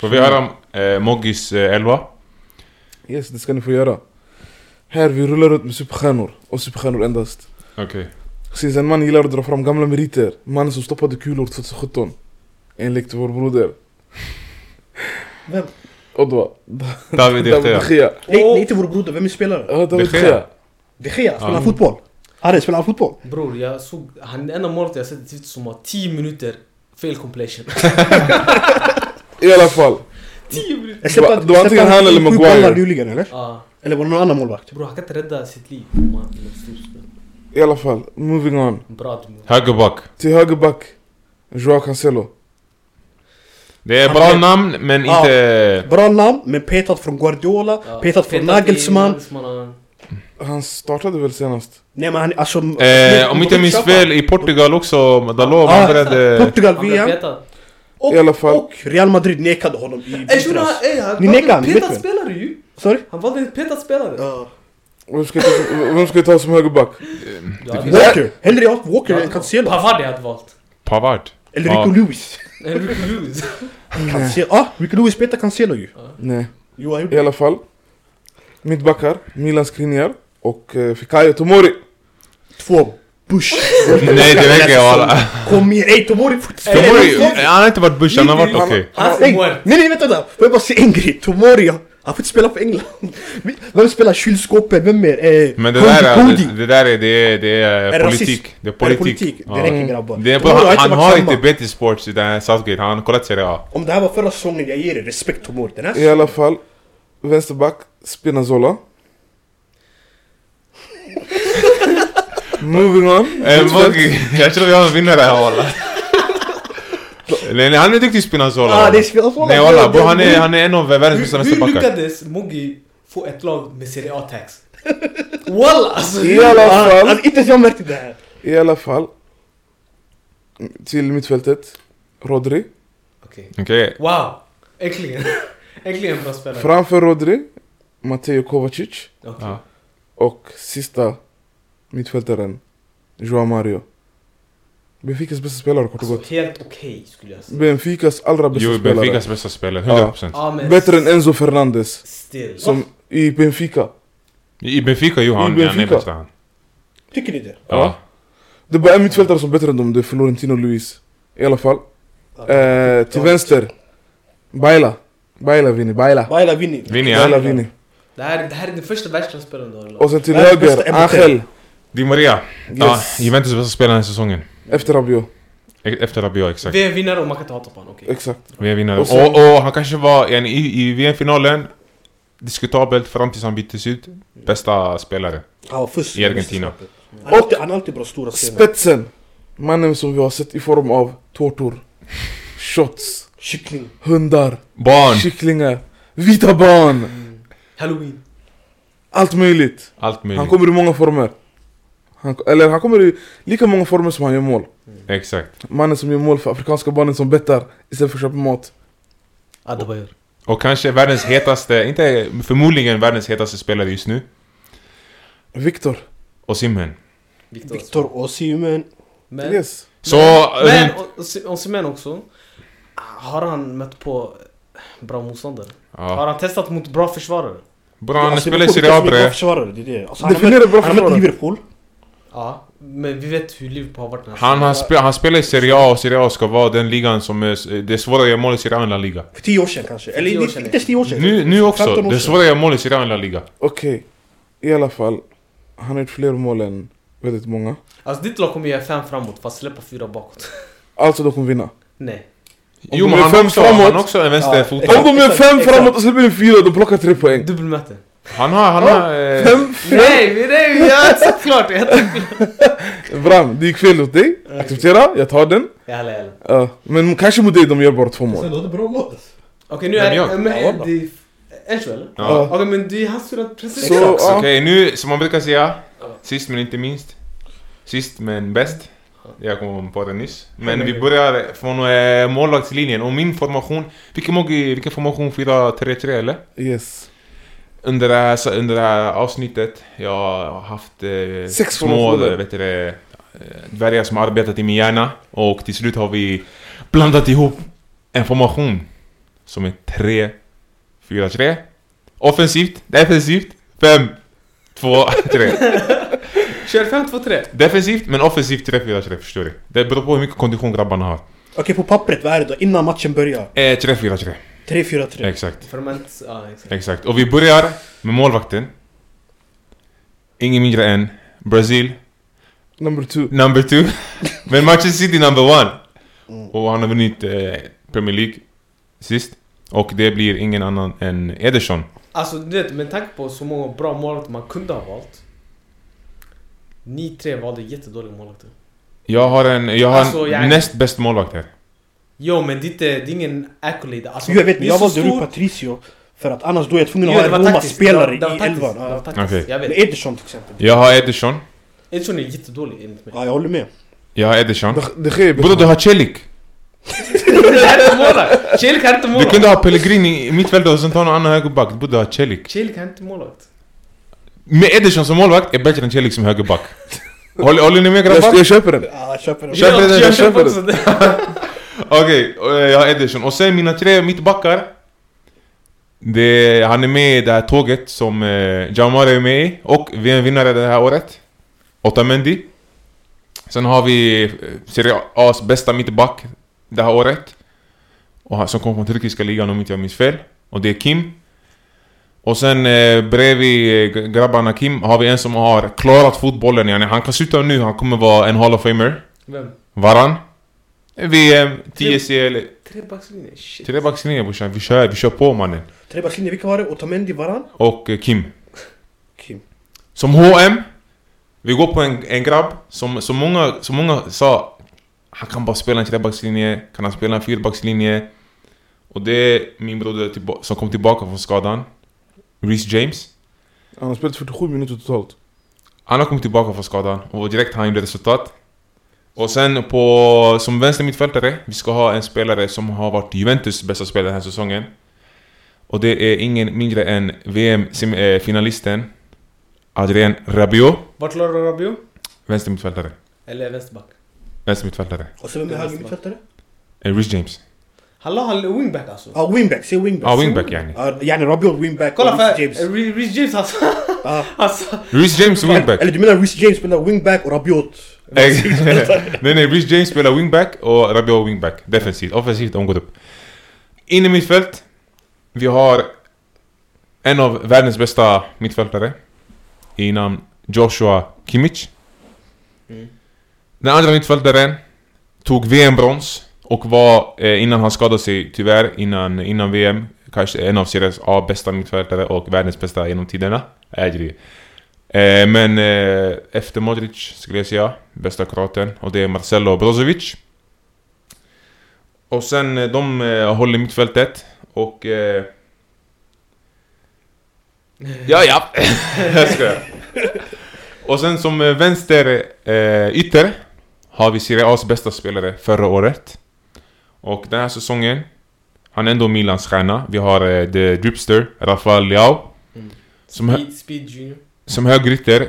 S4: Får vi höra eh, Moggis eh, elva?
S3: Yes, det ska ni få göra. Här, vi rullar ut med superstjärnor. Och superstjärnor endast.
S4: Okej.
S3: Precis, en man gillar att dra fram gamla meriter. Mannen som stoppade kulor 2017. Enligt vår broder.
S2: Vem?
S3: Odwa.
S4: David De Gea.
S3: Gea.
S2: Nej,
S1: Och-
S2: nej, inte vår broder. Vem är spelaren?
S3: Ja, David
S4: De Gea.
S3: Gea.
S2: De Gea spelar
S4: Ja.
S2: fotboll. Harry spelar han fotboll.
S1: Bror jag såg, han den enda målet jag sett i Twitter som har 10 minuter fel completion.
S3: I alla fall.
S1: 10 minuter!
S2: Jag släppte-
S3: Det var- det var
S2: jag
S3: antingen
S2: släppte
S3: han
S2: sju
S3: eller Maguire.
S2: bollar nyligen eller?
S1: Ja.
S2: Eller var det någon annan målvakt?
S1: Bror han kan inte rädda sitt liv. om han blir storspelare.
S3: I alla fall. Moving on.
S1: Bra du.
S4: Högerback.
S3: Till högerback. Joao Cancelo.
S4: Det är
S2: Han
S4: bra
S2: är-
S4: namn, men
S2: Ja.
S4: inte...
S2: Bra namn, men petat från Guardiola,
S1: آه،
S2: petat från
S1: إيه،
S2: Nagelsmann.
S3: Han startade väl senast?
S2: Nej men han, alltså...
S4: Eh, om inte jag minns fel, i Portugal också, Dalot, han
S2: Ah,
S4: började...
S2: Portugal,
S1: Han blev
S2: VM.
S1: petad.
S2: Och,
S3: I alla fall.
S2: och Real Madrid nekade honom i
S1: Ey shunon
S2: vintras.
S1: han
S2: Ni nekar han,
S1: valde en
S2: vet
S1: petad
S2: du?
S1: spelare ju!
S2: Sorry?
S1: Han valde en petad spelare!
S3: Vem ska jag ta, vem ska jag ta som högerback?
S1: Jag hade-
S2: Walker! Hellre jag har haft Walker
S1: Ja.
S2: än Cancelo.
S1: Pavard jag hade valt.
S4: Pavard.
S2: Eller
S4: Ja.
S2: Rico Lewis.
S1: Enrico Lewis.
S2: Cancelo. Ah, Rico Lewis petar Cancelo ju.
S3: Nej.
S2: Jo, han gjorde
S3: I alla fall. Mittbackar. Milan Skriniar. Och eh, Fikayo Tomori.
S2: två bush.
S4: Nej, det räcker walla.
S2: Kom igen! Ey Tomori! får inte spela.
S4: Tomori, han har inte varit Bush, han har varit
S3: Han-
S4: okej.
S1: Han
S2: Nej,
S1: är muerto.
S2: nej, nej, vänta där! Får jag bara säga en grej? Tomori, han får inte spela för England. Vem spelar kylskåpet? Vem mer? Eh,
S4: Men det
S2: Cody,
S4: där, är,
S2: Cody.
S4: det, det där är, det är, det
S2: Är
S4: är
S2: det
S4: politik.
S2: rasism?
S4: Det är
S2: Är det
S4: politik.
S2: politik?
S4: Ja.
S2: Det räcker grabbar.
S4: Det är
S2: Tomori
S4: bara, han
S2: varit
S4: har
S2: samma.
S4: inte bett i sports i den här Southgate, han har kollat Serie A.
S2: Om det här var förra säsongen, jag ger dig respekt Tomori. Den här
S3: I alla fall. Vänsterback. Spinazzola. Moving on.
S4: Eh,
S3: Mittfält.
S4: Moggi, jag tror vi har en vinnare här walla. Nej, nej, han är duktig Spinazzola.
S2: Ah, det är
S4: walla.
S2: Spinazzola.
S4: Nej
S2: Det-
S4: walla, bro,
S2: det-
S4: han är, han är en av världens bästa
S1: Hur, hur
S4: vänsterbackar.
S1: lyckades Mogi få ett lag med Serie A-tax? Walla alltså!
S3: I alla
S2: Ah,
S3: fall.
S2: alltså, inte ens jag märkte det här.
S3: I alla fall. Till mittfältet. Rodri.
S1: Okej.
S4: Okej,
S1: Wow! Äntligen! Äntligen bra spelare.
S3: Framför Rodri. Matteo Kovacic.
S1: Okej.
S4: Ja.
S3: Och sista mittfältaren, Joao Mario. Benficas bästa spelare kort och gott.
S1: Alltså, helt okej skulle jag säga.
S3: Benficas allra bästa
S4: Jo,
S3: spelare.
S4: Benficas bästa spelare, 100%.
S1: Ja, Ah. men
S3: Bättre än Enzo Fernandes.
S1: Still.
S3: Som i Benfica.
S4: I Benfica, jo, han,
S3: I
S4: han är
S3: Benfica.
S4: bästa han.
S2: Tycker ni det?
S4: Ja.
S3: Det är bara en mittfältare som är bättre än dem, det är Florentino Luis. I alla fall. Eh, till vänster. Baila. Baila Vini, Baila.
S2: Baila Vini.
S4: Vinny,
S3: Baila
S4: ja.
S3: Vini.
S1: Det här, det här är den första världsklassspelaren du har
S3: Och sen till
S2: Världens bästa
S3: höger,
S2: MT.
S3: Angel.
S4: Di Maria. Ja,
S3: Yes.
S4: Juventus bästa spelare den här säsongen.
S3: Efter Rabiot.
S4: E- Efter Rabiot, exakt.
S1: Vi är vinnare och man kan inte hata på honom, okej.
S3: Exakt.
S4: Vi är vinnare.
S3: Och
S4: Och,
S3: sen-
S4: och, han kanske var, en, i, i VM-finalen, diskutabelt fram tills han byttes ut. Bästa spelare.
S2: Ja, fusk.
S4: I Argentina.
S2: Han har alltid, han har alltid bra stora scener.
S3: Spetsen. Mannen som vi har sett i form av tårtor. Shots.
S2: Kyckling.
S3: Hundar.
S4: Barn!
S3: Kycklingar. Vita barn.
S1: Halloween.
S3: Allt möjligt.
S4: Allt
S3: Han
S4: möjligt.
S3: kommer i många former. Han, eller han kommer i lika många former som han gör mål.
S4: Exakt.
S3: Mannen som gör mål för afrikanska barnen som bettar istället för att köpa mat.
S1: Adebayor.
S4: Och kanske världens hetaste, inte förmodligen världens hetaste spelare just nu.
S3: Viktor.
S4: Och Simhen.
S1: Viktor.
S2: Victor Osimhen.
S1: Men,
S3: Yes.
S4: Så... eh,
S1: men
S4: runt-
S1: Os- Osimhen också. Har han mött på eh, bra motståndare? Har
S4: Ja.
S1: han testat mot bra försvarare?
S4: Bra, han
S2: Alltså,
S4: spelar i
S2: Liverpool
S4: Serie A
S2: lyckas med bra
S4: bre.
S2: försvarare, det är det. Alltså, han
S3: Definiera
S2: har
S3: bra
S2: mött- han har
S3: försvarare.
S2: mött Liverpool.
S1: Ja, men vi vet hur Liverpool har varit den här
S4: Han, har spe, han spelar i Serie A och Serie A ska vara den ligan som är... Det är svårare att göra mål i Serie A än La Liga.
S2: För 10 år sedan kanske. Eller
S1: tio år
S2: inte
S1: sedan.
S2: inte ens 10 år sedan.
S4: Nu, nu också,
S2: 15 år
S4: det är
S2: sedan.
S4: svårare att göra mål i Serie A än La Liga.
S3: Okej. I alla fall. Han har gjort fler mål än väldigt många.
S1: Alltså ditt lag kommer göra fem framåt fast släppa fyra bakåt.
S3: Alltså de kommer vinna.
S1: Nej.
S4: Jo
S3: de
S4: men
S3: är
S4: han
S3: fem
S4: också,
S3: framåt-
S4: han också är vänsterfotad.
S3: Om de är
S2: Exakt,
S3: fem
S2: exakt.
S3: framåt och släpper in fyra, de plockar tre poäng.
S1: Dubbelmöte.
S4: Han har, han har... eh,
S3: Fem,
S1: Nej, vi- nej, vi gör såklart! Jag tänkte-
S3: Bram, det gick fel åt dig. Acceptera, jag tar den.
S1: Jalla jalla.
S3: Ja, men kanske mot dig de gör bara två mål.
S2: Sen hade bra mål.
S1: Okej nu
S4: Vem
S1: är
S4: jag?
S1: det...
S2: Ja,
S1: Men
S2: wallah.
S1: det... Enzo eller?
S4: Ja.
S1: Okej men det är hans tur att
S3: Så,
S1: presentera.
S3: ja,
S4: Okej, nu som man brukar säga, sist men inte minst. Sist men bäst. Jag kom på det nyss. Men vi börjar från eh, målvaktslinjen och min formation. Vilken, mål- vilken formation? 4-3-3 eller?
S3: yes.
S4: Under det här, så- under det här avsnittet, jag har haft eh,
S3: Sex
S4: små
S3: formationer.
S4: vet du, det, eh, dvärgar som har arbetat i min hjärna. Och till slut har vi blandat ihop en formation som är 3-4-3. Offensivt, defensivt, 5-2-3.
S1: Kör 5, 2, 3.
S4: Defensivt men offensivt 3-4-3 förstår du. Det beror på hur mycket kondition grabbarna har.
S2: Okej, på pappret, vad är det då? Innan matchen börjar.
S4: Eh, 3-4-3.
S2: 3-4-3.
S4: Exakt,
S1: Ferment, ja exakt.
S4: exakt. Och vi börjar med målvakten. Ingen mindre än Brazil
S3: Number two.
S4: number two. Men Manchester City number one.
S1: Mm.
S4: Och han har vunnit eh, Premier League sist. Och det blir ingen annan än Ederson.
S1: Alltså du vet med tanke på så många bra målvakter man kunde ha valt. Ni tre valde jättedåliga målvakter.
S4: Jag har en, jag har
S1: Alltså,
S4: en
S1: jag-
S4: näst bäst målvakt här.
S1: Jo men det är, inte, det är ingen accolade. Alltså,
S2: Jo, jag vet,
S1: det
S2: men
S1: är
S2: jag
S1: så
S2: valde
S1: stor-
S2: Rui Patricio. För att annars då är jag tvungen
S1: Jo,
S2: att
S1: det
S2: ha
S1: var
S2: en
S1: taktiskt.
S2: Roma-spelare
S1: Det var- det
S2: i
S1: var taktiskt.
S2: elvan.
S1: Det var
S2: ja.
S1: taktiskt,
S4: Okej.
S1: jag
S2: Men
S1: vet.
S2: Ederson till exempel.
S4: Jag har Ederson.
S1: Edson är jättedålig enligt mig.
S2: Ja, jag håller med.
S4: Jag har Ederson.
S3: De- De Gea är
S4: Bror du
S3: bättre.
S4: har Celik.
S1: Det här är inte målvakt! Chelik kan inte
S4: Du
S1: målvakt!
S4: kunde ha Pellegrini i mittfältet och sen ta någon annan högerback. Du borde ha Celik.
S1: Chelik kan inte målvakt.
S4: Med Ederson som målvakt är bättre än Celik som högerback. Håller, håller ni med grabbar?
S3: Jag, jag köper den.
S2: Ja, jag köper det.
S4: Köp den,
S1: Jag-
S4: jag
S1: jag
S3: köper
S1: köper också det.
S4: Okej, eh, jag har Ederson. Och sen mina tre mittbackar. Det, han är med i det här tåget som eh, Jamara är med i. Och vi är en vinnare det här året. Otamendi. Sen har vi eh, Serie A's bästa mittback det här året. Och han, som kom från turkiska ligan om inte jag minns fel. Och det är Kim. Och sen eh, bredvid eh, grabbarna Kim har vi en som har klarat fotbollen. yani. Han kan sluta nu, han kommer vara en Hall of Famer.
S1: Vem?
S4: Varan. VM, TSL,
S1: Trebackslinje? Shit.
S4: trebackslinje brorsan. Vi kör, vi kör på mannen.
S2: Trebackslinje, vilka var det? Otamendi, Varan?
S4: Och eh, Kim.
S2: Kim.
S4: Som H&M Vi går på en, en grabb som, som, många, som många sa Han kan bara spela en trebackslinje, kan han spela en fyrbackslinje? Och det är min broder tillba- som kom tillbaka från skadan Reece James
S3: Han har spelat 47 minuter totalt.
S4: Han har kommit tillbaka från skadan och direkt han gjorde resultat. Och sen på, som vänster mittfältare, vi ska ha en spelare som har varit Juventus bästa spelare den här säsongen. Och det är ingen mindre än VM-finalisten eh, Adrien Rabiot,
S1: Vart la du Rabiot?
S4: vänstermittfältare.
S1: Eller vänsterback?
S4: Vänstermittfältare.
S2: Och sen vem är högermittfältare?
S4: Eh, Rich James.
S1: Han la han wingback alltså.
S2: Ja, Uh, wingback, säg wingback.
S4: Ja, ah, wingback yani.
S2: Ja, yani Rabiot wingback
S1: Kolla
S2: och Reece
S1: för
S2: James.
S1: Re- Reece uh, James alltså.
S2: Ja.
S4: Ah.
S1: alltså.
S4: Rich James wingback.
S2: Eller du menar Reece James spelar wingback och Rabiot?
S4: Eh, nej nej, Rich James spelar wingback och Rabiot wingback. Defensivt. Offensivt, de går upp. In i mittfält. Vi har en av världens bästa mittfältare. I namn Joshua Kimmich. Den andra mittfältaren tog VM-brons. Och var, eh, innan han skadade sig tyvärr, innan, innan VM, kanske en av Series A bästa mittfältare och världens bästa genom tiderna. Adri. Eh, men eh, efter Modric skulle jag säga, bästa kroaten. Och det är Marcelo Brozovic. Och sen eh, de eh, håller mittfältet och... Eh, ja, ja. jag skojar. Och sen som eh, vänster eh, ytter har vi Serie A's bästa spelare förra året. Och den här säsongen, han är ändå Milans stjärna. Vi har eh, The Dripster, Rafael Leao. Som hö-
S1: Speed, Speed Junior.
S4: som högerytter,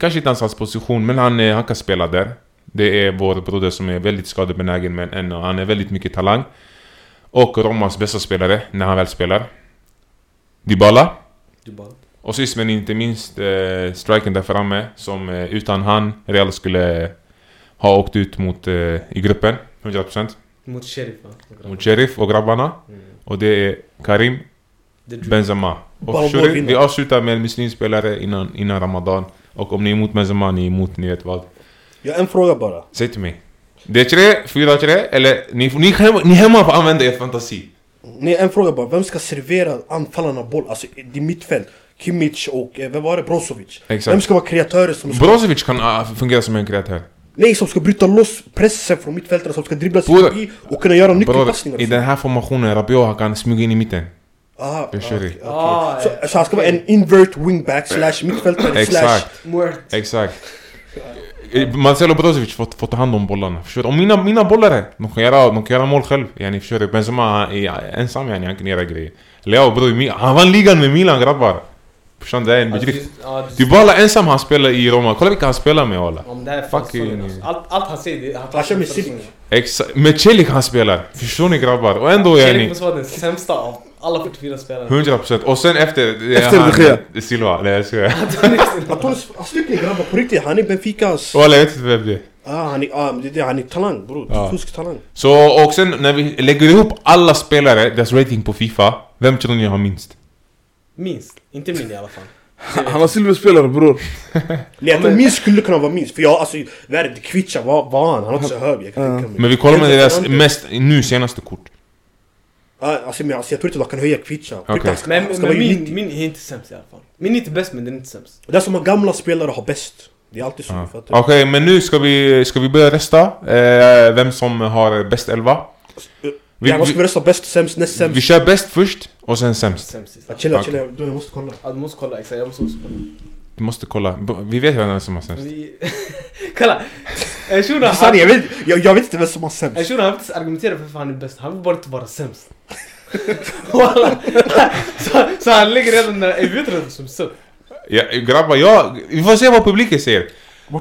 S4: kanske inte ens hans position, men han, eh, han kan spela där. Det är vår broder som är väldigt skadebenägen, men en, han är väldigt mycket talang. Och Romas bästa spelare, när han väl spelar. Dybala.
S1: Du bara.
S4: Och sist men inte minst, eh, striken där framme, som eh, utan han Real skulle eh, ha åkt ut mot, eh, i gruppen, 100%.
S1: Mot Sheriff va?
S4: Mot Sheriff och grabbarna.
S1: Mm.
S4: Och det är Karim
S1: The Dream.
S4: Benzema.
S2: Ballon
S4: Och
S2: d'Or
S4: Shuri,
S2: vinner.
S4: vi avslutar med en muslimspelare innan, innan Ramadan. Och om ni är emot Benzema, ni är emot, ni vet vad.
S2: Jag har en fråga bara.
S4: Säg till mig. Det är tre, fyra, tre, eller ni, ni, hemma, ni hemma får använda er fantasi.
S2: Nej, en fråga bara. Vem ska servera anfallarna boll? Alltså, det är mittfält. Kimmich och, eh, vem var det? Brozovic.
S4: Exakt.
S2: Vem ska vara kreatörer som ska...
S4: Brozovic kan ah, fungera som en kreatör.
S2: Nej, som ska bryta loss pressen från mittfältarna, som ska dribbla sig
S4: Broder-
S2: förbi och kunna göra nyckelpassningar.
S4: Bror, i den Ah, här formationen, Rabiot han kan smyga in i mitten.
S2: Aha,
S4: Jag kör
S2: okej,
S4: i.
S2: okej.
S1: Ah,
S2: Så, så han ska vara en invert wingback slash mittfältare slash...
S4: Exakt,
S1: Word.
S4: exakt. Eh, Marcelo Brozovic får, får ta hand om bollarna. Förstår du? Och mina, mina bollare, de kan göra, de kan göra mål själv. Yani, förstår du? Benzema han är ensam, yani, han kan göra grejer. Leo bror, Mi- han vann ligan med Milan grabbar. Förstår du? Det är en bedrift.
S1: Ja, du-
S4: Dybala ensam han spelar i Roma, kolla vilka han spelar med walla.
S1: Om det här är
S4: Fuck
S1: Fucking...
S4: you.
S1: Alltså. Allt, allt han säger, det- han
S2: Han kör med
S1: Sheriff.
S2: Silic.
S4: Exa- med Celik han spelar, förstår ni grabbar? Och ändå är
S1: Sheriff
S4: ni
S1: måste vara den sämsta av alla 44 spelare.
S4: 100% och sen efter...
S3: Efter
S4: han-
S3: De Gea.
S4: Silva, nej jag skojar.
S2: Antonis, alltså lycklig grabbar på riktigt. Han är Benficas...
S4: Walla jag vet inte vem det är.
S2: Ah, han är, ah, men det är det, han är talang bror.
S4: Ja.
S2: Fusk talang.
S4: Så, och sen när vi lägger ihop alla spelare, deras rating på FIFA, vem tror ni har minst?
S1: Minst. Inte min i alla fall.
S3: Han har silverspelare bror.
S2: Nej, jag tror minst skulle kunna vara minst. För jag, alltså, värdet, Kvicha, vad var han? Han var inte så hög. Jag kan tänka mig.
S4: Men vi kollar med
S2: Enzo
S4: deras
S2: Fernandez.
S4: mest, nu senaste kort.
S2: Ja, alltså, men, alltså, jag tror inte de kan höja Kvicha.
S4: Okej.
S2: Kvicha ska,
S1: Men,
S2: ska vara
S1: men
S2: ju
S1: min,
S2: 90.
S1: min är inte sämst i alla fall. Min är inte bäst men den är inte sämst.
S2: Och Det är som att gamla spelare har bäst. Det är alltid så.
S4: Ja.
S2: fattar
S4: Okej,
S2: du?
S4: men nu ska vi, ska vi börja rösta. Eh, vem som har bäst elva. Vi,
S2: Jävlar, ska vi
S4: vi,
S2: rösta bäst, sämst, näst
S4: vi
S2: sämst?
S4: kör bäst först, och sen sämst.
S1: Sämst sist.
S2: Ja, Chilla,
S4: Okej.
S2: chilla. Du, jag måste kolla.
S1: Ja, Du måste kolla exakt, jag måste också kolla.
S4: Vi måste kolla, B- vi vet redan vem som har sämst.
S1: Vi- Kolla! En shuno han,
S2: Sanning, Alltså, jag vet, jag, jag vet inte vem som har sämst.
S1: en shuno, han vill inte ens argumentera för varför han är bäst, han vill bara inte vara sämst. Walla. så, så han lägger redan den där erbjudandet som så.
S4: Ja, grabbar, jag, vi får se vad publiken säger.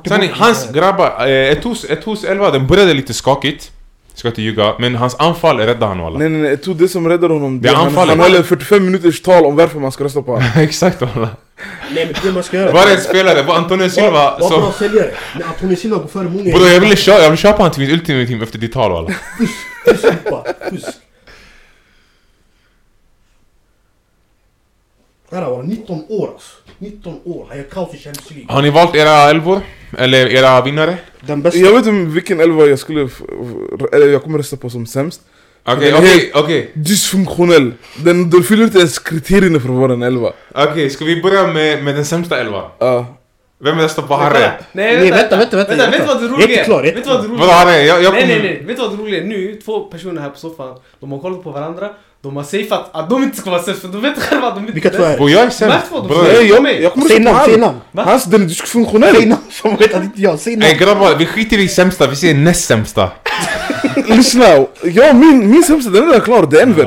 S4: Sanning, hans grabbar, eh, ett hus, ett hus 11, den började lite skakigt. Ska inte ljuga, men hans anfall räddade han walla.
S3: Nej nej nej, Eto, det som räddar honom
S4: Det är
S3: han,
S4: anfallet.
S3: han håller 45 minuters tal om varför man ska rösta på honom.
S4: Exakt walla.
S2: Nej men det man ska göra.
S4: Var det en spelare, var Antonio Silva
S2: Varför
S4: som...
S2: han säljare? Nej, Antonio Silva går före många.
S4: Bror jag ville köpa, jag ville köpa han till mitt Ultimate Team efter ditt tal walla.
S2: Fusk, bara. Fusk. Här var 19 år alltså. 19 år. Han gör kaos i Champions League.
S4: Har ni valt era elvor? Eller era vinnare?
S2: Den bästa.
S3: Jag vet inte vilken elva jag skulle... f- f- Eller jag kommer rösta på som sämst.
S4: Okej, okej, okej.
S3: Dysfunktionell. Den, den fyller inte ens kriterierna för att vara en elva. Ah.
S4: Okej, ska vi börja med, med den sämsta elvan?
S3: Ja.
S4: Vem röstar på
S1: Kolla.
S4: Harry?
S1: Nej
S2: Nej,
S1: vänta,
S2: vänta, vänta, vänta,
S1: Vet du
S2: vänta.
S1: vad det
S2: Jag är
S1: roliga
S2: inte klar,
S1: är?
S2: jag är
S1: Vet du vad det
S4: Vadå
S1: roliga är?
S4: Harry? Jag, jag
S1: Nej
S4: kommer...
S1: nej nej, vet du vad det roliga är? Nu, två personer här på soffan, de har kollat på varandra, de har safeat att de inte ska vara sämst för de vet själva att de inte
S2: Vilka två är det?
S4: Bror jag är
S1: Märk
S4: sämst.
S1: vad de
S4: Bror,
S1: säger.
S3: Nej, jag, jag kommer
S2: Säg
S3: rösta på
S2: namn, säg
S3: han.
S2: namn.
S1: Va?
S3: Hans, den är
S2: Säg
S3: dysfunktionell.
S2: namn som vet att inte jag. Säg
S4: Nej
S2: namn.
S4: grabbar, vi skiter i sämsta, vi säger näst sämsta.
S3: Lyssna. Ja, min, min sämsta den är redan klar. Det är Enver.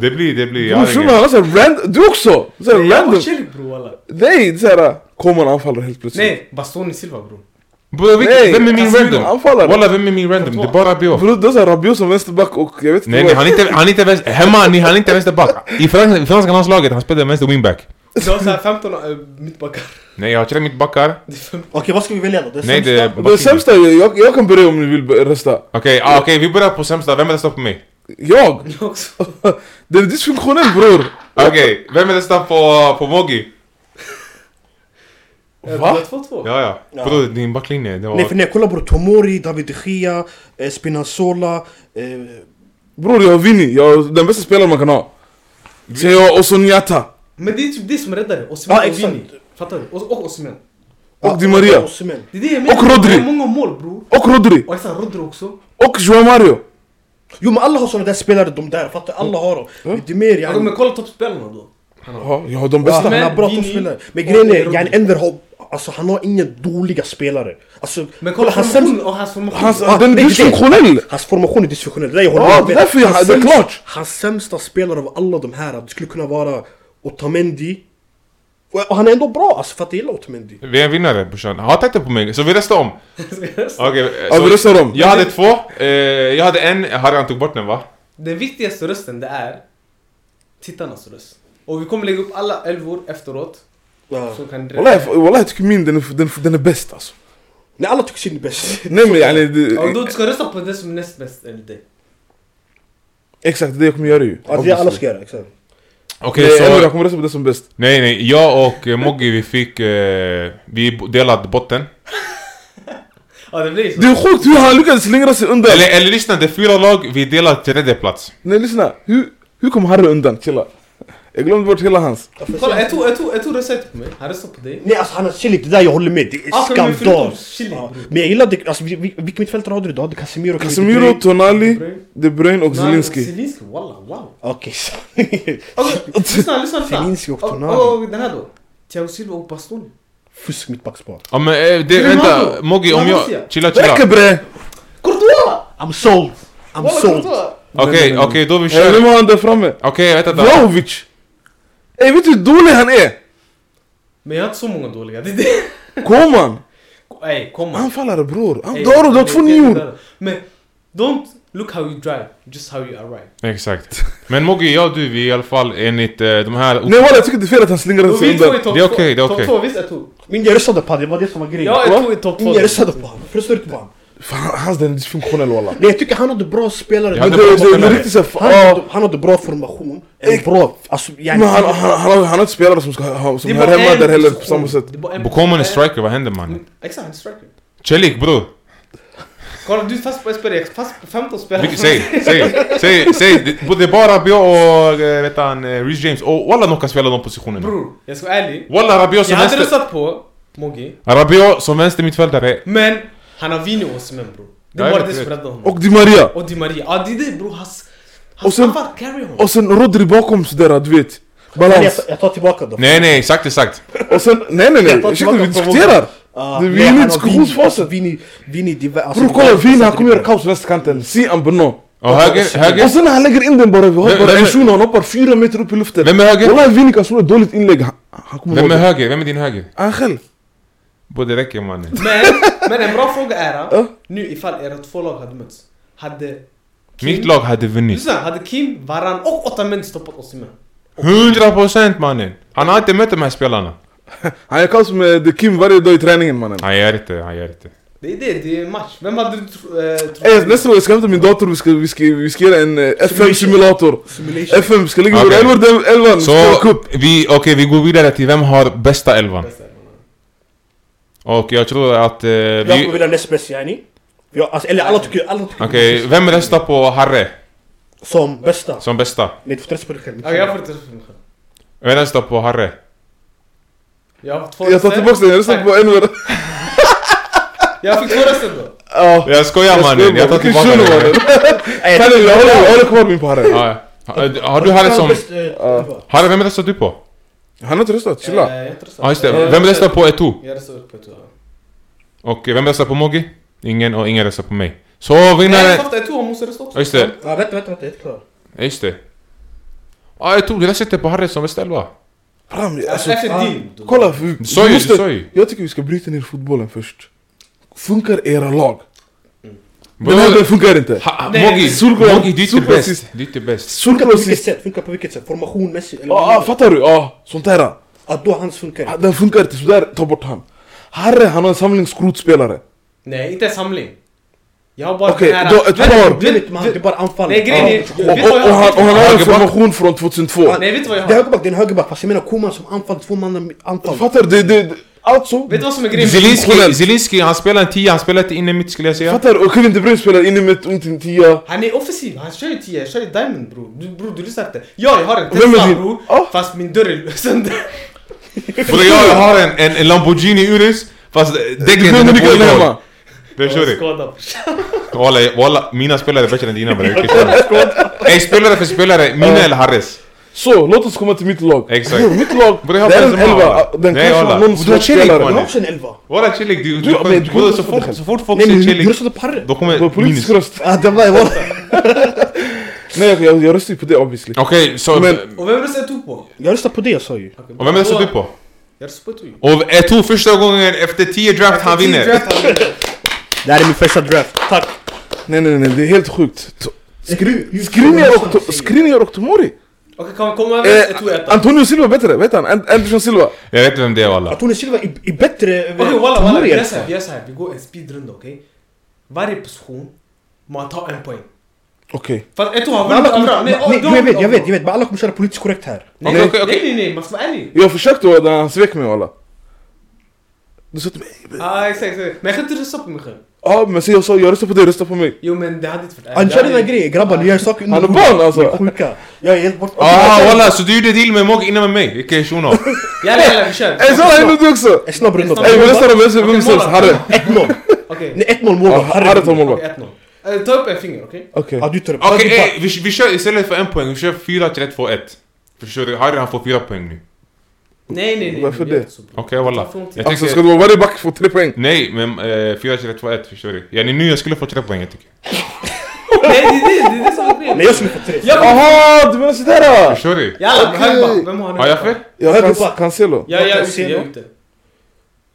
S4: Det blir, det blir. jag
S3: Bror
S4: har
S3: shunon
S4: ingen-
S3: han har såhär random... Du också! Såhär
S1: Jag var
S3: random.
S1: chillig bror walla.
S3: Nej, såhär... Koman anfaller helt plötsligt.
S1: Nej, Bastoni Silva bror.
S4: Bror vilket-
S3: Nej,
S4: vem är min
S3: Casemiro
S4: random?
S3: anfallare.
S4: Walla vem är min random? Det är bara Rabiot.
S3: Bror du sa Rabiot som vänsterback och jag vet
S4: Nej nej, han är inte, han är inte vänster, hemma, ni, han är inte vänsterback. I franska, i franska landslaget, han spelade vänster wingback.
S1: Du har såhär 15 äh, mittbackar.
S4: Nej jag har kört mittbackar.
S1: Det är fem-
S2: Okej, vad ska vi välja då? Det
S4: Nej det
S2: sämsta?
S4: är...
S3: Det sämsta, är ju- jag, jag kan börja om ni vill b- rösta.
S4: Okej, ah, okej vi börjar på sämsta, vem röstar på mig?
S3: Jag?
S1: Jag också.
S3: Det är dysfunktionell bror!
S4: Okej, vem röstar på, på Mogi?
S1: Eh,
S3: Va?
S1: det är 2-2.
S4: Ja ja,
S2: Ja.
S4: bror din backlinje, det var...
S2: Nej för nej, kolla bror. Tomori, David de Gea, eh, Spinazzola. Eh,
S3: Bror jag har Vini, jag är den bästa spelaren man kan ha. Så jag har Osoniata
S1: Men det är typ det som räddar det.
S2: Ja,
S1: Osimhen och
S2: exakt.
S1: Vini. Fattar du? Och, och Osimhen.
S2: Ah,
S3: Och Di Maria.
S2: Osimhen.
S1: Det är det jag menar.
S3: Och Rodri.
S1: Det är många mål bror.
S3: och Rodri
S1: Och exakt Rodri också.
S3: och Joao Mario.
S2: Jo men alla har såna där spelare, de där. Fattar du? Alla har dem.
S3: Ja.
S2: Det är mer
S1: Ja,
S2: yani.
S1: men kolla toppspelarna då.
S3: Ja, jag har de
S2: Bästa,
S3: bästa.
S1: Ja.
S2: han har bra
S1: Vini
S2: toppspelare. Men
S1: och
S2: grejen är,
S1: Rodri.
S2: yani Enver har... Alltså han har inga dåliga spelare. Alltså,
S1: Men kolla
S2: hans
S1: formationen
S2: sämsta-
S1: och hans formation.
S3: Hans,
S2: Ah,
S3: den
S2: nej,
S3: är
S2: det är det.
S3: dysfunktionell!
S2: Hans formation är dysfunktionell, det där jag håller
S3: Ja,
S2: med.
S3: det är därför jag...
S2: Hans
S3: Det är
S2: sämsta-
S3: klart!
S2: Hans sämsta spelare av alla de här, det skulle kunna vara Otamendi. Och och han är ändå bra alltså, för att jag gillar Otamendi.
S4: Vi är en vinnare brorsan, hata inte på mig, så vi röstar om. Okej, eh,
S3: Ja,
S4: så-
S3: vi röstar om.
S4: Jag hade två, eh, jag hade en, Harry tog bort den va?
S1: Den viktigaste rösten det är tittarnas röst. Och vi kommer lägga upp alla elvor efteråt.
S2: Ja.
S1: Så kan
S3: Wallah, jag- wallah, jag tycker min den är, den, den är bäst alltså.
S2: Nej, alla tycker sin är bäst.
S3: Nej men yani, det-
S1: Ja, då ska du rösta på det som är näst bäst enligt dig.
S3: exakt det är det jag kommer göra ju.
S2: Ja, det är alla ska göra, exakt.
S4: Okej
S3: Nej, eller
S4: så...
S3: jag kommer rösta på det som är bäst.
S4: Nej nej, jag och eh, Moggi vi fick... Eh, vi delade botten.
S1: Ja, det blir så.
S3: Det är sjukt hur han lyckades slingra sig undan!
S4: Eller, eller lyssna, det är fyra lag, vi delar tredje plats.
S3: Nej lyssna, hur, hur kom Harry undan? Chilla. Jag glömde bort hela hans.
S1: Kolla, jag tror, jag tror, jag tror röstar inte på mig. Han röstar på dig.
S2: Nej alltså han har chillit, det där jag håller med. Det är
S1: Alltså, men
S2: skandal.
S1: förutom chilling,
S2: Ja,
S1: bror.
S2: Men jag gillade, alltså vi- vi- vilka mittfältare hade du? Du hade Casemiro, Kevin De
S3: Casemiro,
S2: Bruyne.
S3: Tonali,
S1: De Bruyne.
S3: De Bruyne och Zelinski.
S1: Zelinski, walla, wow.
S2: Okej, så.
S1: Okej, lyssna, lyssna, lyssna.
S2: Zelinski och Tonali.
S1: Och, och den här då. Thiago Silva och Bastoni.
S2: Fusk mittbackspar.
S4: Ja men eh, det,
S1: Fy,
S4: vänta,
S1: Ronaldo.
S4: Moggi om
S1: Ronaldo
S4: jag...
S1: ser.
S4: Chilla chilla.
S3: Räcker
S4: Okej
S3: bre!
S1: Courtois!
S2: I'm sold! I'm
S1: Walla,
S2: sold!
S1: Courtois!
S4: okej då vi
S3: Ja, Vem
S4: kör. Okej
S3: har han där framme?
S4: vänta då.
S3: Vlahovic! Ey vet du hur dålig han är?
S1: Men jag har inte så många dåliga. Det är det.
S3: Koman!
S1: Ey, kom on.
S3: Anfallare bror! Han
S1: Ey,
S3: dör och du har två
S1: det- det-
S3: nior!
S1: det- Men, don't look how you drive, just how you arrive.
S4: Exakt. Men Moggi, jag och du vi är i alla fall enligt eh, de här...
S3: Nej wallah jag tycker det är fel att han slingrade
S1: Och
S3: sig
S1: vi två
S3: undan.
S1: i topp
S4: Det är
S1: två.
S4: okej, det är okej.
S1: Topp två, visst jag tog.
S2: Min jag röstade på han, det var det som var grejen.
S1: Ja,
S2: Va?
S1: jag tog i topp två.
S2: Min jag röstade på honom, förstår du inte på honom?
S3: Fan hans den är dysfunktionell wallah.
S2: Nej jag tycker han hade bra spelare.
S3: Men
S4: Jag hade
S3: det det-
S4: bra
S3: det är
S4: spelare.
S3: riktigt såhär...
S2: Han, hade, han hade bra formation, en
S3: Ex-
S2: bra... Alltså, jag,
S3: Men han, han, han, han, har- han har inte spelare som, ska, ha- som
S1: Det är
S3: hör
S1: bara
S3: hemma
S1: en
S3: där heller på
S1: position.
S3: samma sätt.
S1: Det är bara en-
S4: Bokoman är
S1: en-
S4: striker, vad händer mannen?
S1: Exakt, han är striker.
S4: Celik bror.
S1: Kolla, du är fast på en spelare, fast på 15 spelare.
S4: Vilket- Säg, säg, säg, säg. Det- Det är bara Rabiot och eh, vet han, eh, Reece James. Och walla någon kan spela de positionerna.
S1: Bror, jag ska vara ärlig.
S4: Walla Rabiot
S1: Jag
S4: som
S1: hade
S4: vänster...
S1: röstat på Mogi,
S4: Rabiot som vänster mittfältare.
S1: men han har Vini och Osimhen bror. Det
S4: Ja,
S1: är
S4: jag
S1: bara
S4: vet,
S1: det som
S4: jag vet.
S1: räddar honom.
S3: Och Di Maria!
S1: Och Di Maria. Ja, det är det bror. Hans
S3: Och
S1: hans
S3: sen-
S1: anfall carry honom.
S3: Och sen Rodri bakom sådär du vet.
S2: jag, jag,
S3: Balans.
S2: jag tar tillbaka dem.
S4: Nej nej, exakt exakt.
S3: Och sen, nej nej
S2: Jag
S3: nej,
S2: tar
S3: ursäkta vi
S2: tillbaka
S3: diskuterar!
S2: Ah,
S3: Det- Vi
S2: nej,
S3: är
S2: han har
S3: inne i
S2: Vini, alltså,
S3: diskussionsfasen!
S2: Vini, Vini, det var... Alltså,
S3: Bror kolla, Vina han kommer göra
S2: kaos.
S3: kaos på vänsterkanten, si en Bernard.
S4: Och höger, höger.
S3: Och sen när han lägger in den bara, vi
S4: Vem-
S3: hoppar
S4: vem är-
S3: en shuno, han hoppar fyra meter upp i luften.
S4: Vem är höger?
S3: Wallah Vini kan slå ett dåligt inlägg, han, han kommer
S4: Vem är
S3: höger?
S4: höger? Vem är din höger?
S3: Angel.
S4: Bro det räcker mannen.
S1: Men, men en bra fråga är
S3: Ja.
S1: nu ifall era två lag hade mötts. Hade
S4: Mitt lag hade vunnit.
S1: Lyssna, hade Kim, Varan och Otamendi stoppat Osimhen?
S4: 100% mannen. Han har inte mött de här spelarna.
S3: Han gör kaos med The Kim varje dag i träningen mannen.
S4: Han gör inte, han gör inte.
S1: Det är det, det är en match. Vem hade du tro- eh, trott?
S3: Ey nästa gång jag ska hämta min dator, vi ska, vi ska, vi ska göra en eh, FM simulator.
S2: Simulation.
S3: FM, vi ska lägga vår
S4: Okej.
S3: elva där, elvan, vi ska göra
S4: Så
S3: cup.
S4: vi, okej vi går vidare till vem har bästa elvan. Och jag tror att eh,
S2: Jag skulle
S4: vi...
S2: vilja näst bäst yani. Ja, alltså, eller alla tycker... Alla tycker
S4: Okej, vem röstar på Harre
S2: Som bästa.
S4: som bästa?
S2: Nej du får testa på dig själv.
S1: Ja, jag får inte träffa mig själv.
S4: Vem röstar på Harre?
S1: Jag har två
S3: Jag tar
S1: röster.
S3: tillbaka den, jag lyssnar på Enver.
S1: Jag fick två röster då.
S3: Ja.
S4: Jag skojar mannen, jag tar
S3: Vilken
S4: tillbaka
S3: shuno,
S4: den.
S3: mannen. Kalle, jag håller- jag håller kvar min på Harry.
S4: Ja, ja. Har- Har du Harre som...
S2: Bäst, eh, elva.
S4: Harre, vem röstar du på?
S3: Han har inte röstat, chilla.
S1: Eh, jag har inte röstat.
S4: Ja just det,
S1: Eh,
S4: vem röstar på Eto'o?
S1: Jag röstar upp på ett år.
S4: Och vem röstar på Mogi? Ingen och ingen röstar på mig. Så
S1: Nej, jag
S4: vinnaren...
S1: fattar, ett år måste rösta också.
S4: Ja, Just det,
S2: Ja, vänta, vänta, vänta, helt klart.
S4: Ja, just det. Ja, jag tror det där sitter på Harry som beställde va?
S3: Fram,
S1: Alltså,
S3: alltså,
S1: efter
S2: fan.
S1: din. då-
S3: kolla, vi,
S4: Du sa
S3: vi
S4: ju, du
S3: måste-
S4: sa ju.
S3: Jag tycker vi ska bryta ner fotbollen först. Funkar era lag? Den här den
S4: Mogi,
S3: funkar inte.
S1: Nej,
S3: Solgård-
S4: Mogi, du är inte
S3: Solgård
S4: bäst.
S3: sist.
S4: Du är inte bäst.
S2: Funkar på vilket
S3: Solkrosis.
S2: sätt? Funkar på vilket sätt? Formationmässigt? Eller
S3: Ah, ah,
S2: vad?
S3: fattar du? Ah, sånt här.
S2: Att då hans funkar
S3: Ah,
S2: inte.
S3: Den funkar inte, sådär ta bort han. Harry han har en samling skrotspelare.
S1: Nej, inte samling. Jag har bara
S3: Okej,
S1: den
S3: då ett
S1: Vet-
S3: par.
S1: vet-
S2: Det är inte man, det är bara anfall.
S1: Nej, grejen är-
S2: Ja.
S3: Och, och,
S1: Vet du vad jag
S3: och, han, och han har en
S4: Högerback.
S3: formation från 2002.
S1: Nej, vet du vad jag
S2: Det är
S1: har?
S2: högerback, det är en högerback. Fast jag menar Koman som anfall, två man anfall.
S3: Fattar du? Det, det, det- alltså,
S1: Vet du vad som är grejen?
S4: Zelinski, Zelinski, han spelar en 10, han spelar inte inne mitt skulle jag säga.
S3: fattar du? Och Kevin De Bruyne spelar in i mitt, inte en tia.
S1: Han är offensiv, han kör ju 10, jag kör ju diamond bror. Du, bror du lyssnar inte. Ja, jag har en
S3: Vem är
S1: Tesla
S3: din?
S1: bror,
S4: Oh.
S3: Ja.
S1: fast min dörr är sönder.
S4: Bror jag har en, en, en Lamborghini Urus, fast
S3: Du
S4: däcken den
S3: glömmer
S4: är
S3: nyckeln hemma.
S4: på Förstår du?
S1: Skada.
S4: Walla, walla, mina spelare är bättre än dina bror. Ey, spelare för spelare, mina eller Harris?
S3: Så, låt oss komma till mitt lag.
S4: Exakt.
S3: Bror, mitt lag,
S4: Bror,
S3: det
S4: jag har
S3: är en
S4: Benzema,
S3: elva. Ah,
S4: walla.
S3: Den
S4: Nej,
S3: kanske
S4: walla.
S3: har någon
S4: Och du har Celik,
S2: Han
S3: spelare.
S4: walla.
S2: har också en elva.
S4: Walla chillig, du,
S3: Du- men du kommer
S4: bror, så
S3: inte få det
S4: fort,
S3: själv.
S4: så fort folk
S2: Nej
S4: säger
S2: nej, du- du
S4: chillig,
S2: röstade på Harry.
S4: då kommer
S3: Det var politisk
S4: minus.
S3: röst.
S2: Ah, det var jag.
S3: Nej, jag, jag, jag röstar ju på det obviously.
S4: Okej, så...
S3: Men-
S1: Och vem röstar du på?
S2: Jag röstade på det jag sa ju.
S1: Okej,
S4: Och vem röstar du på?
S1: Jag röstar på Tui.
S4: Och Eto'o första gången efter 10 draft han vinner.
S2: Det här är min första draft. Tack.
S3: Nej, nej, nej, det är helt sjukt. To-
S2: Skru-
S3: Skriniar och, To- Skriniar och Tomori.
S1: Okej, kan vi komma överens? Eto'o är
S3: Eh,
S1: etta.
S3: Antonio Silva är bättre, vet han? And- Anderson Silva.
S4: Jag vet vem det är walla.
S2: Antonio Silva är är bättre över
S1: Okej walla walla,
S2: Tomori
S1: vi
S2: i
S1: gör
S2: alla
S1: såhär,
S2: fall.
S1: vi gör såhär. Vi går en speedrunda okej? Varje position, man tar en poäng.
S3: Okej.
S1: För att Eto'o har
S2: Men alla
S1: vunnit
S2: kommer-
S1: andra. Nej,
S2: Nej,
S1: de-
S2: jag vet, jag vet,
S1: de-
S2: jag vet. Men alla kommer köra politiskt korrekt här.
S1: Nej,
S4: Okej,
S1: nej,
S4: okej, okej.
S1: nej, nej, man ska vara ärlig.
S3: Jag försökte och han svek mig walla. Du sa till mig...
S1: Ja, exakt. exakt. Men jag kan inte rösta på mig själv.
S3: Ja, men se jag sa, jag röstar på dig, rösta på mig.
S1: Jo, men det hade inte varit ärligt.
S2: Han
S1: Det
S2: kör
S1: hade-
S2: den här grejen, grabbar ni gör saker under
S3: Han är
S2: bordet.
S3: barn
S2: Ni är
S3: alltså.
S2: sjuka. Jag är helt borta.
S4: Ah walla, så du gjorde deal med Mogge innan med mig? Vilken shuno.
S1: Jalla jalla, vi kör.
S3: Ey, Eh, så är det du också!
S2: En snabb runda.
S3: Ey, vi röstar om vem som
S1: Okej,
S3: är sämst,
S1: målvakt.
S3: Harry.
S2: 1-0.
S1: Okej.
S2: Nej, 1-0
S3: Ja,
S2: målvakt.
S3: Harry tar
S2: Harry.
S1: Okej,
S3: målvakt.
S1: 1-0. Eh, Ta upp en finger, okej?
S3: Okej.
S2: Ja, du tar upp.
S4: Okej,
S2: Ja,
S4: ey, vi, vi kör istället för en poäng, vi kör 4, 3, 2, 1. Förstår du? Harry han får 4 poäng nu.
S1: Nej, nej, nej.
S3: Varför
S1: vi gör
S3: det?
S1: inte så, bro.
S4: Okej walla.
S1: Det tar för lång tid.
S4: Jag
S3: Alltså
S4: tänker-
S3: ska det vara varje back får tre poäng?
S4: Nej, men eh, 4, 3, 2, 1 förstår du. Yani nu jag skulle få 3 poäng jag tycker.
S1: Nej, det är det, det är det som är
S2: du- Nej,
S1: grejen.
S2: jag som är på tre.
S1: Jag vill...
S3: Aha, du menar sådär!
S4: Förstår du?
S1: Jalla, men
S3: Okej.
S1: högerback. Vem har
S4: Har jag fel?
S3: Jag
S2: Höger
S3: kan
S2: back.
S3: Cancelo.
S1: Ja, jag
S2: Jag
S1: är
S2: kan
S1: ute,
S2: se
S1: jag är
S2: någon.
S1: ute.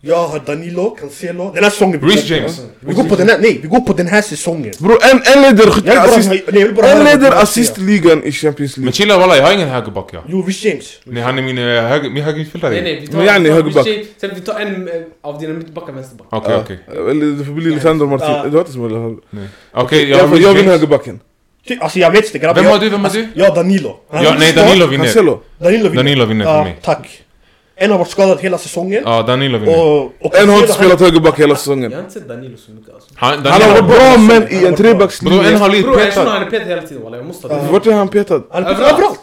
S2: Jag har Danilo, Cancelo. Den här säsongen. vi
S4: Reece
S2: går på.
S4: James.
S2: Vi går på den här, nej, vi går på den här säsongen.
S3: Bror, en, en leder
S2: Jag
S3: skytte
S2: vill bara,
S3: assist.
S2: nej, jag vill bara
S3: En
S2: höra vad
S3: leder
S2: du
S3: assistligan i Champions
S4: Men
S3: League.
S4: chilla walla, jag har ingen högerback ja.
S2: Jo, Reece James.
S4: Nej han är min eh, höger- min högermittfällare.
S1: Nej, nej, vi tar...
S3: Men yani,
S1: vi tar-
S3: högerback.
S1: vi tjej- Sen vi tar en eh, av dina mittbackar, vänsterback.
S4: Okej,
S3: Ja.
S4: okej.
S3: Eller det får bli Lisandro
S2: Ja.
S3: Martin. Du har inte som eller höger.
S4: Okej, jag
S3: Jag,
S4: har
S3: jag vinner
S4: James.
S3: högerbacken.
S2: Ty- Alltså jag vet inte grabbar.
S4: Vem
S2: Jag-
S4: har du, vem har du?
S2: Jag har Danilo. Han-
S4: Ja, nej Danilo vinner.
S3: Cancelo.
S2: Danilo vinner.
S4: Danilo vinner för
S2: Ja,
S4: mig.
S2: Tack. En har varit skadad hela säsongen.
S3: Ah.
S4: Ja, Ah, Danilo
S3: Oh.
S4: vinner.
S2: Och, och
S3: En har inte
S2: Cancelo,
S3: spelat högerback hela säsongen.
S1: Jag har inte sett Danilo så mycket alltså.
S4: Han,
S3: Han har
S4: Danilo,
S3: varit bra men i en
S4: Bror en
S3: trebackslinje.
S4: har blivit
S1: Bror, jag tror
S4: petad.
S1: han är petad hela tiden walla, jag måste ha det.
S3: Vart är han petad?
S2: Han är
S1: Överallt.
S2: överallt.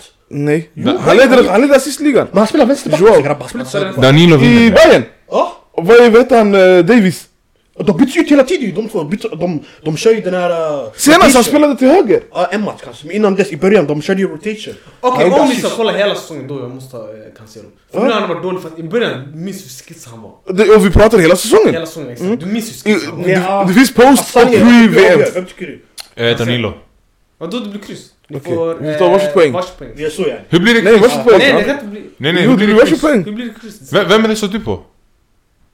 S3: Nej.
S4: Da-
S3: Han leder, han leder assistligan.
S2: Men han spelar vänsterback
S3: Joao.
S2: också grabbar. Han spelar inte
S1: Absolut.
S2: högerback.
S4: Danilo
S3: I
S4: vinner.
S3: Bayern.
S2: Ja.
S3: Och Vad är, vet han, eh, Davis?
S2: Och De byts ut hela tiden ju, de två. Byts, de, de kör ju den här... Uh,
S3: Senast han spelade till höger.
S2: Ja, Ah, en match kanske. Men innan dess, i början, de körde ju rotation.
S1: Okej,
S2: Han
S1: om
S2: är
S1: vi
S2: assist.
S1: ska kolla hela säsongen då jag måste ha eh, Cancelo. För nu har han varit dålig för att i början minns vi hur skiss han var.
S3: Det, och vi pratar hela säsongen.
S1: Hela säsongen
S3: Mm.
S1: exakt. Du minns hur
S3: I-
S1: skiss han var.
S2: Nej.
S3: Det, det finns post och
S2: Sanningen, du avgör.
S3: pre-VM.
S2: Vem tycker du?
S4: Eh, Danilo.
S1: Vadå det blir kryss? Ni
S3: Okej,
S1: får...
S3: vi tar varsitt
S1: eh,
S3: poäng.
S1: Varsitt poäng.
S2: Det är så yani.
S4: Hur blir det
S3: Nej,
S4: kryss?
S3: varsitt
S1: Nej, det
S3: poäng.
S1: kan inte bli...
S4: Nej, nej, hur
S3: Jo,
S4: blir
S3: du
S4: det
S3: varsitt
S4: kryss?
S1: Hur
S3: poäng.
S1: blir det kryss?
S4: Vem, vem röstar du på?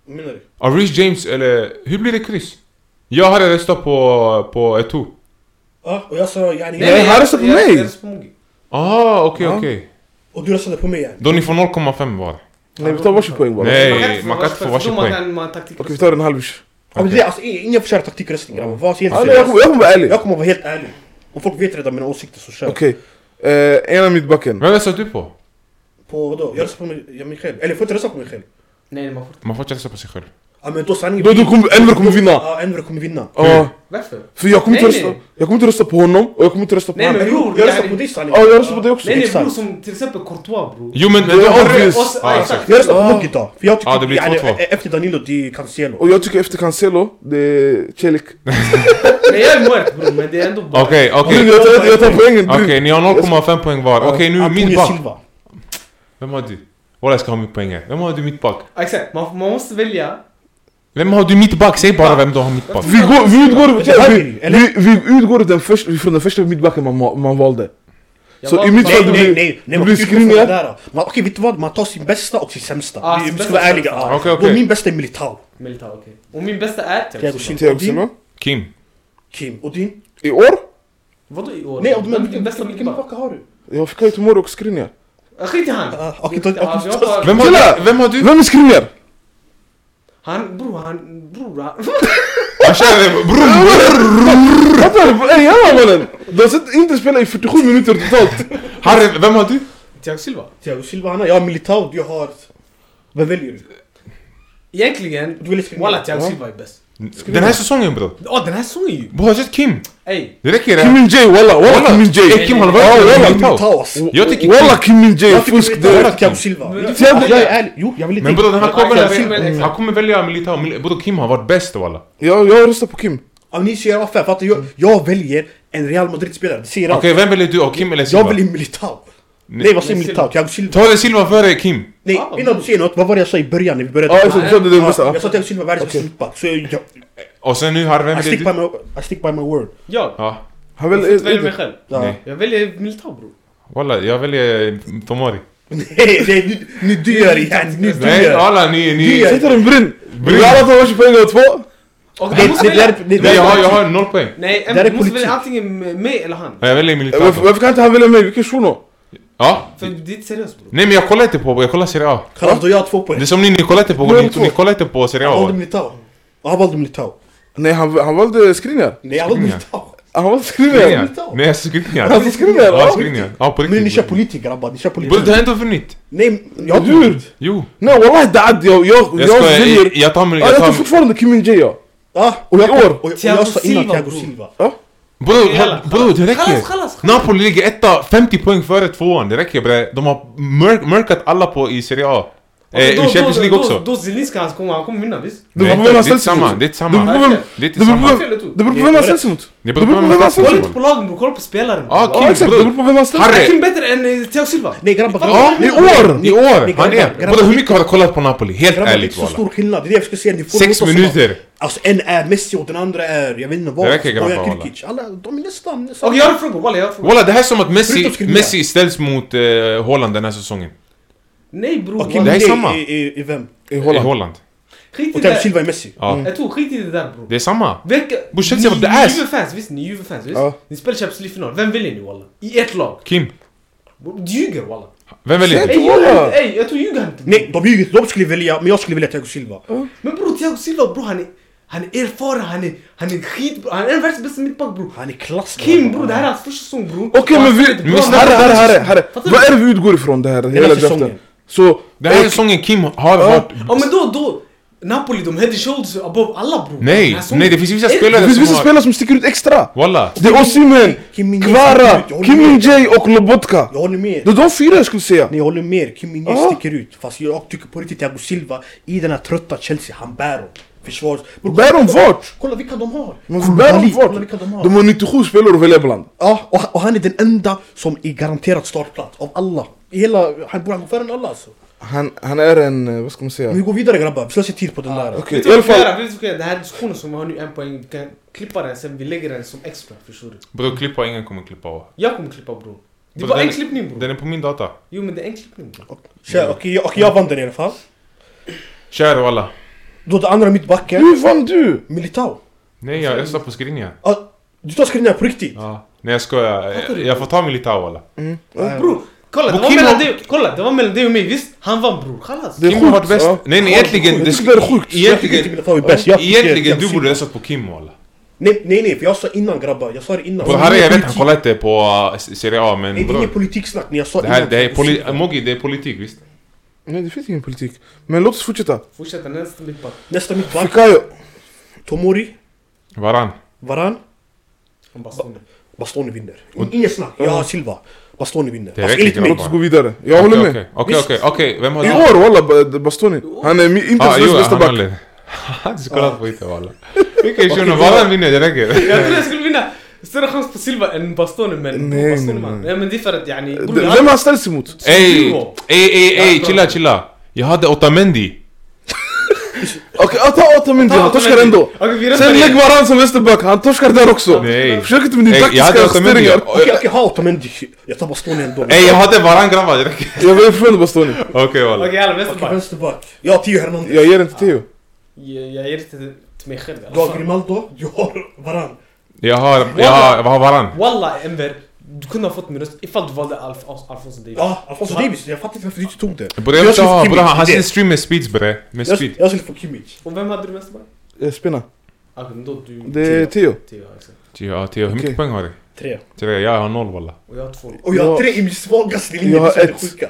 S2: Vad menar du?
S4: Ah, Reece James eller... Hur blir det kryss? Jag hade röstat på, E på Eto'o.
S2: Ah, Ja, och jag sa yani...
S1: Nej, nej,
S3: han
S1: jag-
S3: röstar på
S1: jag-
S3: mig.
S1: jag röstar på Mogi.
S4: Ah, okej,
S3: Ja.
S4: okej.
S2: Och du röstade på mig yani.
S4: Då ni får 0,5 var.
S3: Nej, vi tar varsitt poäng bara. Okej,
S1: Man
S4: Nej,
S1: kan inte få
S4: man kan inte få varsitt
S1: för då man
S4: poäng.
S1: kan- man taktik-
S3: vi tar en halv ish.
S2: Ja, men det är alltså inga inga försök taktikröstning
S4: Oh.
S2: grabbar. Var helt
S3: Ah, Ja, nej,
S2: seriös.
S3: jag, kommer, jag kommer vara ärlig.
S2: Jag kommer vara helt ärlig. Och folk vet redan mina åsikter så kör.
S3: Okej. Eh, ena mittbacken.
S4: Vem röstar du på?
S2: På vadå? Jag röstar på mig, jag mig själv. Eller jag får inte rösta på mig själv.
S1: Nej, nej, man får inte.
S4: Man får inte rösta på sig själv.
S2: Ja men då sanningen...
S3: Då, då kommer, Enver kommer vinna.
S2: Ja, Enver kommer vinna.
S3: Ja.
S1: Varför?
S3: För jag kommer inte
S1: Nej,
S3: rösta.
S1: nej.
S3: Jag kommer inte rösta på honom och jag kommer inte rösta på
S1: Nej,
S3: honom.
S1: men bror.
S2: Jag
S1: yani-
S2: röstar på dig sanningen.
S3: Ja, jag röstar på dig också.
S1: Nej, nej,
S2: Exakt.
S1: bror. Som till exempel Courtois, bror.
S4: Jo men...
S3: Det är obvious.
S1: Och så-
S4: Ah,
S1: ja,
S4: exakt.
S1: exakt.
S2: Jag röstar
S3: Ah.
S2: på Moggi idag. För jag tycker...
S4: Ah, det blir
S2: yani,
S4: 2-2.
S2: e- Efter Danilo, det är Cancelo.
S3: Och jag tycker efter Cancelo, det är Celik.
S1: Nej, jag är muerto, bror. Men det är ändå bra.
S4: Okej,
S3: Brun,
S4: okej.
S3: Jag tar, jag tar poängen. Brun.
S4: Okej, ni har 0,5 poäng var. Okej, nu är mitt
S2: Antonio
S4: bak.
S2: Silva.
S4: Vem har du? Walla jag ska ha mitt poäng här. Vem har du mitt bak?
S1: Exakt. Man man måste välja.
S4: Vem har du mitt bak? Säg bara vem du har mitt bak.
S3: Vi, går, vi, utgår,
S2: Eller
S3: vi, vi, vi utgår den först, från den första mittbacken man, man valde.
S1: Jag
S3: Så
S1: valde
S3: i mitt
S1: Malmö.
S2: Nej, nej, nej!
S3: fall-
S2: nej
S3: du
S2: man
S3: blir
S2: utgår från
S3: screenad.
S2: det där. Man, okej, vet du vad? Man tar sin bästa och sin sämsta.
S1: Ah,
S2: vi,
S1: sin
S2: vi
S1: bästa
S2: ska vara
S1: och
S2: ärliga.
S1: sämsta.
S2: Ja.
S4: Okej,
S2: Och
S4: okej.
S2: min bästa är Militao,
S1: Militao, okej. Och min bästa är
S2: Thiago
S1: Thiago Silva.
S2: Silva. Och
S3: Thiago
S2: din?
S3: Silva.
S4: Kim.
S2: Kim. Och din?
S3: I år?
S1: Vadå i år?
S2: Nej, och- men
S1: Vilken bästa
S2: vilken
S1: mittback?
S2: tillbaka har du?
S3: Jag fick ha Tomorrow och Skriniar.
S1: Ah, Skit i han!
S2: Ah, okej, ta-
S1: Ja,
S2: okej,
S1: jag
S2: ta-
S1: har-
S4: Vem har
S3: Killa!
S4: du? Vem har du?
S3: Vem är Skriniar?
S1: Han, bror han, bror han.
S4: Jag känner bror!
S3: Fattar du? Ey jalla mannen! Du har sett inte spela i 47 minuter totalt.
S4: Harry, vem har du?
S1: Thiago Silva.
S2: Thiago Silva, han har... Jag har Militao, jag har... Vem väljer du?
S1: Egentligen,
S2: Du vill skriva
S1: walla Thiago
S3: Ja.
S1: Silva är bäst.
S4: Den här säsongen bror.
S1: Åh den här sången ju!
S4: Bror har du sett Kim?
S1: Ey!
S4: Det räcker
S3: Kim
S4: det.
S3: Min Jae walla, walla Kim Min
S4: Ey,
S3: Jae.
S4: Kim har
S3: Ja,
S4: varit
S3: walla,
S4: med Militao.
S2: Militao asså.
S4: Jag tycker
S3: Walla
S4: Kim.
S3: Kim Min Jae,
S2: Jag tycker
S3: fusk
S2: Militao
S4: det-
S2: har Thiago Silva.
S1: Men-
S2: Thiago- Jag är ärlig. Jo, jag vill inte...
S4: Men bror den här
S1: Ja,
S4: kommer,
S1: jag ser väl exakt.
S4: han kommer välja Militao. Mil- Bror Kim har varit bäst walla.
S3: Jag, jag röstar på Kim.
S2: Om ni ser affär, fattar jag, jag väljer en Real Madrid-spelare, det säger allt.
S4: Okej, vem väljer du? Och Kim eller
S2: Jag
S4: Silva?
S2: väljer Militao. Nej vad säger
S1: Nej,
S2: Militao?
S1: Silva.
S2: Thiago Silva?
S4: Ta det Silva före Kim.
S2: Nej,
S1: Ah,
S2: innan du säger något, vad var det jag sa i början när vi började?
S3: Ja exakt, du sa det är den
S2: Ja,
S3: bästa.
S2: jag sa Thiago Silva, världens bästa
S3: Okej.
S2: mittback. Så jag, jag,
S4: Och sen nu Harry, vem
S2: I,
S4: väljer
S2: stick
S4: du?
S2: by my, I stick by my word.
S1: Jag?
S4: Ja,
S3: Han
S1: Jag får inte välja mig
S3: väl...
S1: själv.
S2: Ja.
S4: Nej.
S1: Jag väljer Militao bror.
S4: walla jag väljer Tomori.
S2: Nej, nej, nu- nu du gör det igen, nu du
S4: Nej,
S2: gör
S4: alla ni,
S2: Du
S4: ni...
S2: gör-
S3: Sätter en brinn.
S4: Brinn.
S3: Vi alla tar varsin poäng och två.
S1: Och
S2: det.
S1: du måste
S2: Det där
S1: välja...
S2: är- det
S4: Nej, jag har, jag
S2: där
S4: har noll poäng.
S1: Nej,
S2: där är
S1: du måste
S2: politik.
S1: välja antingen mig eller han.
S4: Ja, Jag väljer Militao.
S3: Varför, varför kan inte han välja mig? Vilken shuno?
S4: Ja.
S1: För det är inte seriöst bror.
S4: Nej men jag kollar inte på, jag kollar Serie A.
S2: Kallas då jag har två
S4: Det
S2: poäng.
S4: är som ni, ni kollar inte på,
S3: Noll
S4: ni,
S3: två.
S4: ni kollar inte på Serie
S2: Jag
S4: A.
S2: valde Militao. Ja, Jag valde Militao.
S3: Nej han, han valde Skriniar.
S2: Nej, jag valde
S4: Skriniar.
S2: Militao.
S3: Han valde
S4: Skriniar.
S3: Skriniar.
S2: Militao.
S4: Nej, alltså Skriniar.
S3: Han valde Skriniar.
S4: Ja,
S3: ja.
S4: Skriniar. Ja, på
S2: Men ni kör
S4: riktigt.
S2: politik grabbar, ni kör
S4: Bror, det
S2: politik.
S4: har inte vunnit.
S2: Nej, jag har
S3: Hur?
S2: inte-
S4: Jo.
S3: Nej wallahi det är jag, jag,
S4: Jag
S3: jag
S4: skojar,
S3: väljer...
S4: jag- jag tar...
S3: Ja,
S4: Jag
S3: jag tar
S4: tar
S3: fortfarande Kim Min Jae ja.
S2: Ah,
S3: Och i år.
S2: och, och
S1: Thiago
S2: jag sa innan
S1: Silva,
S2: Thiago
S1: bror.
S2: Silva.
S4: bror,
S1: Jalla,
S4: ha- bror, det
S1: Kallas,
S4: räcker.
S1: kallas!
S4: Napoli ligger etta, 50 poäng före tvåan. Det räcker bre. De har mörk, mörkat alla på i Serie A.
S2: Alltså,
S4: Eh, I Champions League också.
S1: Alltså, Då Zelinski han kommer, han kommer vinna visst?
S3: Det
S4: Nej,
S3: beror på vem
S4: det är
S3: han ställs
S4: samma,
S3: emot.
S4: det är samma.
S3: Det beror på vem-
S1: Verkligen.
S4: Det är
S3: det beror på
S4: samma.
S3: vem-
S1: Fel ut.
S3: Det beror på vem han ställs emot.
S4: Det beror på vem
S3: Det
S4: man
S3: beror
S4: står
S1: Kolla
S4: på.
S1: inte på lagen bror, kolla på spelaren.
S4: Ja,
S1: bror.
S4: Kim
S3: Ja exakt, det
S4: bror.
S3: beror på vem han ställs
S4: Harry.
S3: emot.
S1: Är Kim bättre än eh, Thiago Silva?
S2: Nej grabbar,
S4: Ja,
S2: grabbar.
S4: i år! I år! Han
S2: grabbar,
S4: är...
S2: grabbar.
S4: Bror, hur mycket har du kollat på Napoli? Helt
S2: Grabbar, det är inte
S4: ärligt
S2: så
S4: walla.
S2: stor skillnad, det är det jag ska säga. Ni får
S4: Sex
S2: låta som
S4: minuter.
S2: att- Alltså en är Messi och den andra är, jag vet inte vad.
S4: Det räcker, grabbar,
S2: Bojan
S4: walla.
S2: Kirkic. Alla, de är nästan... nästan.
S1: Okej jag har en fråga, walla jag har en fråga.
S4: Walla, det här är som att
S2: Förutom
S4: Messi,
S2: Skriniar.
S4: Messi ställs mot eh, Holland den här säsongen.
S1: Nej bror,
S2: Okej,
S1: walla.
S4: det
S2: men
S4: är
S2: det är
S4: samma.
S2: i, i, i vem?
S3: I
S4: I
S3: Holland.
S4: Holland.
S1: skit i det
S2: Och Thiago
S1: där.
S2: Silva är Messi.
S4: Ja.
S1: Jag tror skit i det där bror.
S4: Det är samma.
S1: Vilka...
S4: Bror, Chelsea
S1: ni-
S4: var the
S1: ni
S4: ass.
S1: Juve-fans visst, ni är Juve-fans visst?
S3: Ja.
S1: Ni spelar Champions League-final, vem väljer ni walla? I ett lag?
S4: Kim,
S1: Du ljuger walla.
S4: vem väljer
S3: Shit.
S4: du?
S1: Ey ljuger
S3: Walla.
S1: inte, ey jag tror ljuger han inte.
S2: Nej, de ljuger inte. De skulle välja, men jag skulle välja Thiago Silva.
S1: Men bror Thiago Silva bror han är... Han är erfaren, han är, han är skit bror. Han är världens bästa mittback bror.
S2: Han är klass.
S1: Kim
S2: grabbar.
S1: bror, det här är hans första säsong bror.
S3: Okej
S1: Och han
S3: men vi...
S1: spelar ett bra
S4: men
S1: lag.
S3: Herre, herre, herre, herre.
S1: Fattar du?
S3: Vad är det vi utgår ifrån det här? Hela
S2: säsongen.
S3: draften. Så...
S4: Den här säsongen Kim har varit...
S1: Ja men då, då. Napoli de head and shoulders above alla bror. Den
S4: Nej,
S1: här säsongen.
S4: nej det finns vissa
S1: Är-
S4: spelare
S3: Det finns vissa
S4: som har...
S3: spelare som sticker ut extra.
S4: Walla.
S3: Det är Osimhen,
S2: Kim Min-jae sticker
S3: Kvara,
S2: ut, jag håller
S3: Kim
S2: med.
S3: Min Jae och Lobotka.
S2: Jag håller med.
S3: Det är de fyra jag skulle säga.
S2: Nej, jag håller med. Kim Min-Jae
S3: Ja.
S2: sticker ut. Fast jag tycker på riktigt Thiago Silva, i den här trötta Chelsea, han bär dem. Försvars... Bror,
S3: Bär dem vart?
S2: Kolla vilka de har!
S3: Men för bär dem
S2: Koulibaly,
S3: vart?
S2: kolla vilka de har.
S3: De har 97 spelare att välja bland.
S2: Ja, och, han- och han är den enda som är garanterad startplats av alla. I hela, han borde gå före än alla alltså.
S3: Han, han är en, eh, vad ska man
S2: Men vi
S3: säga?
S2: går vidare grabbar, vi slösar tid på
S4: Ah,
S2: den där.
S3: Okej,
S1: Vet
S3: i
S1: du vad
S3: alla
S1: vi kan
S3: fall.
S1: göra? Vet du vad vi kan göra? Den här diskussionen som vi har nu, en poäng, vi kan klippa den sen vi lägger den som extra, förstår du?
S4: Bror klippa, ingen kommer klippa av.
S1: Jag kommer klippa bror. Det är
S4: Bror,
S1: bara
S4: den-
S1: en klippning bror.
S4: Den är på min data.
S1: Jo men det är en klippning bror.
S2: Kör, okej jag- okej, jag vann den i alla fall.
S4: Kör walla.
S2: Då den andra mittbacken,
S3: Hur vann du?
S2: Militao.
S4: Nej jag röstar på Skriniar.
S2: Ja, du tar skrivningar på riktigt?
S4: Ja. Nej jag skojar. Jag- Jag får ta Militao walla.
S1: Bror, kolla det var
S4: Kim
S1: mellan
S4: har-
S1: dig, kolla det var mellan dig och mig visst? Han vann bror, chalas.
S3: Det är
S4: Kim har varit
S3: sjukt,
S4: bäst.
S3: ja.
S4: Nej nej
S3: Jag
S4: egentligen...
S3: tycker det är sjukt.
S2: Jag tycker inte
S4: Egentligen...
S2: Militao är bäst. Jag tycker
S4: Egentligen
S2: Thiago
S4: du
S2: Silva.
S4: borde röstat på Kim walla.
S2: Nej, nej, nej, för jag sa innan grabbar, jag sa det innan.
S4: Bror Harry jag vet han
S2: Politik-
S4: kollar inte på eh, Serie A men
S2: Nej, det är
S4: bror.
S2: inget politiksnack, när jag sa
S4: Det här
S2: innan
S4: det är
S2: Thiago Silva.
S4: politik, Mogi det är politik visst?
S3: Nej det finns ingen politik. Men låt oss fortsätta.
S1: Fortsätt den nästa mittback.
S2: Nästa mittback,
S3: Fikayo.
S2: Tomori,
S4: Varan.
S2: Varan,
S1: Han bara stod där.
S2: Bastoni vinner. Inget snack, jag har Silva. Bastoni vinner.
S4: Det
S2: Alltså,
S4: räcker,
S2: enligt mig.
S4: grabbar.
S3: Låt oss gå vidare. Jag
S4: Okej,
S3: håller
S4: okej.
S3: med.
S4: Okej
S2: Visst.
S4: okej okej, vem har
S3: I
S4: du?
S3: år walla Ba- Bastoni. Han är mi- inte
S4: Ah,
S3: ens
S4: jo,
S3: bästa
S4: han har
S3: back.
S4: led. Han kollat på inte walla. Vilken shuno, varann vinner det räcker.
S1: Jag trodde jag skulle vinna större chans på Silva än Bastoni men...
S3: Nej,
S1: Bastoni
S3: nej,
S1: vann.
S3: nej.
S1: Nej men det är för att yani... bror,
S3: D-
S1: han-
S3: Vem han ställs emot?
S4: Ey, ey, ey, ey, chilla chilla. Jag hade Otamendi.
S3: Okej, ja, ta Otamendi,
S1: آه،
S3: han torskar ändå!
S1: Okej, vi röstar
S3: Sen lägg
S1: igen.
S3: varann som vänsterback, han torskar där också!
S4: Nej.
S3: Försök inte med din
S4: Ey, jag hade
S3: taktiska
S4: Otamendi.
S3: justeringar!
S2: Okej okej, ha Otamendi. Jag tar Bastoni ändå.
S4: Ey jag hade varann grabbar, det räcker.
S3: Jag vill förvänta Bastoni,
S4: Okej walla.
S1: Okej, alla
S2: Okej,
S1: vänsterback.
S2: vänsterback. Jag har Tio Hernandez.
S3: jag ger inte Theo
S1: Jag jag ger det till till mig själv. i alla
S2: Du har
S1: fall.
S2: Grimaldo. Jag har Varann.
S4: Jag har, jag har, jag har varann.
S1: Walla Enver, du kunde ha fått min röst ifall du valde Alf, Alf, Alfonso Davies.
S2: Ja, alltså, Alfonso Davis. Jag fattar inte varför du inte tog det.
S4: Bre
S2: Jag
S4: jag vill inte
S2: skulle
S4: ha,
S2: Kimmich,
S4: bre han
S2: det.
S4: sitter stream med speeds bre. Med
S2: Jag,
S4: speed.
S2: jag skulle få Kimmich.
S1: Och vem hade du vänsterback?
S3: Eh, Spinna,
S1: Okej, men då du...
S3: det är Theo
S1: Tio, ja, exakt.
S4: Ja, Theo, hur mycket
S3: Okej.
S4: poäng har du?
S2: Tre.
S4: Tre, jag har noll walla.
S1: Och jag har två.
S2: Och jag har
S3: Jag-
S2: tre i min svagaste linje.
S3: jag har
S2: det är så
S3: ett.
S2: sjuka.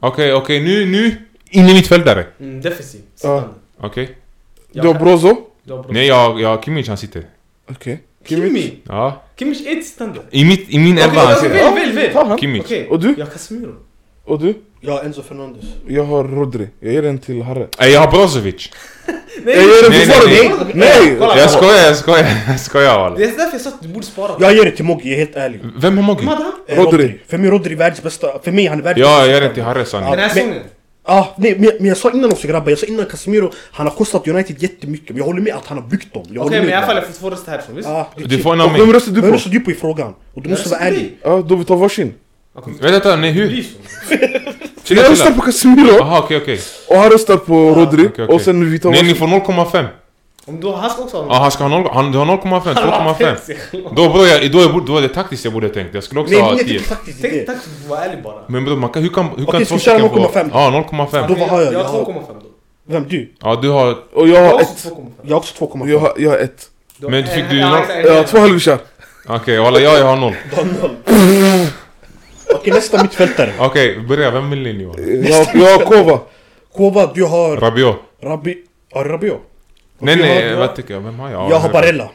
S4: Okej, okej, nu, nu. In i mittfältare.
S1: Mm, defensiv.
S3: Ja.
S1: Sittande.
S4: Okej.
S1: Jag
S3: Du har
S1: kan-
S3: Brozo,
S1: Du har bra.
S4: Nej, jag, jag har Kimmich han sitter.
S3: okej
S1: Kimmich!
S4: Ja.
S1: Kimmich är inte sittande.
S4: I, mitt, i min
S1: Okej,
S4: elva han
S1: okej,
S4: sitter.
S1: väl, väl, väl.
S3: Ta han!
S4: Kimmich.
S1: Okej,
S3: Och du?
S1: jag har Casemiro.
S3: Och du?
S2: Jag har Enzo Fernandez.
S3: Jag har Rodri, jag ger den till Harre
S4: Ey jag har Brozovic.
S1: Nej!
S3: Jag ger den
S4: Nej,
S3: till
S4: nej, nej.
S3: Forum! Nej!
S1: Kolla.
S4: Jag skojar, jag skojar, jag skojar
S1: Det
S4: walla.
S1: är därför jag sa att du borde spara.
S2: Jag ger det till Moggi, jag är helt ärlig.
S4: Vem har Moggi?
S1: Vem hade han?
S2: Eh,
S3: Rodri.
S2: För mig Rodri är världens bästa. För mig han är världens
S4: Ja, jag
S2: bästa.
S4: ger den till Harry sanning.
S1: Den här
S2: men-
S1: säsongen?
S2: Ah, nej, men, men jag sa innan också grabbar, jag sa innan Casemiro, han har kostat United jättemycket. Men jag håller med att han har byggt dem. Jag
S1: Okej,
S2: håller
S1: men i alla fall
S2: med.
S1: jag får två röster härifrån, visst?
S2: Ah, det är
S4: Du
S2: chill.
S4: får en av
S3: Och vem
S4: mig.
S3: röstar du
S2: Men
S3: på?
S2: röstar du på i frågan? Och du måste vara ärlig.
S3: Ja, då vi tar varsin
S4: Vänta, vänta, nej hur? Chilla,
S3: Jag röstar
S4: chilla.
S3: på Casemiro,
S4: Jaha, okej, okej.
S3: och han röstar på Rodri,
S4: okej, okej.
S3: och sen vi tar
S4: Nej, ni
S3: varsin
S4: får 0,5.
S1: Om du har han ska också
S4: Ja,
S1: ha
S4: han ska ha 0, han, du har 0,5, 2,5. Då bror, jag, då, jag borde- då var det taktiskt jag borde tänkt. Jag skulle också
S2: Nej,
S4: ha
S2: men jag
S4: 10.
S2: tycker faktiskt det.
S1: Tänk, tack för att vara ärlig bara.
S4: Men bror, man kan, hur kan, hur kan
S2: Okej,
S4: två
S2: ska vi köra
S4: stycken
S2: 0,5?
S4: få... Ja, 0,5.
S2: Då vad har jag?
S1: Jag
S2: Jag har-
S1: har 2,5 då.
S2: Vem? Du?
S4: Ja, du har...
S3: Och jag
S1: Jag
S3: har
S1: har
S3: ett,
S1: också 2,5.
S2: Jag har också 2,5.
S3: jag har, jag har ett
S1: har
S4: Men
S1: en-
S4: fick du
S1: ja,
S4: någon-
S1: exakt, en-
S3: Jag har två halvvisar
S4: Okej, walla, jag, jag har 0.
S2: Du har noll. Okej, nästa mittfältare.
S4: Okej, börja. Vem vill ni ha?
S3: Jag har, jag har Kova
S2: Kova, du har
S4: Rabiot.
S2: Rabi... Har du Rabiot?
S4: Nej,
S2: Jag
S4: nej,
S2: har-
S4: vad tycker jag? Vem har jag?
S2: Jag har Barella.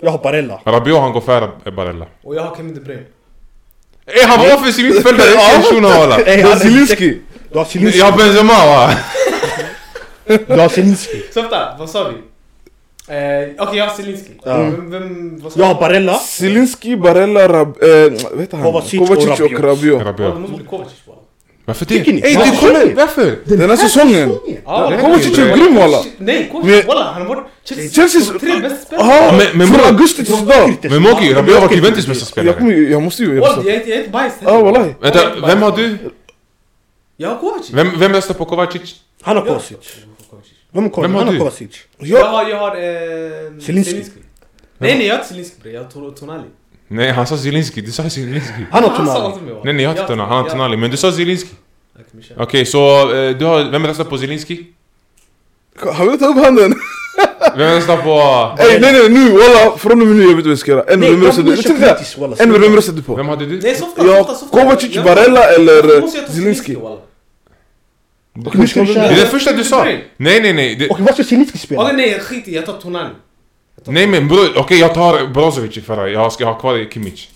S2: Jag har Barella.
S4: Rabiot, han går före Barella.
S1: Och jag har Kevin De Bruyne.
S4: Ey, han var offensiv mittfältare. Det är inte en shuno, walla.
S2: Ey,
S3: Du
S2: han
S3: har
S2: är-
S3: Zielinski
S2: Du har
S4: Jag
S2: Zielinski.
S4: har Benzema, va?
S2: Du har Zielinski.
S1: Så vänta, vad sa vi? Eh, Okej, jag har Zielinski.
S2: Ja.
S1: Vem, vem, vad sa
S2: Jag har Barella.
S3: Zielinski, Barella, Rab... Eh, vet han?
S2: Kovacic och
S3: Kovacic och
S2: Rabiot.
S3: Rabiot
S1: Ja, Det
S4: Rabiot.
S1: måste bli Kovacic bara.
S4: Varför det?
S2: Tycker ni?
S4: Ey,
S2: Ja.
S4: du kollar! Varför?
S3: Den här säsongen!
S1: Ja,
S3: Kovacic är grym walla!
S1: Nej, Kovacic,
S3: Men-
S1: walla, han har varit Chelseas
S3: Chelseas-
S1: tre bästa spelare.
S3: Jaha!
S4: Men- men
S3: Från
S4: bror-
S3: augusti till idag!
S4: Men Mogi, Rabiot har varit Juventus bästa
S3: Jag
S4: spelare.
S3: kommer ju, jag måste ju
S1: Walla, jag
S3: rösta
S1: är inte- jag är inte bajs.
S3: Ja wallahi
S4: Vänta, vem har du?
S1: Jag har Kovacic.
S4: Vem, vem röstar på Kovacic?
S2: Han har
S1: Ja.
S2: Kovacic. Vem har Kovacic?
S4: Vem har
S2: Han
S4: du?
S2: har Kovacic.
S1: Jag
S3: Jag,
S1: har, jag har eh,
S2: Zielinski.
S1: Nej nej jag har inte Zielinski bre, jag har Tor- Tonali.
S4: Nej, han sa Zielinski. Du sa Zielinski.
S2: Han har
S1: Han sa
S2: Tonali.
S1: inte mig, va?
S4: Nej, nej, jag har inte Tonali. Han har Tonali. Men du sa Zielinski.
S1: Okej, men kör.
S4: Okej, så eh, du har... Vem röstar på Zielinski?
S3: har vi tagit upp handen?
S4: Vem röstar på...
S3: Ey nej nej nu walla, från och med nu jag vet vad jag ska göra En
S2: Nej,
S3: vem
S2: de
S3: röstar du?
S2: borde köra
S3: Vänta, vänta.
S2: gratis, walla.
S3: En vem röstar du på?
S4: Vem hade du?
S1: Nej softa,
S3: Jag
S1: softa, softa.
S3: Kovacic,
S1: Jag-
S3: Barella eller
S1: Måste jag ta
S3: Zielinski?
S1: walla?
S2: Okej, nu ska vi
S4: Det
S2: köra.
S4: är det första du sa.
S1: Nej.
S4: Nej, nej, nej. Det,
S2: Okej, vad ska Zielinski
S1: Okej
S2: spela?
S1: nej skit i, jag tar Tonali.
S4: nej, men bror. Okej, jag tar Brozovic i förra. Jag ska ha kvar Kimmich.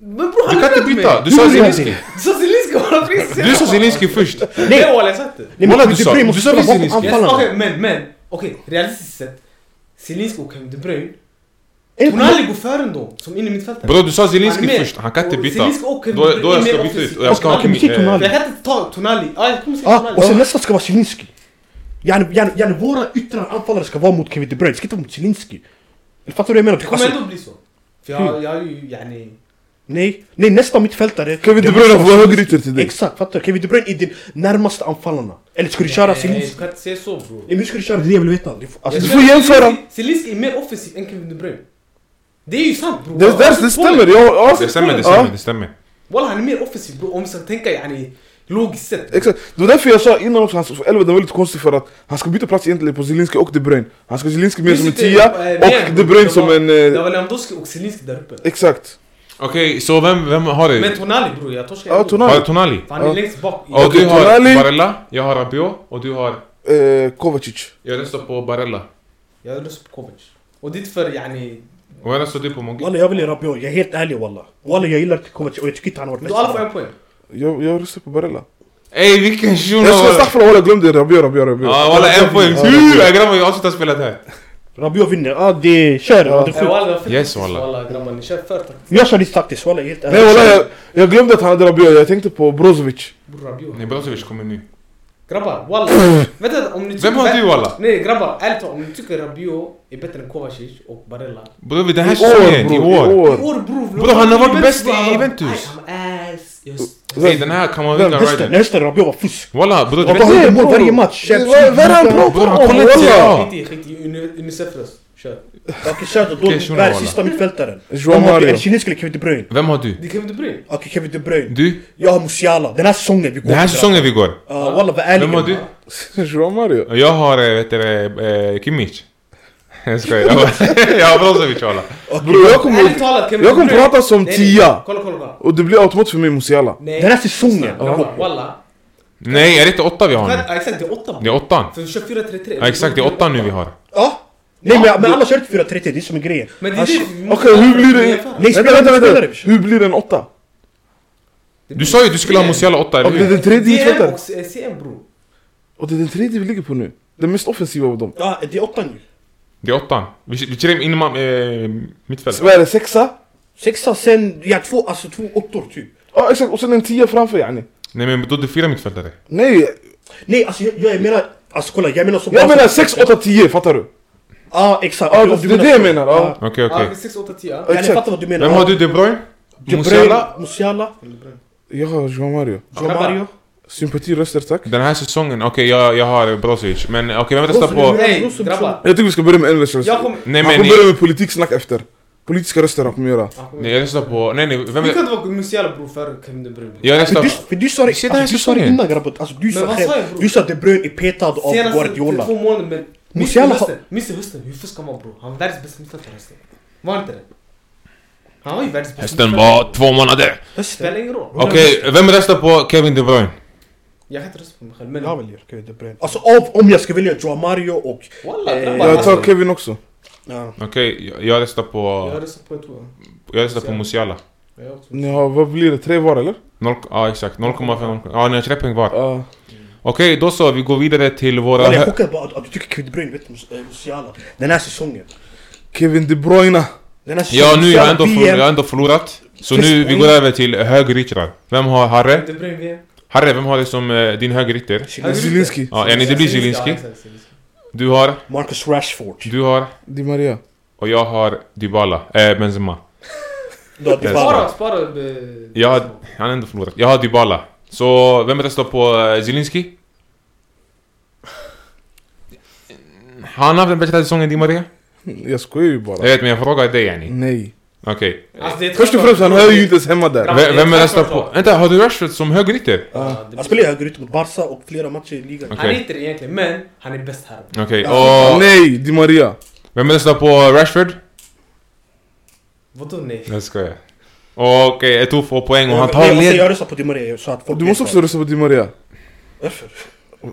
S1: Men bror
S4: Du
S1: han
S4: kan inte
S1: mig.
S4: byta. Du
S2: Hur
S4: sa
S2: gör jag
S4: Zielinski.
S1: Du sa Zielinski walla precis.
S4: Du sa Zielinski först.
S1: Nej walla jag sa inte.
S2: Nej, men
S4: Walla,
S2: Kevin
S4: du
S2: De
S4: sa-
S2: Bruyne
S4: du
S2: måste
S4: sa
S2: spela bakom
S4: Zielinski.
S1: Yes,
S2: anfallarna.
S1: Okej men men, okej realistiskt sett. Zielinski och Kevin De Bruyne.
S2: Är det-
S1: Tonali går före ändå, som in i mittfältet.
S4: Bror, du sa Zielinski
S1: Han är med.
S4: först. Han kan inte
S1: Och
S4: byta.
S1: Zielinski och Kevin
S4: Då,
S1: De Bruyne
S4: då jag
S1: är
S4: ska
S1: mer
S4: byta ut.
S1: offensiv.
S4: Och jag ska ha
S2: Okej, men
S4: Kimmich.
S2: byt Tonali.
S4: eh,
S1: Jag kan inte ta Tonali. Ja, jag kommer säga
S2: Ja, Ah, och sen
S1: Tonali.
S2: nästa ska vara Zielinski. Yani, yani, yani våra yttre anfallare ska vara mot Kevin De Bruyne, det ska inte vara mot Zielinski. Fattar du vad jag menar?
S1: Det
S2: Alltså,
S1: kommer ändå bli så. För jag, jag har ju yani...
S2: nej, nej, nästa mittfältare...
S3: Kevin De
S2: det
S3: Bruyne
S2: måste
S3: får
S2: vara
S3: höger ytter till dig
S2: Exakt, fattar du? Kevin De Bruyne är din närmaste anfallarna. Eller ska du köra
S1: Nej, du
S2: Zielinski?
S1: kan inte säga så bror.
S2: Nej, men hur ska du köra? Det är det jag vill veta. Du får- Alltså,
S3: Du
S2: det-
S3: får jämföra.
S1: Zielinski är mer offensiv än Kevin De Bruyne. Det är ju sant bror.
S3: Det, det, det stämmer, jag har
S4: eh, Det stämmer, det stämmer, det stämmer.
S1: Walla han är mer offensiv bror om vi ska tänka yani logiskt sett.
S3: Exakt, det var därför jag sa innan också, hans elva den var lite konstig för att han ska byta plats egentligen på Zielinski och De Bruyne Han ska ha Zielinski mer som en tia och De Bruyne som en...
S1: Det
S3: Eh,
S1: var Lewandowski och Zielinski där uppe.
S3: exakt
S4: Okej, så vem, vem har
S1: Men
S4: det?
S1: Tonali bror, jag torskar
S3: Ja,
S1: ändå.
S3: Tonali.
S4: Har du Tonali?
S1: För han är
S3: Ja.
S1: längst bak. i-
S4: Och
S3: Okej,
S4: du har
S3: Tonali.
S4: Barella, jag har Rabiot och du har...
S3: eh, Kovacic
S4: Jag röstar på Barella.
S1: Jag röstar på Kovac. Och det är för yani...
S4: Och jag röstar du på Mogi.
S2: Walla, jag vill ge Rabiot. Jag är helt ärlig walla. Walla, jag gillar inte Kovacic och jag tycker inte han har varit
S1: Då alla får
S2: bäst.
S1: en poäng.
S3: Jag, jag röstar på Barella
S4: Ey vilken shuno!
S3: Jag ska staffa jag glömde Rabiot, Rabiot, Rabiot
S4: Ja walla en poäng.
S3: Ja,
S4: Hur? Jag grabbar jag avslutar spelet här.
S2: Rabiot vinner. Ja, det... Kör!
S3: Ja.
S2: Det är
S1: Eh,
S2: sjukt.
S1: Walla det var fett
S4: Yes,
S1: taktiskt,
S4: walla.
S1: Walla grabbar ni kör för taktiskt.
S2: Jag kör lite taktiskt walla, jag är helt ärlig.
S3: Nej wallah, jag, jag glömde att han hade Rabiot, jag tänkte på Brozovic
S1: Bror Rabiot.
S4: Nej Brozovic kommer nu.
S1: Grabbar, wallah. Vänta, om ni
S4: Vem har du walla?
S1: Nej grabbar, ärligt talat, om ni tycker Rabiot är bättre än Kovacic och Barella.
S4: Bror den
S3: I
S4: här
S3: år
S4: säsongen, i
S3: bror, i
S4: år.
S1: I
S3: år!
S1: år bror,
S4: Bro, han har varit bäst i
S1: bro, han har-
S4: Juventus.
S1: Nej, han ass. Just.
S4: Ey den här kan man
S2: Vem?
S4: vinna
S2: Hästen,
S4: rider.
S2: hästen Rabiot var fusk.
S4: Walla bror du
S2: Rabiot
S4: vet.
S2: gjorde
S3: bror.
S2: mål varje match.
S3: Vad vad är han bra på?
S4: Bror, han kollar inte,
S3: Walla!
S4: ja.
S1: Skit i, skit i. Uni- Unicef-röst. Kör.
S2: Okej, Shato, då
S4: Okej,
S2: är
S4: Shuno,
S2: det
S4: walla.
S2: sista mittfältaren.
S3: Joao
S2: De har
S3: Mario.
S2: En kinesisk eller Kevin De Bruyne.
S4: Vem har du?
S1: Det kan vi inte bry
S2: Okej, Kevin De Bruyne.
S4: Du?
S2: Jag har Musiala. Den här säsongen vi går
S4: Den här säsongen vi går.
S2: Uh, walla, vad ärlig.
S4: Vem har du?
S3: Joao Mario.
S4: Och Jag har, eh, vet du det, eh, Kimmich. Jag skojar. jag har- Jag har Brozovic walla.
S3: Bror jag
S1: Ärligt
S3: kommer...
S1: talat, Kevin
S3: Jag kommer
S1: De Bruyne-
S3: prata som
S1: Nej, nej.
S3: tia!
S1: Kolla, kolla, kolla.
S3: Och det blir automat för mig Musiala.
S1: Nej.
S2: Den här säsongen.
S1: Grabbar, Walla.
S4: Nej är det inte åtta vi har nu?
S1: Ja, Exakt, det är åtta.
S4: Det är åttan.
S1: För vi kör 4-3-3.
S4: Ja exakt, det är åttan nu vi har.
S2: Ja. Nej men, men alla kör inte 4-3-3, det är som en grej.
S1: Men det är
S2: Alltså,
S1: det vi måste-
S3: Okej, hur blir
S1: e
S3: det...
S2: Nej,
S3: Vänta,
S2: spelare,
S3: vänta,
S2: spelare,
S3: vänta.
S2: brorsan.
S3: Hur blir det en åtta?
S4: Du sa ju att du skulle ha Musiala åtta, eller
S3: Och det är
S4: hur?
S3: den tredje
S1: DM
S3: mittfältaren.
S1: och C- CM bror.
S3: Och det är den tredje vi ligger på nu. Den mest offensiva av dem.
S2: Ja, det är åttan ju.
S4: Det är åttan. Vi vi kör in inom eh, mittfältet.
S3: Vad är det, sexa?
S2: Sexa sen, ja två, alltså två åttor typ.
S3: Ja exakt, och sen en tia framför yani.
S4: Nej men då är det fyra mittfältare.
S3: Nej,
S2: Nej alltså jag, jag menar, alltså kolla jag menar som...
S3: jag menar sex, åtta, tio, fattar du?
S2: Ja exakt.
S3: Ja,
S2: Du-
S3: det
S2: du
S3: är det jag menar, ja.
S4: Okej
S1: Ja,
S4: okej.
S1: vi 6, 8, 10.
S2: Ja, jag
S3: Exakt.
S2: fattar vad du menar.
S4: Vem har du? De Bruyne?
S2: De Bruyne,
S4: Musiala?
S2: Musiala,
S3: Jag har Joao Mario.
S2: Joao
S1: Grabbar.
S2: Mario.
S3: Sympatiröster tack.
S4: Den här säsongen, okej jag, jag har Brozovic. Men okej vem vill rösta på...
S1: Nej,
S2: Rosen-
S1: grabbar.
S3: Jag tycker vi ska börja med en röst.
S1: Jag
S3: Han
S1: kommer...
S4: Nej men...
S3: kommer börja med politiksnack efter. Politiska röster han kommer göra.
S4: Nej, Jag röstar på... Nej nej, vem...
S1: Vi kan inte vara Musiala bror före Kevin De Bruyne. bror.
S4: Jag
S2: För
S4: röstar...
S2: du, för du sa det,
S4: ser den här
S2: alltså, du sa det
S4: säsongen.
S2: innan grabben. Alltså du sa
S1: vad sa jag,
S2: själv.
S1: bror?
S2: Du sa att De Bruyne är petad av Guardiola.
S1: två månader men... Miss i
S2: Musiala har-
S1: hösten, miss i hösten. Hur fuskar man bror? Han var världens bästa mittfältare hösten. Var han inte det? Han var ju världens bästa
S4: Hösten
S1: mittfältare.
S4: var två månader.
S1: Spelar ingen roll.
S4: Okej, vem röstar på Kevin De Bruyne?
S1: Jag kan inte rösta på mig själv men...
S2: Jag väljer Kevin De Bruyne. Alltså av, om jag ska välja Joao Mario och...
S1: Walla
S2: Eh,
S1: grabbar.
S3: Jag
S1: alltså,
S3: tar Kevin också.
S2: Ja.
S4: Okej, jag, jag röstar på...
S1: Jag röstar på en tvåa.
S4: Jag röstar på Musiala.
S1: Jag också.
S3: Ni har, vad blir det? Tre var eller?
S4: Noll, ja exakt, 0,5... Ja ni har 3 poäng var.
S3: Ja.
S4: Okej, då så, vi går vidare till våra...
S2: Jag är chockad bara att- att du tycker Kevin De Bruyne är bättre än Mus- eh, Musiala. Den här säsongen.
S3: Kevin De Bruyne.
S2: Den här säsongen.
S4: Ja nu, jag har ändå,
S2: VM.
S4: förlor, jag har ändå förlorat. Så nu, vi går över till högeryttrar. Vem har Harre?
S1: De Bruyne VM.
S4: Harre, vem har det som eh, din högerytter?
S3: Zielinski.
S4: Ja, yani det blir Zielinski. Du har,
S2: Marcus Rashford.
S4: du har,
S3: Di Maria.
S4: och jag har Dybala. Eh, Benzema.
S2: Du har
S1: Spara,
S2: Dybala.
S1: spara. eh,
S4: Jag har, han har ändå förlorat. Jag har Dybala. Så vem röstar på eh, Zielinski? Har han haft den bästa säsongen Di Maria?
S3: Jag skojar ju bara.
S4: Jag vet men jag frågar dig yani.
S3: Nej.
S4: Okej.
S3: Först och främst, han hör ju inte ens hemma där.
S4: Ve- Vem röstar på... Vänta, har du Rashford som högerytter?
S2: Han spelar ju högerytter mot Barca och flera matcher i ligan.
S1: Han är
S4: Okej.
S1: inte det egentligen, men han är bäst här.
S4: Okej, och
S3: Nej, Di Maria.
S4: vem röstar på Rashford?
S1: Vadå nej?
S4: Jag skojar. Och Okej, Eto'o får poäng och han
S2: Nej,
S4: tar
S2: alltså,
S4: led...
S2: Jag röstar på Di Maria så att folk
S3: Du måste
S2: vet
S3: också rösta på Di Maria.
S2: varför. Varför?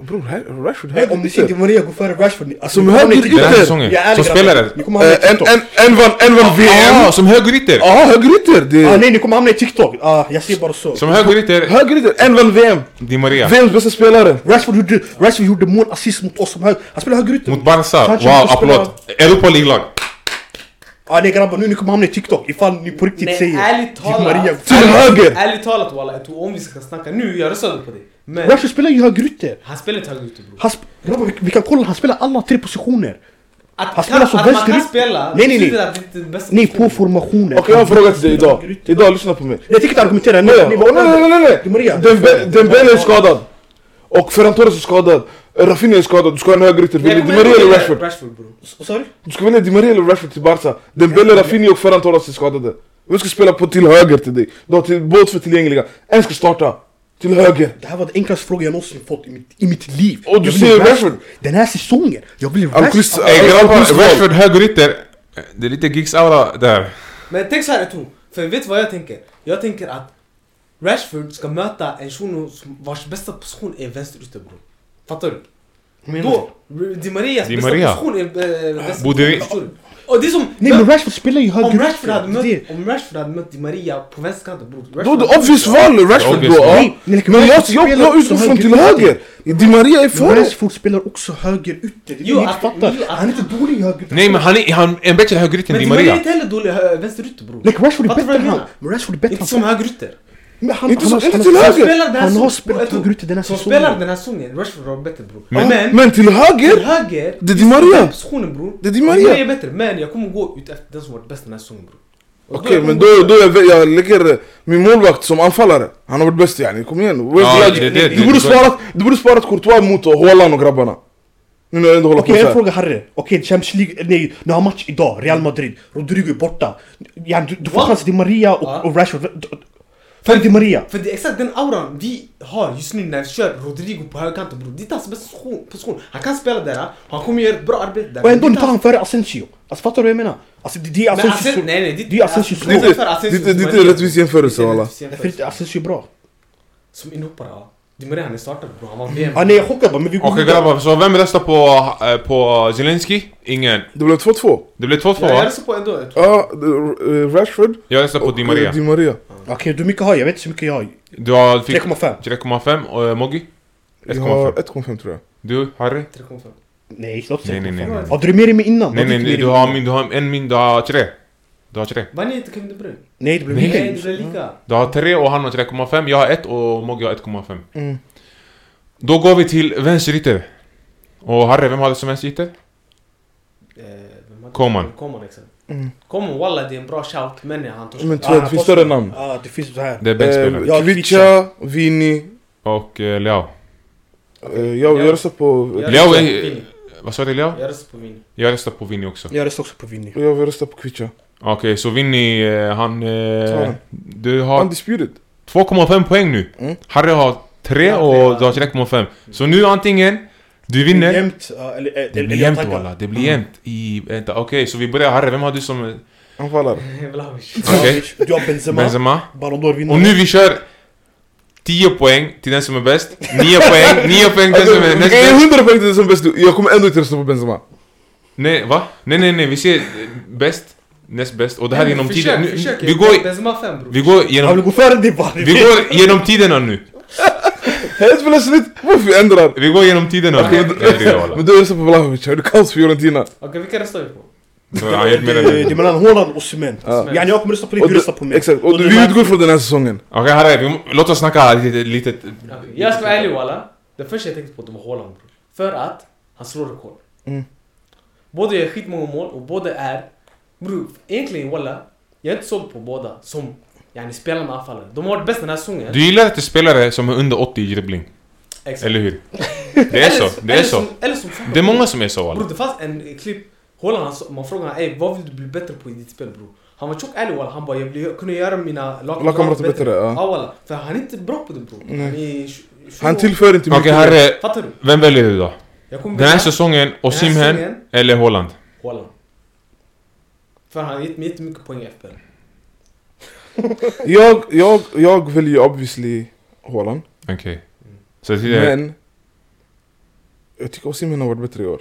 S3: Bror, här- Rashford
S2: Nej, Om ni ser Di Maria gå före Rashford. ni- alltså,
S3: Som
S2: ni kommer
S3: höger
S2: inte-
S4: Den här
S3: Ytter.
S4: säsongen.
S2: Jag är
S4: Som
S2: ärlig
S4: spelare.
S2: grabbar, ni kommer hamna i
S3: Eh, En,
S2: TikTok.
S3: en, en vann, en vann
S4: Ja,
S3: VM.
S4: som högerytter!
S3: Ja, högerytter. Det
S2: Ah,
S3: är
S2: nej, ni kommer hamna i TikTok. Ah, jag ser bara så.
S4: Som högerytter,
S3: högerytter. En vann VM.
S4: Di Maria.
S3: VMs bästa spelare.
S2: Rashford gjorde, Rashford gjorde mål, assist mot oss som höger. Han spelar högerytter.
S4: Mot Barca,
S2: Sanchez
S4: wow,
S2: måste spela-
S4: applåd! Europa League-lag!
S2: Ah, nej grabbar, nu ni kommer hamna i TikTok ifall ni på riktigt
S1: Nej,
S2: säger
S1: ärligt
S2: Di Maria.
S1: talat.
S3: Till höger.
S1: Ärligt talat walla, jag tror om vi ska snacka nu, jag röstade på dig. Men
S2: Rashford spelar ju högerytter.
S1: han spelar inte högerytter bror.
S2: Han sp- grabbar, vi, vi kan kolla, han spelar alla tre positioner.
S1: Att,
S2: han spelar som
S1: att man
S2: vänsterytter.
S1: kan spela
S2: Nej, nej, nej.
S1: betyder att det inte är bästa
S2: Nej,
S1: positionen.
S2: på formationer.
S3: Okej, jag har en fråga till dig idag. Idag, lyssna på mig.
S2: Jag tänker inte argumentera nu.
S3: Nej,
S2: Ni
S3: nej,
S2: var-
S3: nej, nej, nej.
S2: Di Maria.
S3: Dembe- Dembele är skadad. Och Ferran Torres är skadad. Rafinha är skadad. Du ska ha en högerytter. Vill
S1: Jag
S3: du Di
S1: kommer
S3: Maria
S1: inte
S3: eller
S1: välja
S3: Rashford?
S1: Rashford bror.
S2: S- Sorry?
S3: Du ska välja Di Maria eller Rashford till Barca. Dembele, Rafinha och Ferran Torres är skadade. Vem ska spela på till höger till dig? Du har till, båda två tillgängliga. En ska starta. Till höger.
S2: Det här var den enklaste frågan jag någonsin fått i mitt, i mitt liv.
S3: Och du
S2: Jag vill
S3: säger
S2: Rashford.
S3: Rashford.
S2: Den här säsongen. Jag Alltså, vill
S3: Alquist-
S2: Rashford.
S4: Ey
S3: Ja,
S4: grabbar,
S3: plus noll.
S4: Rashford högerytter. Det är lite gigs aura där.
S1: Men tänk såhär Eto, för vet du vad jag tänker? Jag tänker att Rashford ska möta en shuno som- vars bästa position är vänsterytter bror. Fattar du? Då, Di Marias
S4: Di
S1: bästa
S4: Maria.
S1: position är eh, bästa
S4: Borde vi-
S1: position, förstår du? Och det är som...
S2: Nej men Rashford spelar ju
S1: om,
S2: höger
S1: Rashford hade
S2: Det är-
S1: mött, om Rashford hade mött Di Maria på vänsterkanten bror.
S3: Då är
S1: Rashford-
S3: det obvious val Rashford
S4: Obvious
S3: då.
S4: val.
S3: Ja.
S2: Nej, nej,
S3: Men jag,
S2: Rashford
S3: jag,
S2: spelar
S3: jag utgår
S2: också
S3: från till
S2: högerytter.
S3: höger. Di Maria är
S2: Men
S3: före.
S2: Rashford spelar också höger ytter. Det är
S1: Jo,
S2: det ni
S1: att-
S2: inte fattar.
S1: jo, att-
S2: Han är inte dålig i höger
S4: Nej men han är, han är en bättre högerytter
S1: Men
S4: än Di
S1: Di Maria är
S4: Maria.
S1: inte heller dålig eh, vänsterytter bror.
S2: Nej, Rashford är
S1: Fattar du
S2: bättre
S1: vad jag
S2: än han.
S1: menar?
S2: Men Rashford är bättre
S1: Inte som
S2: än han.
S1: högerytter.
S2: Men han,
S3: Inte
S2: han,
S3: så-
S2: har-
S3: inte
S2: han,
S3: till
S2: har-
S1: Som
S3: höger!
S1: spelar den här
S2: han har
S1: säsongen-
S2: spelat och går ut i den här
S1: Som
S2: säsongen.
S1: spelar den här säsongen, Rashford var bättre bror.
S4: Men-
S1: Men,
S3: Men till
S1: till
S3: höger!
S1: höger,
S3: Det är Di Maria.
S1: den positionen bror.
S3: Det är Di Maria.
S1: är bättre, men jag kommer gå ut efter den som varit bäst den här säsongen bror. Och
S3: Okej
S1: jag
S3: men
S1: kommer
S3: då,
S1: gå-
S3: då jag, jag lägger eh, min målvakt som anfallare. Han har varit bäst yani, kom igen. Where's
S4: Ja,
S3: the
S4: det-
S3: logic?
S4: det-
S3: du, borde
S4: det-
S3: sparat, du borde sparat Courtois mot Haaland och grabbarna. Nu när jag ändå håller
S2: Okej,
S3: på
S2: jag
S3: så här.
S2: frågar Harry. Okej, Champions League, nej, ni har match idag, Real Madrid. Rodrigo är borta. Ja, du, du får
S1: Va?
S2: chans till Maria och,
S1: Ja.
S2: och Rashford. För Di Maria.
S1: För det är exakt den auran vi har just nu när vi kör oh, Rodrigo på högerkanten bror. Det är hans bästa position- position. Han kan spela där, han kommer göra ett bra arbete där.
S2: Och ändå,
S1: Det är
S2: ni tar
S1: hans-
S2: han före Asensio. Alltså fattar du vad jag menar? Alltså det, det är
S1: Men
S2: Asensios...
S1: Asen- nej, nej, det-
S2: det är Asensios
S3: Det är
S2: mål.
S1: Asensios-
S3: inte- det är inte- det är inte en rättvis jämförelse walla.
S2: Därför är inte Asensio bra.
S1: Som inhoppare ja. Di Maria han är startare bror, han var VM.
S2: Ja, nej, jag är chockad bara, men vi går
S4: Okej grabbar, så vem röstar på, eh, på Zelensky? Ingen.
S3: Det blev 2-2.
S4: Det blev 2-2
S1: Jag
S4: va?
S1: röstar på ändå. jag tror.
S3: Ja, det- eh, Rashford
S4: Jag röstar på Di
S3: eh,
S4: Maria.
S3: Di Maria.
S2: Okej, du mycket har jag? Jag vet inte hur mycket jag har.
S4: Du har fick
S2: 3,5.
S4: 3,5 och eh, Moggi?
S3: Jag har
S4: 1,5.
S3: 1,5 tror jag.
S4: Du, Harry?
S1: 3,5.
S2: Nej, låt
S4: Nej, nej, nej, nej.
S2: Hade du mer i mig innan?
S4: Nej
S2: Var det
S4: nej
S2: inte
S4: nej,
S2: mer i
S4: du
S2: mig?
S4: har, min, du har en min, du har tre. Du har tre.
S1: Vann inte Kevin De Bruyne?
S2: Nej, det blev
S4: Nej.
S1: Nej, det
S2: lika.
S1: blev lika.
S4: Du har tre och han har 3,5. Jag har ett och Moggi har 1,5.
S3: Mm.
S4: Då går vi till vänsterytter. Och Harry, vem har du som vänsterytter?
S1: Eh, vem hade-
S4: Coman.
S1: Coman exakt.
S3: Mm.
S1: Coman liksom. walla det är en bra shout men han törs
S3: Men
S1: inte.
S3: tror jag det finns större namn.
S2: Ja, det finns så här.
S4: Det är bänkspelaren.
S2: Ja,
S3: Eh, Kvicha, Vini.
S4: Och eh, Leo.
S3: Eh, jag, jag röstar på...
S1: Jag
S4: Leo
S1: röstar
S4: är-
S1: på Vini.
S4: Vad sa du Leo?
S1: Jag röstar på Vini.
S4: Jag röstar på Vinny också.
S2: Jag röstar också på Vinny.
S3: Jag röstar på Kvicha.
S4: Okej, så Vinny, eh, han...
S3: Ta
S4: Eh,
S3: den.
S4: du har
S3: Undisputed.
S4: 2,5 poäng nu.
S3: Mm.
S4: Harry har 3
S1: Ja,
S4: och
S1: ja.
S4: du har 3,5. Så nu antingen, du vinner. Mm.
S2: Jämnt, ja, eller...
S4: Det blir jämnt walla, det blir jämnt i... Vänta, okej så vi börjar Harry, vem har du som... eh,
S3: Anfallare.
S1: Vlahovic.
S4: Okej.
S2: Du har Benzema, Mm.
S4: Benzema?
S2: Ballon d'Or vinnare.
S4: Och nu vi kör 10 poäng till den som är bäst, 9 poäng, 9 poäng till den som är näst
S3: Jag
S4: bäst.
S3: är 100 poäng till den som bäst. Jag kommer ändå inte rösta på Benzema.
S4: Nej, va? Nej nej nej, vi ser eh, bäst, näst bäst och det här är genom
S1: Försök,
S4: tiden. Nu,
S1: försök.
S4: vi, går, i-
S1: Benzema 5 bror.
S4: vi går
S2: Han
S4: genom...
S2: vill gå före dig bara.
S4: Vi går genom tiderna nu.
S3: Helt plötsligt, varför vi ändrar?
S4: Vi går genom tiderna.
S1: Okej.
S4: Det är det, walla.
S3: Men du röstar på Vlahovic, har du kaos för Fiorentina?
S1: Okej vilka röstar vi på?
S4: Så han gör mer än
S2: Det
S4: det.
S2: är mellan Haaland och Osimhen.
S3: Ja.
S2: Ja, jag kommer rösta på dig,
S3: Och
S2: du
S3: du-
S2: röstar på mig.
S3: Exakt, och
S2: Och
S3: du,
S2: det
S3: vi
S2: där-
S3: utgår från den här säsongen.
S4: Okej Harry, vi må- låt oss snacka lite... lite
S1: Okej, Jag ska vara ärlig walla. Det första jag tänkte på det var Haaland bror. För att han slår rekord.
S3: Mm.
S1: Båda gör skitmånga mål och båda är... Bror egentligen walla. Jag är inte såld på båda som yani, spelar med anfallare. De har varit bäst den här säsongen.
S4: Du gillar att det är spelare som är under 80 i dribbling,
S1: Exakt.
S4: eller hur? Det är så,
S1: Eller-
S4: det är
S1: eller
S4: så.
S1: som- Eller som
S4: Det är många som är så walla.
S1: Bror det fanns en eh, klipp, Holland, han, sa- man frågade honom "Ey, vad vill du bli bättre på i ditt spel bror? Han var tjock ärlig walla, han bara jag vill kunna göra mina
S3: Lagkamrater bättre, ja.
S1: Ja walla, för han är inte bra på det bror. Han är tj- tjugo
S3: Han
S1: år.
S3: tillför inte
S4: Okej Harry,
S1: Fattar du?
S4: vem väljer du då?
S1: Jag kommer
S4: Den här
S1: välja
S4: säsongen, Osimhen
S1: säsongen.
S4: eller Holland?
S1: Holland. För han har gett mig jättemycket poäng i FPL.
S3: Jag, jag, jag väljer ju obviously Haaland.
S4: Okej. Så det är...
S3: Men... Jag tycker Osimhen har varit bättre i år.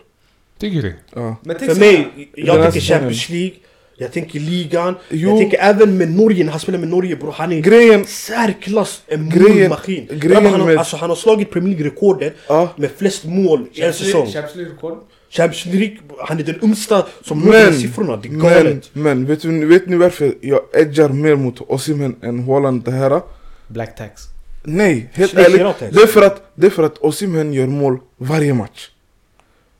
S4: Tycker du?
S3: Ja.
S1: Men tänk
S2: För
S1: så här,
S2: mig, jag
S3: Den här
S2: tänker
S3: säsongen.
S2: Champions League, jag tänker ligan,
S3: Jo.
S2: jag tänker även med Norge, när han spelar med Norge bror, han är
S3: Grejen...
S2: särklass en
S3: Grejen-
S2: målmaskin.
S3: grejen
S2: Grabbar, han, har-
S3: med-
S2: alltså, han har slagit Premier League-rekordet
S3: Ja.
S2: med flest mål i en
S1: Champions League-
S2: säsong.
S1: Champions League-rekord.
S2: Champions League, han är den yngsta som når de här
S3: Men,
S2: siffrorna, det är
S3: men,
S2: galet.
S3: men vet, ni, vet ni varför jag edgar mer mot Osimhen än Haaland det här?
S1: Black tax.
S3: Nej, helt
S2: Schleicher
S3: ärligt.
S2: alltid.
S3: Det är, för att, det är för att Osimhen gör mål varje match.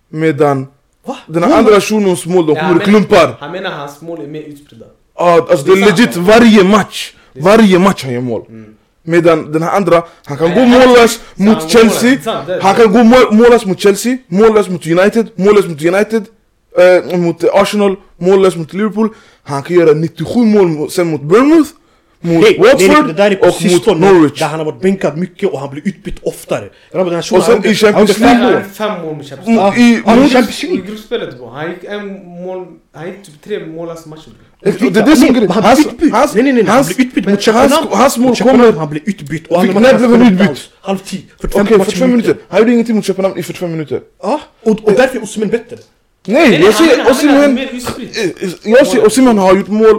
S3: Medan
S2: Va?
S3: den här andra shunons mål, de
S1: Ja,
S3: kommer i
S1: men-
S3: klumpar. Ah,
S1: Han menar hans mål är mer utspridda.
S3: Ja, alltså det
S1: Det är
S3: är
S1: sant,
S3: legit
S1: va?
S3: varje match. Varje match han gör mål. Medan den här andra, han kan
S1: Nej,
S3: gå
S1: han-
S3: mållös
S1: han går
S3: mot
S1: mållös,
S3: Chelsea.
S1: det är sant, det är
S3: Han
S1: det.
S3: kan gå mål- mållös mot Chelsea, mållös mot United, mållös mot United. Eh, mot Arsenal, mållös mot Liverpool. Han kan göra 97 mål mot- sen mot Bournemouth, mot
S2: Hey,
S3: Watford
S2: det där är på
S3: och mot
S2: sistone,
S3: Norwich.
S2: där han har varit bänkad mycket och han blir utbytt oftare. Grabbar, den här
S3: Och sen
S2: han-
S3: i Champions
S2: han-
S1: Där
S3: League.
S1: har
S3: mål.
S1: han fem mål med Champions League.
S3: Mm,
S2: Ah,
S3: i-
S2: ah,
S3: mot-
S2: Champions League.
S1: I gruppspelet bror, han gick en mål, han gick typ tre mållösa matcher bror.
S3: Och det är det som grejen.
S2: Han
S3: Hans-
S2: blir utbytt!
S3: hans-
S2: nej nej nej, han
S3: hans-
S2: blir utbytt mot
S3: hans-
S2: Chakanam!
S3: hans mål kommer-
S2: Han blir utbytt och
S3: Fick-
S2: använder
S3: när
S2: hans
S3: blev han
S2: spelare inte
S3: utbytt?
S2: alls. Halv tio, 45
S3: Okej,
S2: matcher
S3: 45 minuter. Han gjorde ingenting mot Köpenhamn i 45 minuter.
S2: Ja, och, och därför är Osimhen bättre.
S3: Nej, jag ser
S1: Han
S3: Osimhen...
S1: menar mer utspridd.
S3: Eh, Jag ser Osimhen har gjort mål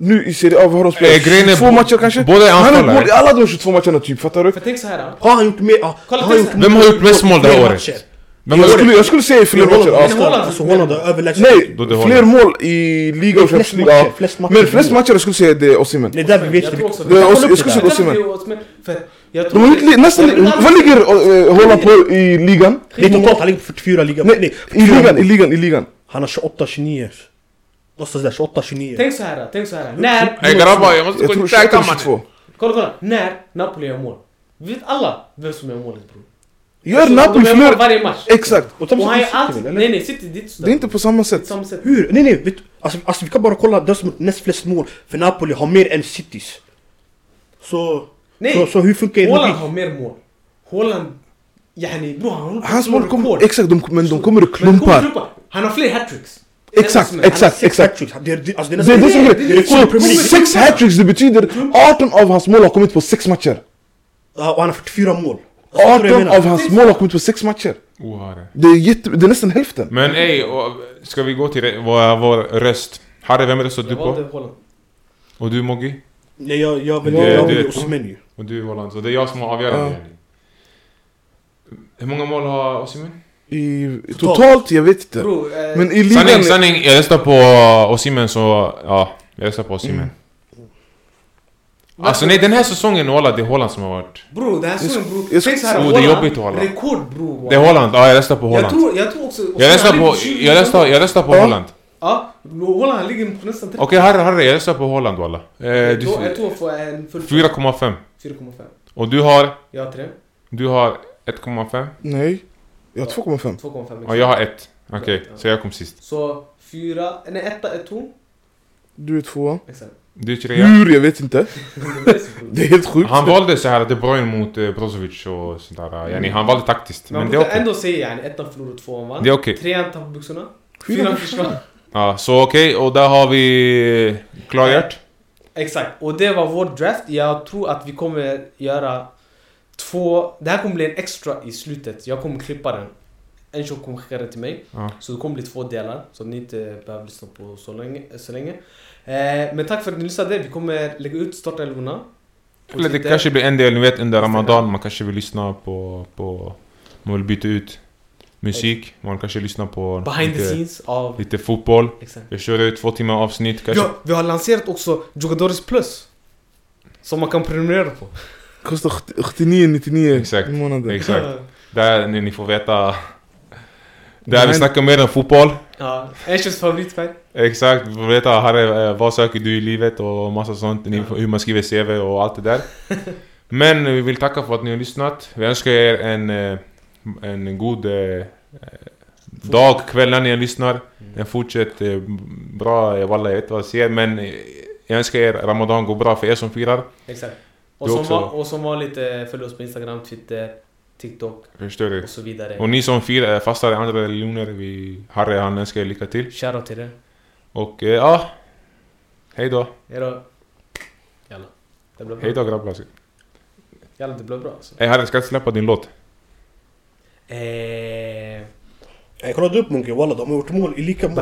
S3: nu i Serie A, vad har de
S4: Eh, grejen är-
S3: spelat? Två matcher kanske?
S4: båda är
S3: Han har gjort
S4: anfallare.
S3: mål i alla de 22 matcherna typ, fattar du?
S1: För tänk så här.
S2: Har han gjort mer? Ja,
S1: Kolla,
S2: han
S1: tänk så här.
S4: Vem har gjort mest mål det här
S2: Fler
S4: året?
S2: matcher.
S4: Vem
S3: jag,
S4: var
S3: skulle, jag skulle säga i fler
S2: Holland-
S3: matcher.
S1: Men
S3: Ja.
S1: Holland-
S2: Alltså Holland har överlägset.
S3: Nej,
S4: Då det håller.
S3: fler mål i liga och
S2: Flest
S3: Champions
S2: matcher,
S3: League. ja.
S2: flest matcher.
S3: Men flest matcher jag skulle säga det är Osimhen.
S2: Det är där vi vet.
S1: Jag tror också-
S2: vi kan
S3: Jag-
S2: kolla upp
S3: jag
S2: det
S3: skulle
S2: där.
S3: säga- Osimhen.
S1: Det är Osimhen, för att jag
S3: De
S1: tror-
S3: har inte, nästan,
S1: Jag vill aldrig-
S3: vad ligger eh, Holland på i ligan?
S2: Det är totalt, han ligger på 44 liga.
S3: Nej, i ligan, i ligan, i ligan.
S2: Han har 28-29. Någonstans där, 28-29.
S1: Tänk så här, tänk så här. När,
S4: Ey grabbar, jag måste
S3: Jag
S4: gå
S3: tror
S4: och käka
S3: 21
S4: mannen.
S3: 22.
S1: kolla kolla, när Napoli gör mål. Vi vet alla vem som gör målet bror.
S3: Gör
S1: Så
S3: Napoli
S1: Alltså,
S3: Eh,
S1: de gör mål
S3: fler...
S1: varje match.
S3: Exakt.
S2: Och Thomas
S1: Och han gör
S2: City
S1: allt.
S2: väl, eller?
S1: Nej nej, City det är inte så
S3: Det är inte på samma
S1: på
S3: sätt.
S1: samma sätt.
S2: Hur? Nej nej, vet du, alltså, alltså vi kan bara kolla den som näst flest mål för Napoli har mer än Citys. Så,
S1: Nej.
S2: så, så hur funkar er
S1: Holland
S2: logik?
S1: har mer mål. Holland, yani bror han håller på att
S3: Hans
S1: slå
S3: mål
S1: rekord.
S3: kommer... Exakt, de, men de kommer i
S1: Men det kommer
S3: klumpar.
S1: klumpar. Han har fler hattricks.
S3: Exakt,
S1: Han har
S3: exakt.
S1: sex-
S2: Sex hattricks, det är det alltså,
S3: Det är det som är
S1: Det är det som är
S3: grejen. Så
S1: problemet.
S3: sex hattricks, det betyder 18 av hans mål har kommit på sex matcher.
S2: Ja, och han har 44 mål. Alltså, förstår du vad jag
S3: 18
S2: menar?
S3: av hans mål har kommit på sex matcher.
S4: Ohare.
S3: Det är, jätte, det är nästan hälften.
S4: Oh, Men ey, och- ska vi gå till re- vår, vår röst? Harry, vem röstade du
S1: Jag valde
S4: på?
S1: Holland.
S4: Och du Moggi?
S2: Nej jag, jag vill
S4: Det-
S2: jag
S4: det-
S2: vill Osimhen ju.
S4: Och du Holland, så det är jag som har avgörandet. Hur många mål har Osimhen?
S3: I,
S2: Totalt.
S3: totalt, jag vet inte.
S1: Bror, eh,
S3: Men i ligan...
S4: Sanning, sanning, jag röstar på Osimhen så, ja, jag röstar på
S1: Mm.
S4: Osimhen. Alltså nej, den här säsongen walla, det är Holland som har varit...
S1: bror det här såg bror. Tänk
S3: jag skulle-
S1: så här,
S4: Oh, det är
S1: Holland,
S4: jobbigt, Holland.
S1: Rekord bror.
S4: Det är Holland, ja jag röstar på
S1: Jag
S4: Holland.
S1: tror, jag tror också...
S4: Jag röstar
S1: Holland
S4: på,
S1: ligger på 20.
S4: jag röstar, jag röstar på
S3: Ja.
S4: Holland.
S1: Ja, Holland han ligger på nästan 30.
S4: Okej Harry, Harry, jag röstar på Holland walla. Eh,
S1: Jag
S4: du-
S1: tror- Jag tror får en full...
S4: 4,5.
S1: 4,5.
S4: Och du har,
S1: Jag har 3.
S4: du har 1,5?
S3: Nej. Jag har 2,5.
S1: 2,5
S4: Ja,
S1: liksom.
S4: jag har 1. Okej, så jag kom sist.
S1: Så 4... Nej, 1 är 2.
S3: Du är tvåa.
S1: Exakt.
S4: Du är
S1: Mm.
S4: trea.
S3: Hur? Jag vet inte.
S1: Det är så sjukt.
S3: Det är helt sjukt.
S4: Han valde så här De Bruyne mot eh, Brozovic och sånt där. eh, Yani, han valde taktiskt.
S1: Man
S4: Men det är
S1: brukar
S4: okej.
S1: ändå säga yani, ettan förlorade, tvåan vann.
S4: Det är okej.
S1: Trean tappade byxorna.
S3: Fyran
S1: Fyran försvann.
S4: Ja, så okej, och där har vi eh, klargjort.
S1: Exakt. Och det var vår draft. Jag tror att vi kommer göra två... Det här kommer bli en extra i slutet. Jag kommer klippa den. En tjock kommer skicka den till mig.
S4: Ja.
S1: Så det kommer bli två delar. Som ni inte behöver lyssna på så länge. Så länge. Eh, men tack för att ni lyssnade. Vi kommer lägga ut startelvorna. på
S4: Eller det
S1: Twitter.
S4: kanske blir en del, ni vet under Ramadan, man kanske vill lyssna på... på man vill byta ut musik, man kanske lyssnar på
S1: Behind the
S4: lite,
S1: scenes av...
S4: lite fotboll.
S1: Exakt.
S4: Jag kör ut två timmar avsnitt kanske.
S1: Ja, vi har lanserat också Jogadores Plus. Som man kan prenumerera på.
S3: Kostar 79,99
S4: Exakt.
S3: i månaden.
S4: Exakt. Där ni, ni får veta... Där vi
S3: Men-
S4: snackar mer än fotboll.
S1: ja, Ashers favoritfärg.
S4: Exakt, vi får veta Harry, eh, vad söker du i livet och massa sånt, ni- hur man skriver CV och allt det där. Men vi vill tacka för att ni har lyssnat. Vi önskar er en, eh, en god eh, eh, dag, kväll när ni lyssnar. En fortsatt eh, bra, eh, wallah jag vet inte vad jag säger men eh, jag önskar er Ramadan går bra för er som firar.
S1: Exakt. Och
S4: Du
S1: som,
S4: också.
S1: va- och som vanligt eh, följ oss på Instagram, Twitter, TikTok
S4: Förstår du?
S1: och så vidare.
S4: Och ni som firar, eh, fastar i andra religioner, vi, Harry han önskar er lycka till.
S1: Shoutout till er.
S4: Och eh, ja, hej då.
S1: Hejdå. Jalla. Det blev
S4: Hej
S1: bra.
S4: då grabbar.
S1: Jalla, det blev bra alltså.
S4: Hey, Harry, ska jag släppa din låt?
S1: Eh...
S2: Eh, Jag kollade upp Munke, walla de har gjort mål i lika många